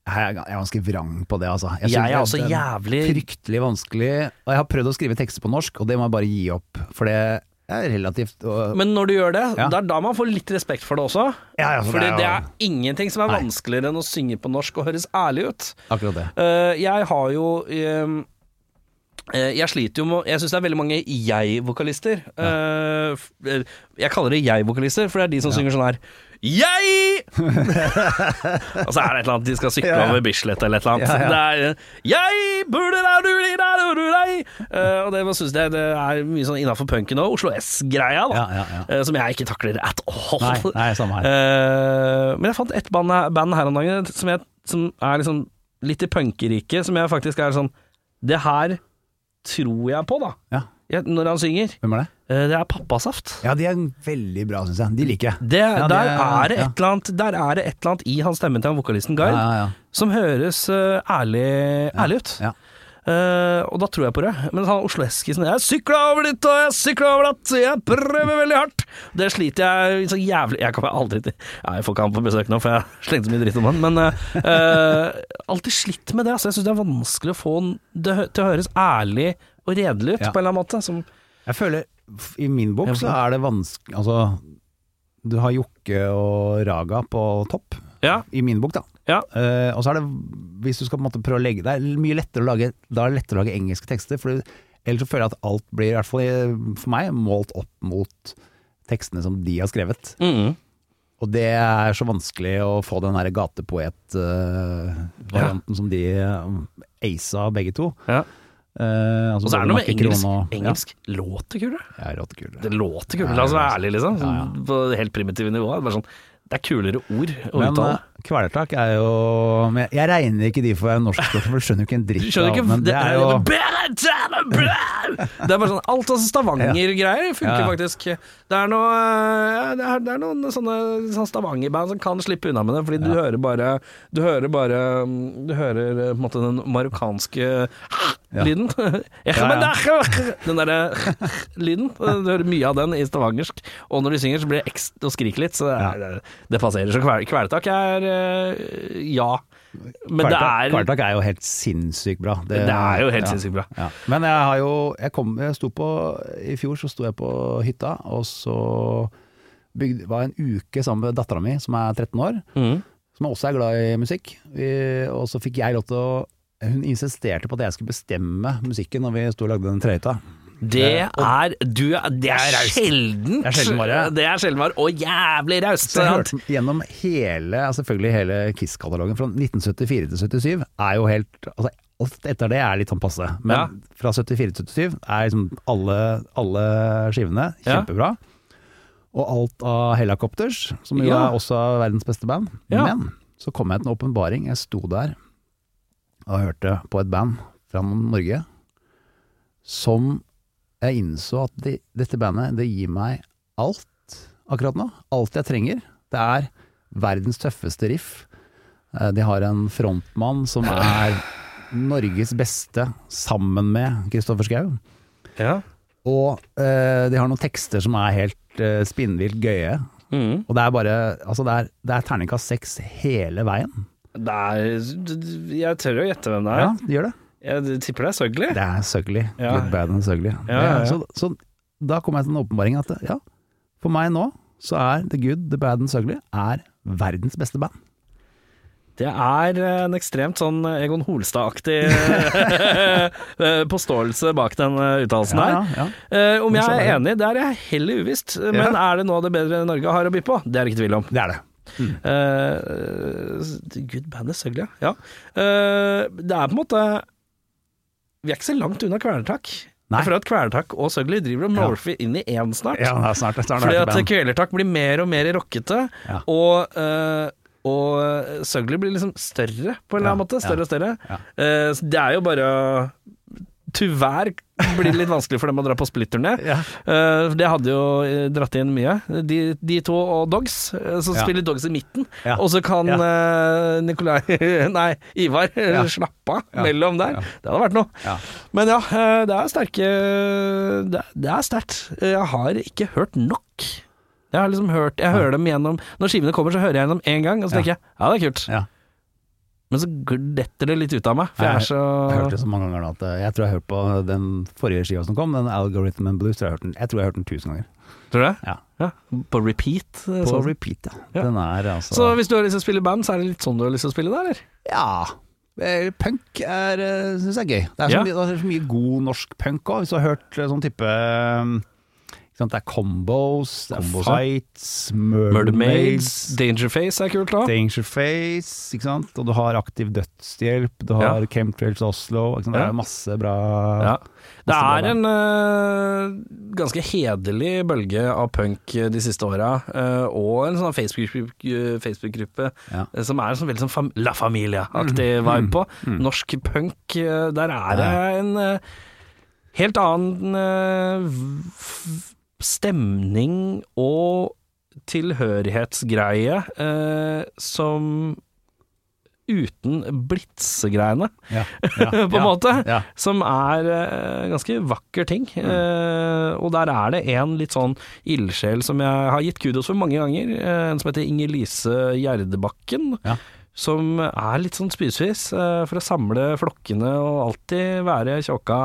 [SPEAKER 3] Nei, Jeg er ganske vrang på det, altså.
[SPEAKER 2] Jeg,
[SPEAKER 3] synes
[SPEAKER 2] er
[SPEAKER 3] det
[SPEAKER 2] også jævlig
[SPEAKER 3] Fryktelig vanskelig. Og jeg har prøvd å skrive tekster på norsk, og det må jeg bare gi opp. For det er relativt og,
[SPEAKER 2] Men når du gjør det,
[SPEAKER 3] Ja.
[SPEAKER 2] det er da man får litt respekt for det også.
[SPEAKER 3] Ja, ja, for
[SPEAKER 2] Fordi
[SPEAKER 3] det er
[SPEAKER 2] det
[SPEAKER 3] jo-
[SPEAKER 2] er ingenting som er
[SPEAKER 3] Nei.
[SPEAKER 2] vanskeligere enn å synge på norsk og høres ærlig ut.
[SPEAKER 3] Akkurat det.
[SPEAKER 2] Eh, jeg har jo eh, eh, Jeg sliter jo med Jeg syns det er veldig mange jeg-vokalister. Eh, f- eh, jeg kaller det jeg-vokalister, for det er de som synger sånn her Jeg! og så er det et eller annet de skal sykle
[SPEAKER 3] Ja, ja.
[SPEAKER 2] over Bislett eller et eller annet.
[SPEAKER 3] Ja,
[SPEAKER 2] Det er eh, Jeg burde da du li da du du dei». Eh, Og det syns jeg det er mye sånn innafor punken og Oslo S-greia, da.
[SPEAKER 3] Ja, ja, ja.
[SPEAKER 2] eh, som jeg ikke takler at all.
[SPEAKER 3] Nei, nei, samme her.
[SPEAKER 2] Eh, men jeg fant et band, band her om dagen som, jeg, som er liksom litt i punkeriket, som jeg faktisk er sånn Det her tror jeg på, da.
[SPEAKER 3] Ja.
[SPEAKER 2] Jeg, når han synger.
[SPEAKER 3] Hvem er det?
[SPEAKER 2] Eh, det er Pappasaft.
[SPEAKER 3] Ja, de er veldig bra, syns jeg. De liker jeg.
[SPEAKER 2] Det,
[SPEAKER 3] Ja, det-
[SPEAKER 2] der, er det
[SPEAKER 3] ja.
[SPEAKER 2] et eller annet, der er det et eller annet i hans stemme til han vokalisten Gard
[SPEAKER 3] Ja, ja, ja.
[SPEAKER 2] som høres eh, ærlig, ærlig ut.
[SPEAKER 3] Ja.
[SPEAKER 2] Eh, og da tror jeg på det. Men han Oslo Eskisen Jeg sykla over dit, og jeg sykla over datt, og jeg prøver veldig hardt. Det sliter jeg så jævlig Jeg kommer aldri til Nei, Jeg får ikke han på besøk nå, for jeg slengte så mye dritt om han. Men eh, eh, alltid slitt med det. Altså, jeg syns det er vanskelig å få det hø- til å høres ærlig og redelig ut,
[SPEAKER 3] Ja.
[SPEAKER 2] på en eller annen måte. Som,
[SPEAKER 3] Jeg føler, f- i min bok så er det vanskelig Altså, du har Jokke og Raga på topp,
[SPEAKER 2] ja,
[SPEAKER 3] i min bok da.
[SPEAKER 2] ja.
[SPEAKER 3] Eh, og så er det, hvis du skal på en måte prøve å legge Det er mye lettere å lage, da er det lettere å lage engelske tekster, for ellers så føler jeg at alt blir, i hvert fall i- for meg, målt opp mot tekstene som de har skrevet.
[SPEAKER 2] Mhm.
[SPEAKER 3] Og det er så vanskelig å få den her gatepoet-varianten som de eh, aisa begge to.
[SPEAKER 2] ja.
[SPEAKER 3] Eh, altså
[SPEAKER 2] Og så er
[SPEAKER 3] både
[SPEAKER 2] det noe med
[SPEAKER 3] Makke Krohn
[SPEAKER 2] engelsk.
[SPEAKER 3] og-
[SPEAKER 2] Engelsk låter kulere.
[SPEAKER 3] Ja, jeg er råttekul.
[SPEAKER 2] Det låter kulere, la oss være ærlige, liksom.
[SPEAKER 3] Ja, ja.
[SPEAKER 2] På det helt primitive nivået. Bare sånn, det er kulere ord å
[SPEAKER 3] Men
[SPEAKER 2] uttale.
[SPEAKER 3] eh, kvelertak er jo men Jeg jeg regner ikke de for norskspråk, for jeg skjønner jo ikke en dritt
[SPEAKER 2] Du skjønner
[SPEAKER 3] av,
[SPEAKER 2] ikke
[SPEAKER 3] Men det er jo
[SPEAKER 2] bedre Det er bare sånn Alt av Stavanger-greier funker
[SPEAKER 3] Ja.
[SPEAKER 2] faktisk. Det er, noe, eh, ja, det er, det er noen sånne, sånne Stavanger-band som kan slippe unna med det, fordi du hører bare Du hører bare Du hører eh, på en måte den marokkanske lyden. Ja, men det er- Den derre lyden. Du hører mye av den i stavangersk. Og når de synger, så blir det ekstra og skriker litt, så det, er- det, det passerer. Så kvel, kvelertak er eh, ja. Men det
[SPEAKER 3] Kvelertak-
[SPEAKER 2] er
[SPEAKER 3] Kvelertak er jo helt sinnssykt bra.
[SPEAKER 2] Det er jo helt sinnssykt bra.
[SPEAKER 3] Ja. Men jeg har jo jeg kom, jeg sto på, I fjor så sto jeg på hytta, og så bygde, var jeg en uke sammen med dattera mi, som er 13 år,
[SPEAKER 2] Mhm.
[SPEAKER 3] som også er glad i musikk. Vi, og så fikk jeg lov til å Hun insisterte på at jeg skulle bestemme musikken når vi sto og lagde den trehytta.
[SPEAKER 2] Det er du, Det
[SPEAKER 3] er
[SPEAKER 2] er
[SPEAKER 3] raust.
[SPEAKER 2] sjeldent.
[SPEAKER 3] Det er sjeldenvare.
[SPEAKER 2] Det er sjeldenvare, og jævlig raust.
[SPEAKER 3] Så jeg hørte gjennom hele, ja, selvfølgelig hele Kiss-katalogen fra 1974 til 77 er jo helt altså, Alt etter det er litt sånn passe, men
[SPEAKER 2] Ja.
[SPEAKER 3] fra 74 til 77 er liksom alle, alle skivene
[SPEAKER 2] Ja.
[SPEAKER 3] kjempebra. Og alt av Hellacopters, som jo
[SPEAKER 2] Ja.
[SPEAKER 3] er også verdens beste band.
[SPEAKER 2] Ja.
[SPEAKER 3] Men så kom jeg til en åpenbaring. Jeg sto der og hørte på et band fra Norge som jeg innså at de, dette bandet det gir meg alt akkurat nå. Alt jeg trenger. Det er verdens tøffeste riff. Eh, De har en frontmann som er Norges beste sammen med Kristoffer Schau.
[SPEAKER 2] Ja.
[SPEAKER 3] Og eh, de har noen tekster som er helt eh, spinnvilt gøye.
[SPEAKER 2] Mhm.
[SPEAKER 3] Og det er bare Altså, det er, det er terningkast seks hele veien.
[SPEAKER 2] Det er, jeg tør å gjette hvem det er.
[SPEAKER 3] Ja, de gjør det.
[SPEAKER 2] Jeg tipper det er Søgli.
[SPEAKER 3] Det er Søgli.
[SPEAKER 2] Ja.
[SPEAKER 3] Good, bad and Søgli.
[SPEAKER 2] Ja, ja, ja.
[SPEAKER 3] Så, så da kom jeg til en åpenbaring at ja, for meg nå så er The Good, The Bad and Søgli er verdens beste band.
[SPEAKER 2] Det er eh, en ekstremt sånn Egon Holstad-aktig eh, påståelse bak den eh, uttalelsen
[SPEAKER 3] Ja,
[SPEAKER 2] her.
[SPEAKER 3] ja,
[SPEAKER 2] Eh, Om jeg er
[SPEAKER 3] Hvorfor
[SPEAKER 2] enig, det er jeg heller uvisst. Men
[SPEAKER 3] Ja.
[SPEAKER 2] er det noe av det bedre Norge har å by på? Det er det ikke tvil om.
[SPEAKER 3] Det er det.
[SPEAKER 2] Eh, Gud, bandet Søglia. Ja. Eh, det er på en måte Vi er ikke så langt unna Kvelertak.
[SPEAKER 3] Nei.
[SPEAKER 2] For at Kvelertak og Søgli driver og
[SPEAKER 3] Ja.
[SPEAKER 2] morfer inn i én snart.
[SPEAKER 3] Ja, det er snart, det er snart
[SPEAKER 2] Fordi
[SPEAKER 3] et
[SPEAKER 2] at
[SPEAKER 3] band.
[SPEAKER 2] Kvelertak blir mer og mer rockete,
[SPEAKER 3] Ja.
[SPEAKER 2] og, eh, og Søgli blir liksom større, på en eller annen
[SPEAKER 3] Ja,
[SPEAKER 2] måte. Større
[SPEAKER 3] ja,
[SPEAKER 2] og større.
[SPEAKER 3] ja.
[SPEAKER 2] Eh, så det er jo bare å- Tyvärr blir det litt vanskelig for dem å dra på splitterné.
[SPEAKER 3] Ja.
[SPEAKER 2] Eh, det hadde jo eh, dratt inn mye. De, de to og Dogs, eh, som
[SPEAKER 3] Ja.
[SPEAKER 2] spiller Dogs i midten.
[SPEAKER 3] Ja.
[SPEAKER 2] Og så kan
[SPEAKER 3] Ja.
[SPEAKER 2] eh, Nikolai Nei, Ivar eh, slappe av
[SPEAKER 3] Ja.
[SPEAKER 2] mellom der.
[SPEAKER 3] Ja.
[SPEAKER 2] Det hadde vært noe.
[SPEAKER 3] Ja.
[SPEAKER 2] Men ja, eh, det er sterke Det er- det er sterkt. Eh, Jeg har ikke hørt nok. Jeg har liksom hørt Jeg hører dem gjennom Når skivene kommer, så hører jeg gjennom én gang, og så
[SPEAKER 3] Ja.
[SPEAKER 2] tenker jeg ja, det er kult.
[SPEAKER 3] Ja.
[SPEAKER 2] Men så detter det litt ut av meg, for
[SPEAKER 3] Jeg
[SPEAKER 2] jeg er
[SPEAKER 3] har-
[SPEAKER 2] så
[SPEAKER 3] Jeg har hørt det så mange ganger nå at eh, jeg tror jeg har hørt på den forrige skiva som kom, den Algorithm and Blues, tror jeg, jeg, har hørt den, jeg tror jeg har hørt den tusen ganger.
[SPEAKER 2] Tror du det?
[SPEAKER 3] Ja.
[SPEAKER 2] Ja. På repeat. eh,
[SPEAKER 3] På
[SPEAKER 2] sånn.
[SPEAKER 3] repeat, ja.
[SPEAKER 2] Ja.
[SPEAKER 3] Den er altså
[SPEAKER 2] Så hvis du har lyst til å spille i band, så er det litt sånn du har lyst til å spille da, eller?
[SPEAKER 3] Ja. eh, Punk er, eh, synes jeg er gøy. Det er, så
[SPEAKER 2] Ja.
[SPEAKER 3] mye, det er så mye god norsk punk òg, hvis du har hørt eh, sånn type eh, ikke sant, Det er combos, det er
[SPEAKER 2] Combos, ja.
[SPEAKER 3] fights, mermaids,
[SPEAKER 2] Mermaids, Dangerface er kult òg.
[SPEAKER 3] danger face, ikke sant? og du har aktiv dødshjelp, du har
[SPEAKER 2] Ja.
[SPEAKER 3] Chemtrails Oslo ikke sant? Det
[SPEAKER 2] Ja.
[SPEAKER 3] er masse bra
[SPEAKER 2] Ja. Det
[SPEAKER 3] Masse
[SPEAKER 2] er
[SPEAKER 3] bra
[SPEAKER 2] en øh, ganske hederlig bølge av punk øh, de siste åra, øh, og en sånn eh, Facebook-gruppe Facebook
[SPEAKER 3] Ja.
[SPEAKER 2] som er en sånn veldig sånn fam La Familia-aktig vibe på. Norsk punk, øh, der er det en øh, helt annen øh, v- stemning og tilhørighetsgreie øh, som uten blitsegreiene.
[SPEAKER 3] Ja,
[SPEAKER 2] På en måte.
[SPEAKER 3] Ja.
[SPEAKER 2] som er eh, ganske vakker ting.
[SPEAKER 3] Mm.
[SPEAKER 2] Eh, og der er det en litt sånn ildsjel som jeg har gitt kudos for mange ganger, eh, en som heter Inger-Lise Gjerdebakken.
[SPEAKER 3] Ja.
[SPEAKER 2] Som er litt sånn spisvis, eh, for å samle flokkene og alltid være tjåka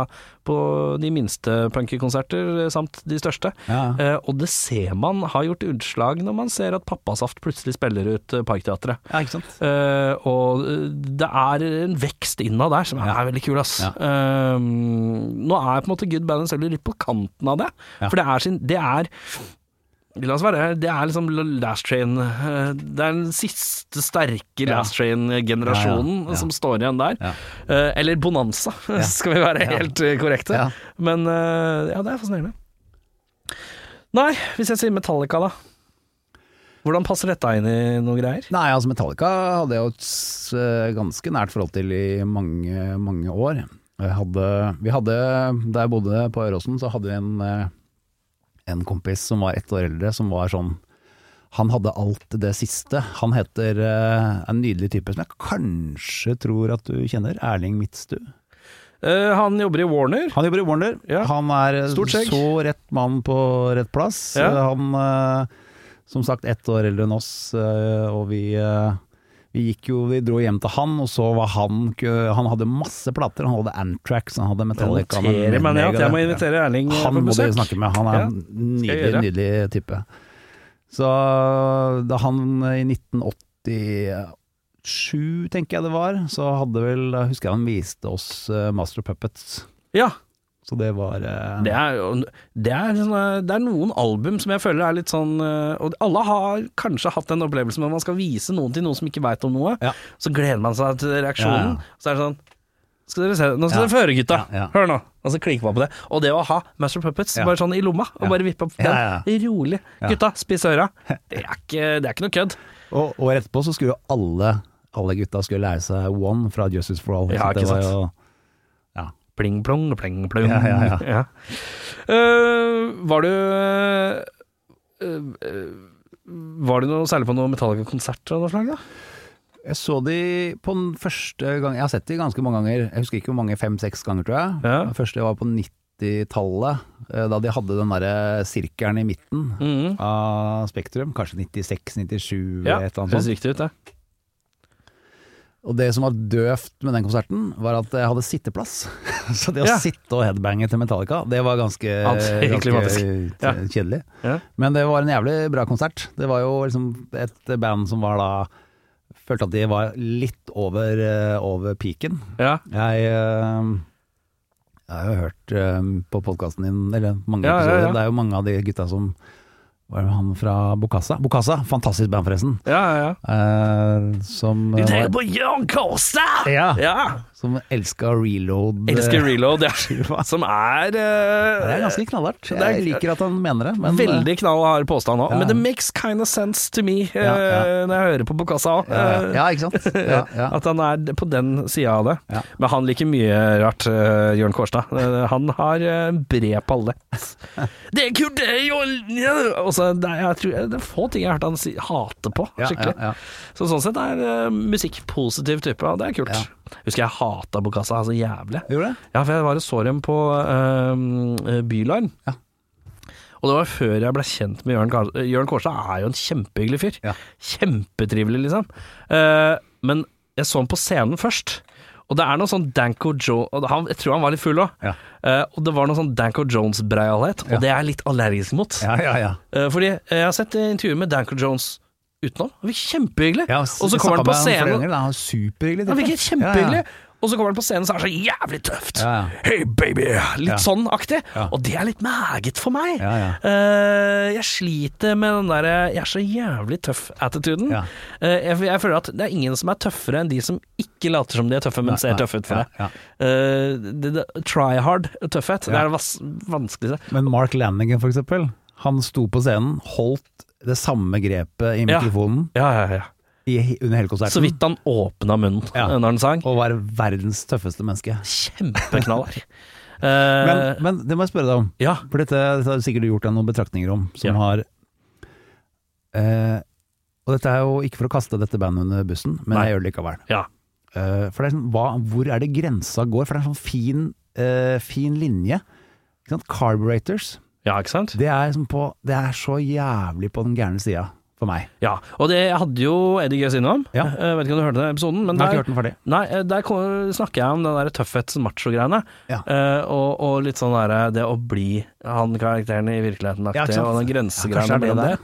[SPEAKER 2] på de minste punkekonserter, eh, samt de største.
[SPEAKER 3] Ja.
[SPEAKER 2] Eh, og det ser man har gjort utslag når man ser at Pappasaft plutselig spiller ut eh, Parkteatret.
[SPEAKER 3] ja, ikke sant.
[SPEAKER 2] Eh, og eh, det er en vekst innad der som er,
[SPEAKER 3] Ja.
[SPEAKER 2] veldig kul, ass.
[SPEAKER 3] Ja.
[SPEAKER 2] Eh, nå er på en måte Good Band and Cellular litt på kanten av det,
[SPEAKER 3] Ja.
[SPEAKER 2] for det er sin Det er La oss være Det er liksom Last Train eh, Det er den siste sterke
[SPEAKER 3] Ja.
[SPEAKER 2] Last Train-generasjonen
[SPEAKER 3] Ja, ja, ja.
[SPEAKER 2] som står igjen der.
[SPEAKER 3] Ja.
[SPEAKER 2] Eh, eller Bonanza, skal vi være
[SPEAKER 3] Ja.
[SPEAKER 2] helt eh, korrekte.
[SPEAKER 3] Ja.
[SPEAKER 2] Men eh, ja, det er fascinerende. Nei, hvis jeg sier Metallica, da. Hvordan passer dette inn i noe greier?
[SPEAKER 3] Nei, altså eh, Metallica hadde jeg jo et s- ganske nært forhold til i mange, mange år. Jeg hadde, vi hadde, da jeg bodde på Øråsen, så hadde vi en, eh, en kompis som var ett år eldre, som var sånn Han hadde alt det siste. Han heter eh, en nydelig type som jeg kanskje tror at du kjenner, Erling Midtstu.
[SPEAKER 2] Eh, han jobber i Warner.
[SPEAKER 3] Han jobber i Warner.
[SPEAKER 2] Ja.
[SPEAKER 3] Han er
[SPEAKER 2] Stort skjegg.
[SPEAKER 3] så rett mann på rett plass.
[SPEAKER 2] Ja.
[SPEAKER 3] Han, eh, som sagt, ett år eldre enn oss, eh, og vi eh, vi gikk jo, vi dro hjem til han, og så var han kø- Han hadde masse plater. Han hadde Antrax, han hadde
[SPEAKER 2] Jeg
[SPEAKER 3] Metallica han hadde
[SPEAKER 2] noterer meg ned at jeg må
[SPEAKER 3] Megadeth.
[SPEAKER 2] invitere Erling eh,
[SPEAKER 3] Han
[SPEAKER 2] på
[SPEAKER 3] må du
[SPEAKER 2] besøk.
[SPEAKER 3] snakke med. Han er
[SPEAKER 2] Ja,
[SPEAKER 3] en
[SPEAKER 2] jeg
[SPEAKER 3] nydelig,
[SPEAKER 2] gjøre.
[SPEAKER 3] nydelig type. Så da han eh, i 1987, tenker jeg det var, så hadde vel da Husker jeg han viste oss eh, Master of Puppets.
[SPEAKER 2] Ja,
[SPEAKER 3] Så det var eh,
[SPEAKER 2] det er, jo- det, er sånne, det er noen album som jeg føler er litt sånn eh, Og alle har kanskje hatt den opplevelsen når man skal vise noen til noen som ikke veit om noe.
[SPEAKER 3] Ja.
[SPEAKER 2] Så gleder man seg til
[SPEAKER 3] Ja,
[SPEAKER 2] reaksjonen.
[SPEAKER 3] ja.
[SPEAKER 2] Så er det sånn skal dere se, Nå skal
[SPEAKER 3] Ja.
[SPEAKER 2] dere få høre, gutta.
[SPEAKER 3] Ja, ja.
[SPEAKER 2] Hør nå. Og så klikker man på det. Og det å ha Master of Puppets
[SPEAKER 3] Ja.
[SPEAKER 2] bare sånn i lomma, og
[SPEAKER 3] Ja.
[SPEAKER 2] bare vippe opp den,
[SPEAKER 3] Ja,
[SPEAKER 2] rolig.
[SPEAKER 3] Ja.
[SPEAKER 2] Gutta, spiss øra. Det er ikke, det er ikke noe kødd.
[SPEAKER 3] Og og året etterpå så skulle jo alle, alle gutta skulle lære seg One fra Justice for All.
[SPEAKER 2] Ja,
[SPEAKER 3] så det
[SPEAKER 2] ikke
[SPEAKER 3] var
[SPEAKER 2] sant.
[SPEAKER 3] jo
[SPEAKER 2] Pling plong, pling plong.
[SPEAKER 3] Ja, ja, ja.
[SPEAKER 2] Eh, var du eh, eh, Var du noe særlig på noe Metallica-konsert av noe slag, da?
[SPEAKER 3] Jeg så de på den første gang Jeg har sett de ganske mange ganger. Jeg husker ikke hvor mange, fem-seks ganger, tror jeg.
[SPEAKER 2] Ja.
[SPEAKER 3] Den første var på 90-tallet, eh, da de hadde den derre sirkelen i midten
[SPEAKER 2] Mhm.
[SPEAKER 3] av Spektrum. Kanskje 96-97
[SPEAKER 2] Ja,
[SPEAKER 3] eller et eller annet
[SPEAKER 2] høres
[SPEAKER 3] sånt.
[SPEAKER 2] riktig ut, det.
[SPEAKER 3] Og det som var døvt med den konserten, var at jeg hadde sitteplass. Så det å
[SPEAKER 2] Ja.
[SPEAKER 3] sitte og headbange til Metallica, det var ganske, ganske
[SPEAKER 2] Antiklimatisk. Ja.
[SPEAKER 3] kjedelig.
[SPEAKER 2] Ja.
[SPEAKER 3] Men det var en jævlig bra konsert. Det var jo liksom et band som var da Følte at de var litt over, eh, over peaken.
[SPEAKER 2] Ja.
[SPEAKER 3] Jeg, eh, jeg har jo hørt eh, på podkasten din Eller mange
[SPEAKER 2] Ja, ja,
[SPEAKER 3] episoder.
[SPEAKER 2] ja.
[SPEAKER 3] Det er jo mange av de gutta som Var det han fra Bokassa? Bokassa, fantastisk band forresten.
[SPEAKER 2] ja, ja, ja.
[SPEAKER 3] Eh, som
[SPEAKER 2] De
[SPEAKER 3] eh,
[SPEAKER 2] tenker
[SPEAKER 3] var-
[SPEAKER 2] på Young Coaster!
[SPEAKER 3] Ja.
[SPEAKER 2] ja.
[SPEAKER 3] Som elska reload.
[SPEAKER 2] Elsker reload, ja.
[SPEAKER 3] Skiva.
[SPEAKER 2] Som er eh,
[SPEAKER 3] Det er ganske knallhardt.
[SPEAKER 2] Det er-
[SPEAKER 3] Jeg liker at han mener det. Men,
[SPEAKER 2] Veldig knallhard påstand òg,
[SPEAKER 3] Ja.
[SPEAKER 2] men det makes kind of sense to me eh,
[SPEAKER 3] Ja, ja.
[SPEAKER 2] når jeg hører på Bokassa Eh, òg.
[SPEAKER 3] eh, Ja, ja, ikke sant? Ja, ja.
[SPEAKER 2] At han er på den sida av det.
[SPEAKER 3] Ja.
[SPEAKER 2] Men han liker mye rart, eh, Jørn Kårstad. Eh, han har eh, bred palett. det er kult, det er jo Og så, det, er- jeg tror, det er få ting jeg har hørt han si, hate på,
[SPEAKER 3] Ja,
[SPEAKER 2] skikkelig.
[SPEAKER 3] ja, ja.
[SPEAKER 2] Så sånn sett er eh, musikk positiv type, og det er kult. Husker jeg hata Bokassa så altså jævlig.
[SPEAKER 3] Gjorde det?
[SPEAKER 2] Ja, for jeg var og så dem på uh, Bylarm.
[SPEAKER 3] Ja.
[SPEAKER 2] Og det var før jeg ble kjent med Jørn Kårstad. Jørn Kårstad er jo en kjempehyggelig fyr.
[SPEAKER 3] Ja.
[SPEAKER 2] Kjempetrivelig, liksom. Eh, men jeg så ham på scenen først. Og det er noe sånn Danko Joe og han, Jeg tror han var litt full òg.
[SPEAKER 3] Ja.
[SPEAKER 2] og det var noe sånn Danko Jones-breialhet, og
[SPEAKER 3] Ja.
[SPEAKER 2] det er jeg litt allergisk mot.
[SPEAKER 3] Ja, ja, ja.
[SPEAKER 2] Eh, fordi eh, jeg har sett eh, intervjuer med Danko Jones utenom. Han virker kjempehyggelig.
[SPEAKER 3] Jeg har s-
[SPEAKER 2] og så kommer han
[SPEAKER 3] snakket
[SPEAKER 2] på
[SPEAKER 3] med flere
[SPEAKER 2] scenen
[SPEAKER 3] ganger, da. Han er superhyggelig.
[SPEAKER 2] han
[SPEAKER 3] type.
[SPEAKER 2] virker kjempehyggelig. Og så kommer han på scenen så er han så jævlig tøft.
[SPEAKER 3] Ja, ja.
[SPEAKER 2] Hey baby! Litt
[SPEAKER 3] Ja.
[SPEAKER 2] sånn aktig.
[SPEAKER 3] Ja.
[SPEAKER 2] Og det er litt meget for meg.
[SPEAKER 3] Ja, ja.
[SPEAKER 2] Eh, jeg sliter med den derre 'jeg er så jævlig tøff'-attituden.
[SPEAKER 3] Ja.
[SPEAKER 2] Eh, jeg, jeg føler at det er ingen som er tøffere enn de som ikke later som de er tøffe, men
[SPEAKER 3] Nei,
[SPEAKER 2] ser
[SPEAKER 3] nei,
[SPEAKER 2] tøffe ut for
[SPEAKER 3] ja,
[SPEAKER 2] deg. Eh, det, det, try hard-tøffhet, det
[SPEAKER 3] Ja.
[SPEAKER 2] er det vas- vanskeligste.
[SPEAKER 3] Ja. Men Mark Lannigan, for eksempel. Han sto på scenen, holdt det samme grepet i
[SPEAKER 2] Ja.
[SPEAKER 3] mikrofonen
[SPEAKER 2] Ja, ja, ja.
[SPEAKER 3] i, under hele konserten.
[SPEAKER 2] Så vidt han åpna munnen
[SPEAKER 3] Ja.
[SPEAKER 2] eh, når han sang.
[SPEAKER 3] Og var verdens tøffeste menneske.
[SPEAKER 2] Kjempeknallhard. Eh,
[SPEAKER 3] Men, men det må jeg spørre deg om.
[SPEAKER 2] ja.
[SPEAKER 3] For dette, dette har sikkert du gjort deg noen betraktninger om,
[SPEAKER 2] Ja.
[SPEAKER 3] som har eh, Og dette er jo ikke for å kaste dette bandet under bussen, men
[SPEAKER 2] Nei.
[SPEAKER 3] jeg gjør det likevel.
[SPEAKER 2] ja.
[SPEAKER 3] Eh, for det er sånn, hva, hvor er det grensa går? For det er en sånn fin, eh, fin linje. Ikke sant? Carburetors,
[SPEAKER 2] Ja, ikke sant?
[SPEAKER 3] det er, som på, det er så jævlig på den gærne sida for meg.
[SPEAKER 2] Ja, og det jeg hadde jo Eddie Gøys innom. Eh,
[SPEAKER 3] Ja.
[SPEAKER 2] Jeg vet ikke om du hørte den episoden, men
[SPEAKER 3] Jeg har ikke
[SPEAKER 2] der,
[SPEAKER 3] hørt den ferdig.
[SPEAKER 2] nei, eh, der kom- snakker jeg om den der tøffhets- og macho-greiene.
[SPEAKER 3] Ja.
[SPEAKER 2] Eh, og, og litt sånn der, det å bli han karakteren i virkeligheten
[SPEAKER 3] Ja, ikke
[SPEAKER 2] aktig,
[SPEAKER 3] sant?
[SPEAKER 2] og den
[SPEAKER 3] Ja, kanskje det
[SPEAKER 2] grensegreiene
[SPEAKER 3] er
[SPEAKER 2] mellom
[SPEAKER 3] det
[SPEAKER 2] der.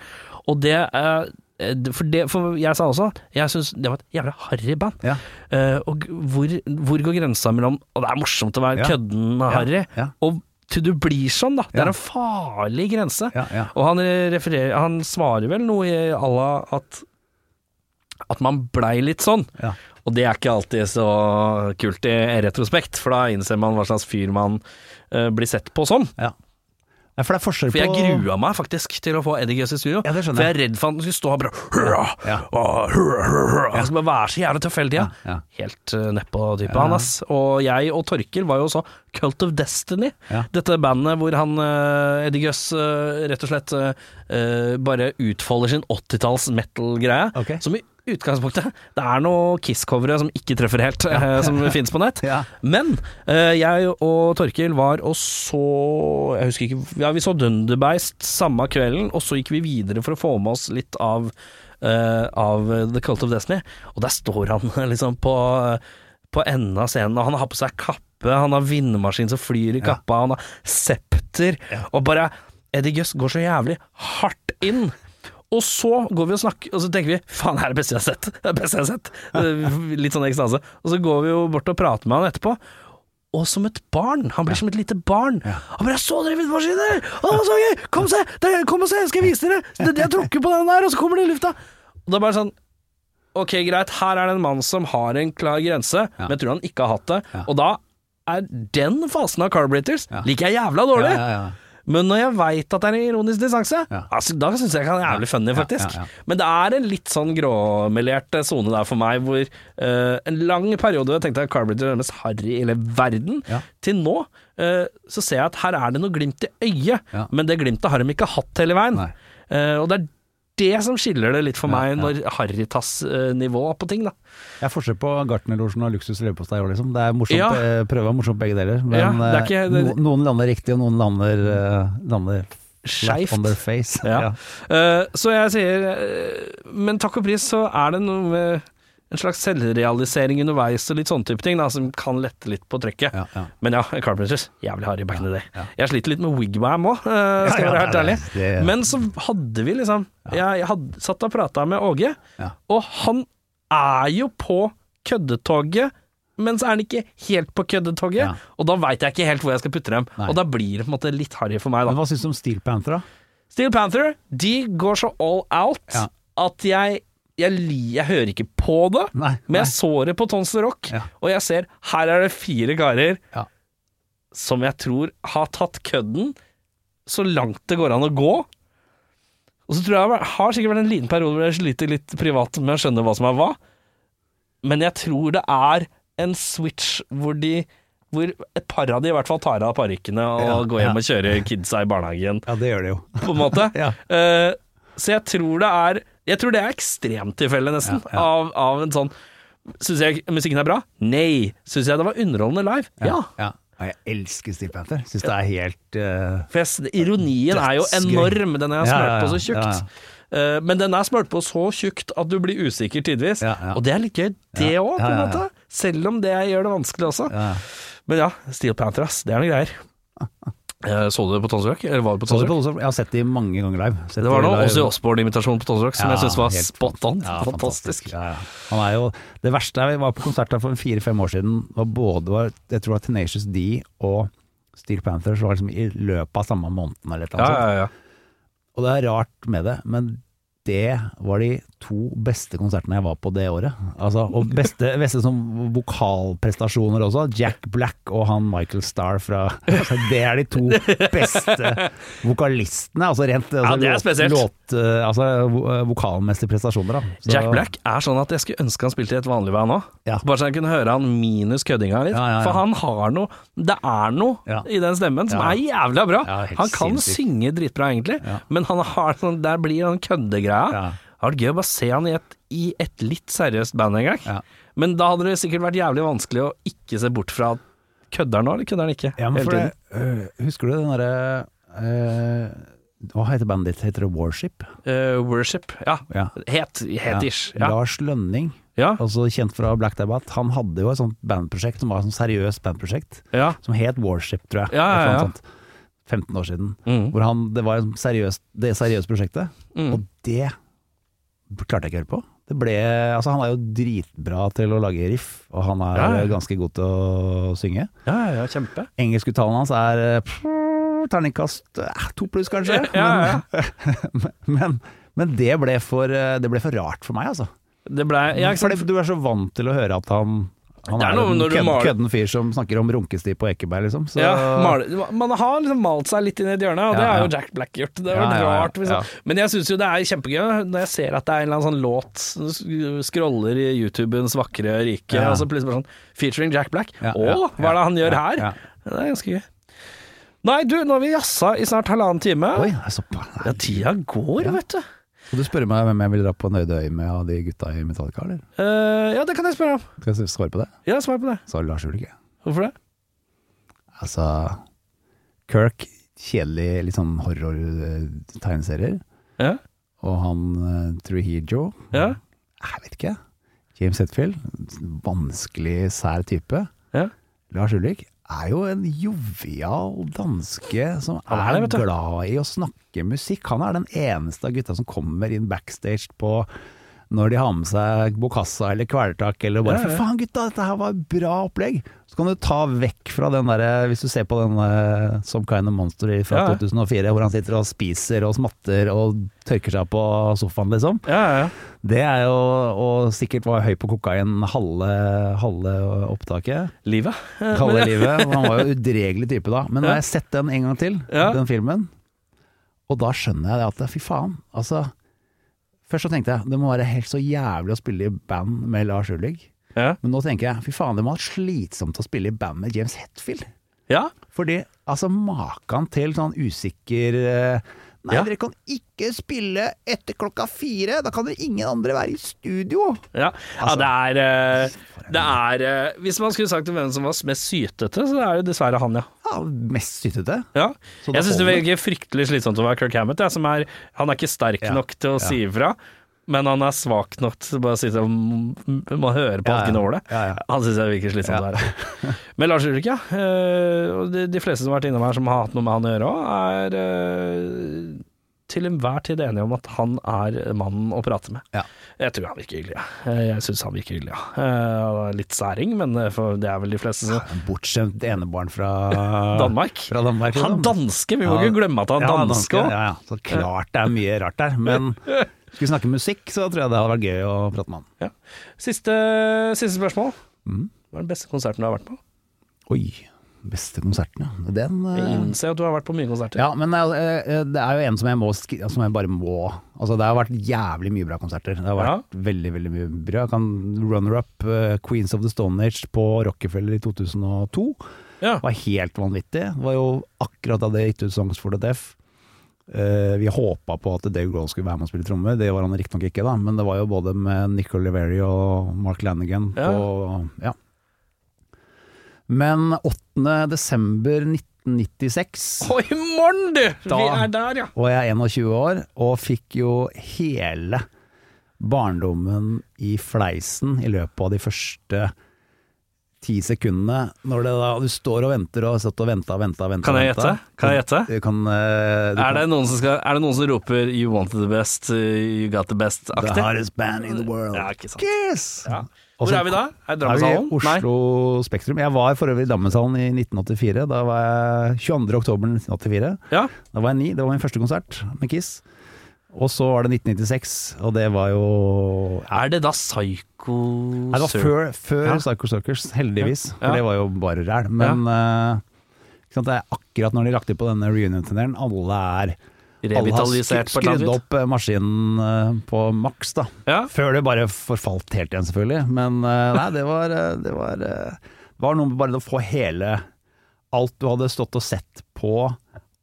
[SPEAKER 2] Og det eh, eh, for, det, for jeg sa også Jeg syns det var et jævla harry band.
[SPEAKER 3] Ja.
[SPEAKER 2] Eh, og g- hvor, hvor går grensa mellom Og det er morsomt å være
[SPEAKER 3] Ja.
[SPEAKER 2] kødden og harry,
[SPEAKER 3] ja.
[SPEAKER 2] og til du blir sånn, da. Det
[SPEAKER 3] Ja.
[SPEAKER 2] er en farlig grense.
[SPEAKER 3] Ja, ja.
[SPEAKER 2] Og han, refererer, han svarer vel noe i à la at, at man blei litt sånn.
[SPEAKER 3] Ja.
[SPEAKER 2] Og det er ikke alltid så kult i retrospekt, for da innser man hva slags fyr man eh, blir sett på som.
[SPEAKER 3] Ja. Ja, for det er forskjell
[SPEAKER 2] For jeg
[SPEAKER 3] på
[SPEAKER 2] grua meg faktisk til å få Eddie Gøss i studio.
[SPEAKER 3] Ja, det skjønner
[SPEAKER 2] for jeg er redd for at han skulle stå og bare hurra,
[SPEAKER 3] Ja.
[SPEAKER 2] og hurra, hurra, Han skal bare være så jævla tøff hele tida.
[SPEAKER 3] Ja, ja.
[SPEAKER 2] Helt uh, nedpå type, han ass. Og jeg og Torkil var jo også Cult of Destiny.
[SPEAKER 3] Ja.
[SPEAKER 2] Dette bandet hvor han eh, Eddie Gøss eh, rett og slett eh, eh, bare utfolder sin 80-talls metal-greie.
[SPEAKER 3] Ok.
[SPEAKER 2] Som i utgangspunktet Det er noen Kiss-covere som ikke treffer helt, eh, som finnes på nett.
[SPEAKER 3] Ja.
[SPEAKER 2] Men eh, jeg og Torkil var og så Jeg husker ikke Ja, vi så Dunderbeist samme kvelden, og så gikk vi videre for å få med oss litt av eh, Av The Cult of Destiny. Og der står han liksom på På enden av scenen, og han har på seg kappe, han har vindmaskin som flyr i kappa, han har septer, og bare Eddie Guss går så jævlig hardt inn. Og så går vi og snakker, og så tenker vi faen, det er det beste jeg har sett. Det er det beste jeg har sett. Eh, Litt sånn ekstase. Og så går vi jo bort og prater med han etterpå. Og som et barn. Han blir som et lite barn. Han bare 'Jeg så dere i vindmaskiner! Å, så gøy! Kom, se! Det- Kom og se! Skal jeg vise dere! Det- Jeg tråkker på den der, og så kommer det i lufta! Og det er bare sånn Ok, greit, her er det en mann som har en klar grense, men jeg tror han ikke har hatt det. Og da er den fasen av Carburetors liker jeg jævla dårlig.
[SPEAKER 3] Ja, ja, ja.
[SPEAKER 2] Men når jeg veit at det er en ironisk distanse,
[SPEAKER 3] Ja.
[SPEAKER 2] altså, da syns jeg ikke han er jævlig funny, faktisk.
[SPEAKER 3] ja, ja.
[SPEAKER 2] Men det er en litt sånn gråmelert sone der for meg, hvor eh, en lang periode hvor jeg tenkte at Carburetor er den mest harry i hele verden,
[SPEAKER 3] Ja.
[SPEAKER 2] til nå eh, så ser jeg at her er det noe glimt i øyet,
[SPEAKER 3] Ja.
[SPEAKER 2] men det glimtet har de ikke hatt hele veien.
[SPEAKER 3] Nei.
[SPEAKER 2] Eh, og det er det som skiller det litt for meg, når harrytass-nivå på ting, da.
[SPEAKER 3] Det er forskjell på Gartnerlosjen og luksus leverpostei òg, liksom. Det er morsomt,
[SPEAKER 2] Ja.
[SPEAKER 3] eh, prøve er morsomt begge deler, men
[SPEAKER 2] Ja, det er
[SPEAKER 3] eh,
[SPEAKER 2] ikke- det-
[SPEAKER 3] no- noen lander riktig, og noen lander, eh, lander flat
[SPEAKER 2] Skeivt.
[SPEAKER 3] on their face.
[SPEAKER 2] Ja.
[SPEAKER 3] Ja.
[SPEAKER 2] Eh, så jeg sier eh, Men takk og pris så er det noe med en slags selvrealisering underveis og litt sånne type ting da, som kan lette litt på trøkket.
[SPEAKER 3] Ja, ja.
[SPEAKER 2] Men ja, Carpenters, jævlig harry back in the day. Jeg sliter litt med wigwam òg, skal jeg
[SPEAKER 3] Ja,
[SPEAKER 2] være
[SPEAKER 3] ja,
[SPEAKER 2] helt ærlig.
[SPEAKER 3] det- det-
[SPEAKER 2] Men så hadde vi liksom Jeg, jeg hadde, satt og prata med Åge,
[SPEAKER 3] Ja.
[SPEAKER 2] og han er jo på køddetoget. Men så er han ikke helt på køddetoget,
[SPEAKER 3] Ja.
[SPEAKER 2] og da veit jeg ikke helt hvor jeg skal putte dem.
[SPEAKER 3] Nei.
[SPEAKER 2] Og da blir det på en måte litt harry for meg, da.
[SPEAKER 3] Men hva syns du om Steel Panther, da?
[SPEAKER 2] Steel Panther, de går så all out
[SPEAKER 3] Ja.
[SPEAKER 2] at jeg, jeg, li- jeg hører ikke på det,
[SPEAKER 3] Nei,
[SPEAKER 2] men
[SPEAKER 3] nei.
[SPEAKER 2] jeg så det på Tons The Rock,
[SPEAKER 3] Ja.
[SPEAKER 2] og jeg ser her er det fire karer
[SPEAKER 3] Ja.
[SPEAKER 2] som jeg tror har tatt kødden så langt det går an å gå. Og så tror jeg det har sikkert vært en liten periode hvor jeg sliter litt privat med å skjønne hva som er hva, men jeg tror det er en switch hvor de hvor et par av de i hvert fall tar av parykkene og
[SPEAKER 3] Ja,
[SPEAKER 2] går hjem
[SPEAKER 3] ja.
[SPEAKER 2] og kjører kidsa i barnehagen
[SPEAKER 3] Ja, det gjør det jo.
[SPEAKER 2] på en måte.
[SPEAKER 3] Ja.
[SPEAKER 2] Eh, så jeg tror det er Jeg tror det er ekstremtilfelle, nesten,
[SPEAKER 3] Ja, ja.
[SPEAKER 2] Av, av en sånn Syns jeg musikken er bra? Nei. Syns jeg det var underholdende live? Ja.
[SPEAKER 3] ja. Jeg elsker Steel Panther. Syns det er helt eh,
[SPEAKER 2] For jeg, s- ironien er jo
[SPEAKER 3] Dødsgøy.
[SPEAKER 2] enorm, den er
[SPEAKER 3] Ja,
[SPEAKER 2] smurt
[SPEAKER 3] ja,
[SPEAKER 2] på så
[SPEAKER 3] ja.
[SPEAKER 2] tjukt. Eh, men den er smurt på så tjukt at du blir usikker tidvis.
[SPEAKER 3] Ja, ja.
[SPEAKER 2] Og det er litt gøy, det
[SPEAKER 3] Ja,
[SPEAKER 2] òg, på
[SPEAKER 3] ja,
[SPEAKER 2] en
[SPEAKER 3] ja,
[SPEAKER 2] måte. Selv om det gjør det vanskelig også.
[SPEAKER 3] ja.
[SPEAKER 2] Men ja, Steel Panther, ass. Det er noen greier. Eh, så du det på Tons Rock? Eller var det på
[SPEAKER 3] Så
[SPEAKER 2] Tons
[SPEAKER 3] du
[SPEAKER 2] Rock?
[SPEAKER 3] på Tons Rock? Jeg har sett de mange ganger live. Sett
[SPEAKER 2] Det var
[SPEAKER 3] de
[SPEAKER 2] noe
[SPEAKER 3] live.
[SPEAKER 2] Ozzy Osbourne-imitasjon på Tons Rock som
[SPEAKER 3] Ja,
[SPEAKER 2] jeg syns var
[SPEAKER 3] helt
[SPEAKER 2] spot on.
[SPEAKER 3] Ja,
[SPEAKER 2] fantastisk.
[SPEAKER 3] Ja, ja. Han er jo, det verste er, jeg var på konsert der for fire-fem år siden, og både var, jeg tror det var Tenacious D og Steel Panthers var liksom i løpet av samme måneden eller et
[SPEAKER 2] Ja,
[SPEAKER 3] eller annet. sånt.
[SPEAKER 2] ja, ja.
[SPEAKER 3] Og det er rart med det, men det var de to beste konsertene jeg var på det året. Altså, og beste, beste som vokalprestasjoner også. Jack Black og han Michael Starr fra altså, Det er de to beste vokalistene. Altså rent altså,
[SPEAKER 2] Ja, det er spesielt.
[SPEAKER 3] Låt, eh, altså, vo- vokalmessige prestasjoner, da. Så-
[SPEAKER 2] Jack Black er sånn at jeg skulle ønske han spilte i et vanlig band òg.
[SPEAKER 3] Ja.
[SPEAKER 2] Bare så jeg kunne høre han minus køddinga litt.
[SPEAKER 3] Ja, ja, ja.
[SPEAKER 2] For han har noe Det er noe
[SPEAKER 3] Ja.
[SPEAKER 2] i den stemmen som
[SPEAKER 3] Ja.
[SPEAKER 2] er jævla bra.
[SPEAKER 3] Ja, helt
[SPEAKER 2] han kan
[SPEAKER 3] sinnssykt.
[SPEAKER 2] synge dritbra, egentlig,
[SPEAKER 3] Ja.
[SPEAKER 2] men han har sånn Der blir den køddegreia.
[SPEAKER 3] Ja.
[SPEAKER 2] Det hadde vært gøy å bare se han i et, i et litt seriøst band en gang.
[SPEAKER 3] Ja.
[SPEAKER 2] Men da hadde det sikkert vært jævlig vanskelig å ikke se bort fra at Kødder han nå, eller kødder han ikke?
[SPEAKER 3] Ja, men
[SPEAKER 2] Hele
[SPEAKER 3] for
[SPEAKER 2] tiden.
[SPEAKER 3] det, øh, husker du den derre øh, Hva heter bandet ditt? Heter det Warship?
[SPEAKER 2] Eh, worship. Ja.
[SPEAKER 3] Ja.
[SPEAKER 2] Het, het-ish. Ja.
[SPEAKER 3] Lars Lønning,
[SPEAKER 2] Ja.
[SPEAKER 3] også Altså, kjent fra Black Dabbat, han hadde jo et sånt bandprosjekt som var et sånt seriøst bandprosjekt,
[SPEAKER 2] ja.
[SPEAKER 3] som het Warship, tror jeg.
[SPEAKER 2] Ja, ja,
[SPEAKER 3] Et eller annet
[SPEAKER 2] ja.
[SPEAKER 3] sånt. 15 år siden.
[SPEAKER 2] Mm.
[SPEAKER 3] Hvor han, det var et seriøst, det seriøse prosjektet, og det klarte jeg ikke å høre på. Det ble, altså han er jo dritbra til å lage riff, og han er
[SPEAKER 2] Ja, ja.
[SPEAKER 3] ganske god til å synge.
[SPEAKER 2] ja, ja, ja, kjempe.
[SPEAKER 3] Engelskuttalen hans er eh, pff, terningkast eh, to pluss, kanskje.
[SPEAKER 2] Ja,
[SPEAKER 3] Men, men, men det, ble for, eh, det ble for rart for meg, altså.
[SPEAKER 2] Det ble, ja, ikke sant?
[SPEAKER 3] For det- du er så vant til å høre at han Han
[SPEAKER 2] Det er
[SPEAKER 3] er,
[SPEAKER 2] noe
[SPEAKER 3] en
[SPEAKER 2] når du
[SPEAKER 3] kødden,
[SPEAKER 2] maler-
[SPEAKER 3] kødden fyr som snakker om runkesti på Ekeberg, liksom. Så,
[SPEAKER 2] Ja, male- man har liksom malt seg litt inn i et hjørne, og det
[SPEAKER 3] Ja,
[SPEAKER 2] er
[SPEAKER 3] ja.
[SPEAKER 2] jo Jack Black gjort. Det er
[SPEAKER 3] Ja,
[SPEAKER 2] vært
[SPEAKER 3] ja, ja,
[SPEAKER 2] rart. Liksom.
[SPEAKER 3] ja.
[SPEAKER 2] Men jeg syns jo det er kjempegøy når jeg ser at det er en eller annen sånn låt som sk- scroller i YouTubens vakre rike,
[SPEAKER 3] Ja.
[SPEAKER 2] og så plutselig bare sånn featuring Jack Black.
[SPEAKER 3] Ja,
[SPEAKER 2] Å,
[SPEAKER 3] ja,
[SPEAKER 2] hva er det han gjør
[SPEAKER 3] ja,
[SPEAKER 2] her?
[SPEAKER 3] ja.
[SPEAKER 2] Det er ganske gøy. Nei, du, nå har vi jazza i snart halvannen time.
[SPEAKER 3] Oi, det er såpass.
[SPEAKER 2] Ja, tida går,
[SPEAKER 3] Ja.
[SPEAKER 2] vet du.
[SPEAKER 3] Skal du spørre meg hvem jeg vil dra på Nøyde øy med av de gutta i Metallica, eller?
[SPEAKER 2] Eh, ja, det kan jeg spørre om.
[SPEAKER 3] Skal jeg svare på det?
[SPEAKER 2] Ja, svar på det.
[SPEAKER 3] Så Lars Ulrikke.
[SPEAKER 2] Hvorfor det?
[SPEAKER 3] Altså, Kirk, kjedelig litt sånn eh, horror-tegneserier.
[SPEAKER 2] Ja,
[SPEAKER 3] Og han eh, Trujillo,
[SPEAKER 2] ja,
[SPEAKER 3] jeg vet ikke. James Hetfield, vanskelig, sær type.
[SPEAKER 2] ja.
[SPEAKER 3] Lars Ulrik er jo en jovial danske som
[SPEAKER 2] Han
[SPEAKER 3] er,
[SPEAKER 2] er det, vet du.
[SPEAKER 3] glad i å snakke musikk. Han er den eneste av gutta som kommer inn backstage på når de har med seg Bokassa eller Kvelertak eller bare
[SPEAKER 2] Ja, ja.
[SPEAKER 3] 'Fy faen, gutta, dette her var et bra opplegg'. Så kan du ta vekk fra den derre Hvis du ser på den eh, Some Kind of Monster fra
[SPEAKER 2] Ja, ja.
[SPEAKER 3] 2004, hvor han sitter og spiser og smatter og tørker seg på sofaen, liksom.
[SPEAKER 2] ja, ja, ja.
[SPEAKER 3] Det er jo Og sikkert var høy på kokain halve, halve opptaket
[SPEAKER 2] Livet. Eh,
[SPEAKER 3] kalde
[SPEAKER 2] men-
[SPEAKER 3] livet. og Han var jo udregelig type da. Men nå har jeg sett den en gang til,
[SPEAKER 2] Ja.
[SPEAKER 3] den filmen, og da skjønner jeg det at fy faen, altså. Først så tenkte jeg det må være helt så jævlig å spille i band med Lars Ulrik.
[SPEAKER 2] Ja.
[SPEAKER 3] Men nå tenker jeg fy faen, det må ha vært slitsomt å spille i band med James Hetfield.
[SPEAKER 2] ja.
[SPEAKER 3] Fordi altså maken til sånn usikker eh, Nei,
[SPEAKER 2] Ja.
[SPEAKER 3] dere kan ikke spille etter klokka fire! Da kan dere ingen andre være i studio!
[SPEAKER 2] Ja,
[SPEAKER 3] Altså,
[SPEAKER 2] ja det er, eh, det er eh, Hvis man skulle sagt hvem som var mest sytete, så er det dessverre han, ja.
[SPEAKER 3] Ja, mest sytete.
[SPEAKER 2] ja.
[SPEAKER 3] Så det
[SPEAKER 2] Jeg syns det
[SPEAKER 3] holder.
[SPEAKER 2] virker fryktelig slitsomt å være Kirk Hammett. Jeg, som er, han er ikke sterk
[SPEAKER 3] Ja,
[SPEAKER 2] nok til å si ifra, men han er svak nok til å bare sitte og m- m- må høre på
[SPEAKER 3] Ja,
[SPEAKER 2] alt
[SPEAKER 3] ja.
[SPEAKER 2] gnålet.
[SPEAKER 3] Ja, ja.
[SPEAKER 2] Han syns jeg virker slitsomt å være. Men Lars Ulrik, ja. eh, og de, de fleste som har vært innom her som har hatt noe med han å gjøre òg, er eh, til enhver tid enige om at han er mannen å prate med.
[SPEAKER 3] Ja.
[SPEAKER 2] Jeg tror han virker hyggelig. ja. Eh, Jeg syns han virker hyggelig, ja. Eh, han er Litt særing, men eh, for det er vel de fleste som
[SPEAKER 3] Bortskjemt enebarn fra
[SPEAKER 2] Danmark.
[SPEAKER 3] Fra Danmark
[SPEAKER 2] Han
[SPEAKER 3] liksom.
[SPEAKER 2] danske, vi må ikke glemme at han er
[SPEAKER 3] Ja,
[SPEAKER 2] danske òg.
[SPEAKER 3] Ja, ja. Så klart det er mye rart der. Men skulle vi snakke musikk, så tror jeg det hadde vært gøy å prate med han.
[SPEAKER 2] Ja. Siste, siste spørsmål. Hva er den beste konserten du har vært på?
[SPEAKER 3] Oi, beste konserten, ja. Den
[SPEAKER 2] Jeg
[SPEAKER 3] eh,
[SPEAKER 2] innser at du har vært på mye konserter.
[SPEAKER 3] Ja, men eh, eh, det er jo en som jeg, må, skri- som jeg bare må Altså, det har vært jævlig mye bra konserter. Det har vært veldig, veldig mye bra. Jeg kan runner-up eh, Queens of the Stone Age på Rockefeller i 2002.
[SPEAKER 2] Ja.
[SPEAKER 3] var helt vanvittig. Det var jo akkurat da det gitt ut Songs for the Deaf. Eh, vi håpa på at Dave Grohl skulle være med og spille trommer, det var han riktignok ikke, da, men det var jo både med Nick Oliveri og Mark Lanigan
[SPEAKER 2] Ja.
[SPEAKER 3] på Ja. Men 8. desember 1996
[SPEAKER 2] Og i morgen, du! Vi
[SPEAKER 3] Da-
[SPEAKER 2] er der, ja.
[SPEAKER 3] og jeg er 21 år, og fikk jo hele barndommen i fleisen i løpet av de første ti sekundene. Når det da, du står og venter og har stått og venta og venta.
[SPEAKER 2] Kan jeg gjette? Kan jeg gjette?
[SPEAKER 3] Du kan, eh,
[SPEAKER 2] Er
[SPEAKER 3] du kan,
[SPEAKER 2] det, noen som skal, er det noen som roper 'you wanted the best', uh, 'you got the
[SPEAKER 3] The
[SPEAKER 2] best'-aktig?
[SPEAKER 3] hardest band in the world.
[SPEAKER 2] Ja, ikke sant.
[SPEAKER 3] Kiss!
[SPEAKER 2] Ja.
[SPEAKER 3] Og
[SPEAKER 2] Hvor
[SPEAKER 3] så
[SPEAKER 2] er vi da? Er det
[SPEAKER 3] Er vi i
[SPEAKER 2] Drammenshallen? Nei.
[SPEAKER 3] Oslo Spektrum. Jeg var for øvrig i Drammenshallen i 1984. Da var jeg 22. oktober 1984.
[SPEAKER 2] Ja.
[SPEAKER 3] Da var jeg ni, det var min første konsert med Kiss. Og så var det 1996, og det var jo
[SPEAKER 2] Er det da Psycho
[SPEAKER 3] Nei, det var
[SPEAKER 2] Circus?
[SPEAKER 3] før, før
[SPEAKER 2] Ja.
[SPEAKER 3] Psycho Circus, heldigvis.
[SPEAKER 2] Ja.
[SPEAKER 3] For det var jo bare ræl. Men eh, ikke sant, det er akkurat når de lagt ut på denne reunion-turneren, alle er alle har
[SPEAKER 2] Revitalisert på et
[SPEAKER 3] skrudd
[SPEAKER 2] eller annet vis?
[SPEAKER 3] opp eh, maskinen eh, på maks, da.
[SPEAKER 2] Ja.
[SPEAKER 3] Før det bare forfalt helt igjen, selvfølgelig. Men eh, nei, det var, eh, det var, eh, det var noe med bare å få hele Alt du hadde stått og sett på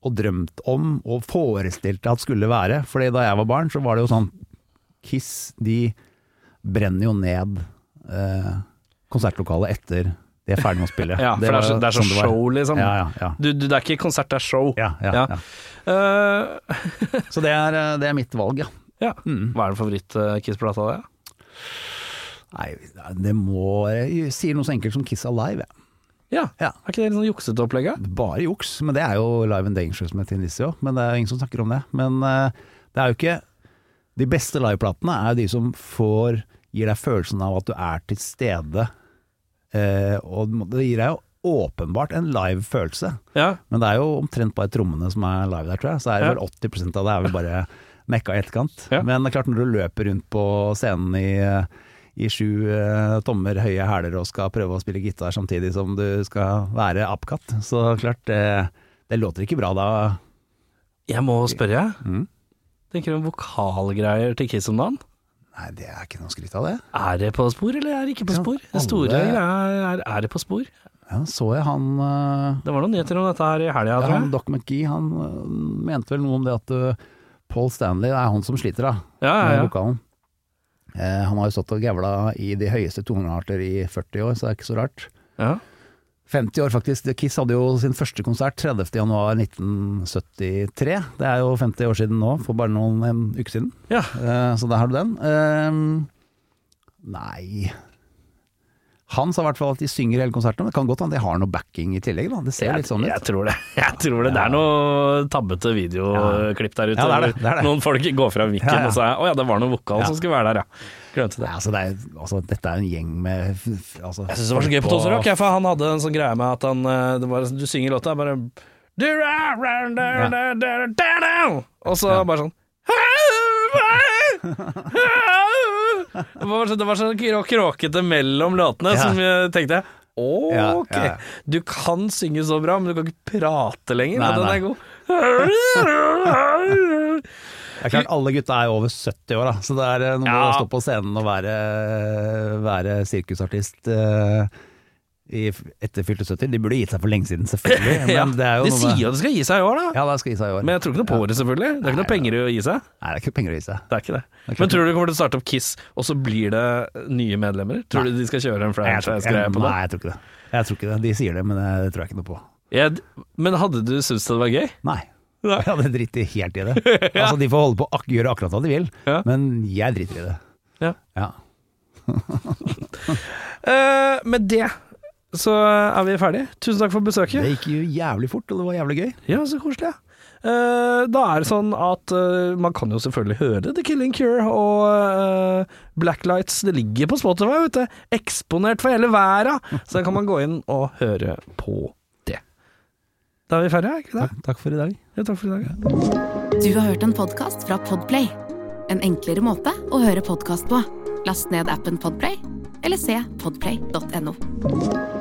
[SPEAKER 3] og drømt om og forestilt deg at skulle være. Fordi da jeg var barn, så var det jo sånn Kiss, de brenner jo ned eh, konsertlokalet etter de er ferdig med å spille.
[SPEAKER 2] ja, for det er så,
[SPEAKER 3] var
[SPEAKER 2] det er så
[SPEAKER 3] sånn var.
[SPEAKER 2] show, liksom.
[SPEAKER 3] Ja, ja, ja.
[SPEAKER 2] Du, du, det er ikke konsert, det er show.
[SPEAKER 3] Ja, ja,
[SPEAKER 2] Ja.
[SPEAKER 3] ja.
[SPEAKER 2] Eh,
[SPEAKER 3] Så det er, eh, det er mitt valg, ja. Mm.
[SPEAKER 2] ja. Hva er eh, den favoritt-Kiss-plata di?
[SPEAKER 3] Nei, det må Jeg sier noe så enkelt som Kiss Alive. jeg.
[SPEAKER 2] Ja.
[SPEAKER 3] Ja.
[SPEAKER 2] Er ikke det litt sånn juksete opplegg? ja?
[SPEAKER 3] Bare juks, men det er jo Live and Dangerous med Tin Lizzie òg. Men det er jo ingen som snakker om det. Men eh, det er jo ikke De beste liveplatene er jo de som får gir deg følelsen av at du er til stede. Eh, og det gir deg jo åpenbart en live følelse.
[SPEAKER 2] Ja.
[SPEAKER 3] Men det er jo omtrent bare trommene som er live der, tror jeg. Så er det
[SPEAKER 2] Ja.
[SPEAKER 3] vel 80 av det er vel bare mekka i etterkant.
[SPEAKER 2] Ja.
[SPEAKER 3] Men det er klart, når du løper rundt på scenen i, i sju eh, tommer høye hæler og skal prøve å spille gitar samtidig som du skal være apekatt. Så klart, det, det låter ikke bra da.
[SPEAKER 2] Jeg må spørre, jeg.
[SPEAKER 3] Mm.
[SPEAKER 2] Tenker du om vokalgreier til Kiss om dagen?
[SPEAKER 3] Nei, det er ikke noe skryt av det.
[SPEAKER 2] Er det på spor, eller er det ikke på
[SPEAKER 3] Ja,
[SPEAKER 2] spor?
[SPEAKER 3] alle-
[SPEAKER 2] Det store greia er, er det på spor.
[SPEAKER 3] Ja, så jeg han eh,
[SPEAKER 2] Det var noen nyheter om dette her i helga,
[SPEAKER 3] Ja,
[SPEAKER 2] tror
[SPEAKER 3] han,
[SPEAKER 2] jeg.
[SPEAKER 3] Doc McGee han øh, mente vel noe om det at øh, Paul Stanley det er han som sliter da,
[SPEAKER 2] Ja,
[SPEAKER 3] med
[SPEAKER 2] ja, ja.
[SPEAKER 3] vokalen. Eh, han har jo stått og gævla i de høyeste tonearter i 40 år, så det er ikke så rart.
[SPEAKER 2] ja.
[SPEAKER 3] 50 år faktisk. The Kiss hadde jo sin første konsert 30. januar 1973. Det er jo 50 år siden nå, for bare noen en uke siden.
[SPEAKER 2] Ja.
[SPEAKER 3] Eh, så der har du den. Eh, nei Han sa i hvert fall at de synger hele konserten, men det kan godt hende de har noe backing i tillegg. Da. Det ser jo
[SPEAKER 2] Jeg,
[SPEAKER 3] litt sånn ut.
[SPEAKER 2] jeg tror det. Jeg tror det. Det er noe tabbete videoklipp der ute.
[SPEAKER 3] Ja, det er det, det er det.
[SPEAKER 2] Noen folk går fra mikken
[SPEAKER 3] Ja, ja.
[SPEAKER 2] og så er Å ja, det var noe vokal som skulle være der, ja. Glemte det.
[SPEAKER 3] Nei, altså, det er, altså, dette er en gjeng med f- f- altså,
[SPEAKER 2] Jeg syns det var så gøy på Tons Rock, jeg, for han hadde en sånn greie med at han eh, det var, Du synger låta, bare Og så bare sånn det var, så, det var sånn krå- kråkete mellom låtene
[SPEAKER 3] Ja.
[SPEAKER 2] som jeg tenkte
[SPEAKER 3] Ja,
[SPEAKER 2] Ok,
[SPEAKER 3] ja.
[SPEAKER 2] du kan synge så bra, men du kan ikke prate lenger.
[SPEAKER 3] Nei,
[SPEAKER 2] og den
[SPEAKER 3] nei.
[SPEAKER 2] er god.
[SPEAKER 3] Det er klart, alle gutta er jo over 70 år, da, så det er eh, noe
[SPEAKER 2] Ja.
[SPEAKER 3] å stå på scenen og være, være sirkusartist eh, i, f- etter fylte 70. De burde gitt seg for lenge siden, selvfølgelig. Men
[SPEAKER 2] ja,
[SPEAKER 3] det er jo
[SPEAKER 2] de
[SPEAKER 3] noe
[SPEAKER 2] sier
[SPEAKER 3] med,
[SPEAKER 2] jo at det skal gi seg i år, da.
[SPEAKER 3] Ja, det skal gi seg i år.
[SPEAKER 2] Men jeg tror ikke noe på det, selvfølgelig. Det er ikke noe penger i å gi seg.
[SPEAKER 3] Nei, det er ikke penger å gi seg.
[SPEAKER 2] Det er ikke det.
[SPEAKER 3] er klart
[SPEAKER 2] Men tror du du kommer til å starte opp Kiss, og så blir det nye medlemmer? Tror du de skal kjøre en
[SPEAKER 3] Jeg tror,
[SPEAKER 2] franchise-greie på det?
[SPEAKER 3] nei, jeg tror ikke det. Jeg tror ikke det. De sier det, men det tror jeg ikke noe på.
[SPEAKER 2] Jeg, men hadde du syntes det var gøy?
[SPEAKER 3] Nei.
[SPEAKER 2] Nei.
[SPEAKER 3] Jeg hadde driti helt i det. Altså, De får holde på å ak gjøre akkurat hva de vil,
[SPEAKER 2] Ja.
[SPEAKER 3] men jeg driter i det.
[SPEAKER 2] Ja.
[SPEAKER 3] Ja.
[SPEAKER 2] Eh, med det så er vi ferdige. Tusen takk for besøket.
[SPEAKER 3] Det gikk jo jævlig fort, og det var jævlig gøy.
[SPEAKER 2] Ja, så koselig. ja. Eh, da er det sånn at eh, man kan jo selvfølgelig høre The Killing Cure og eh, Blacklights. Det ligger på Spotify, vet du. Eksponert for hele verden. Så da kan man gå inn og høre på det. Da er vi ferdige, er ikke det?
[SPEAKER 3] Takk, takk for i dag.
[SPEAKER 2] Ja, takk for i dag. Ja.
[SPEAKER 1] Du har hørt en podkast fra Podplay. En enklere måte å høre podkast på. Last ned appen Podplay, eller se podplay.no.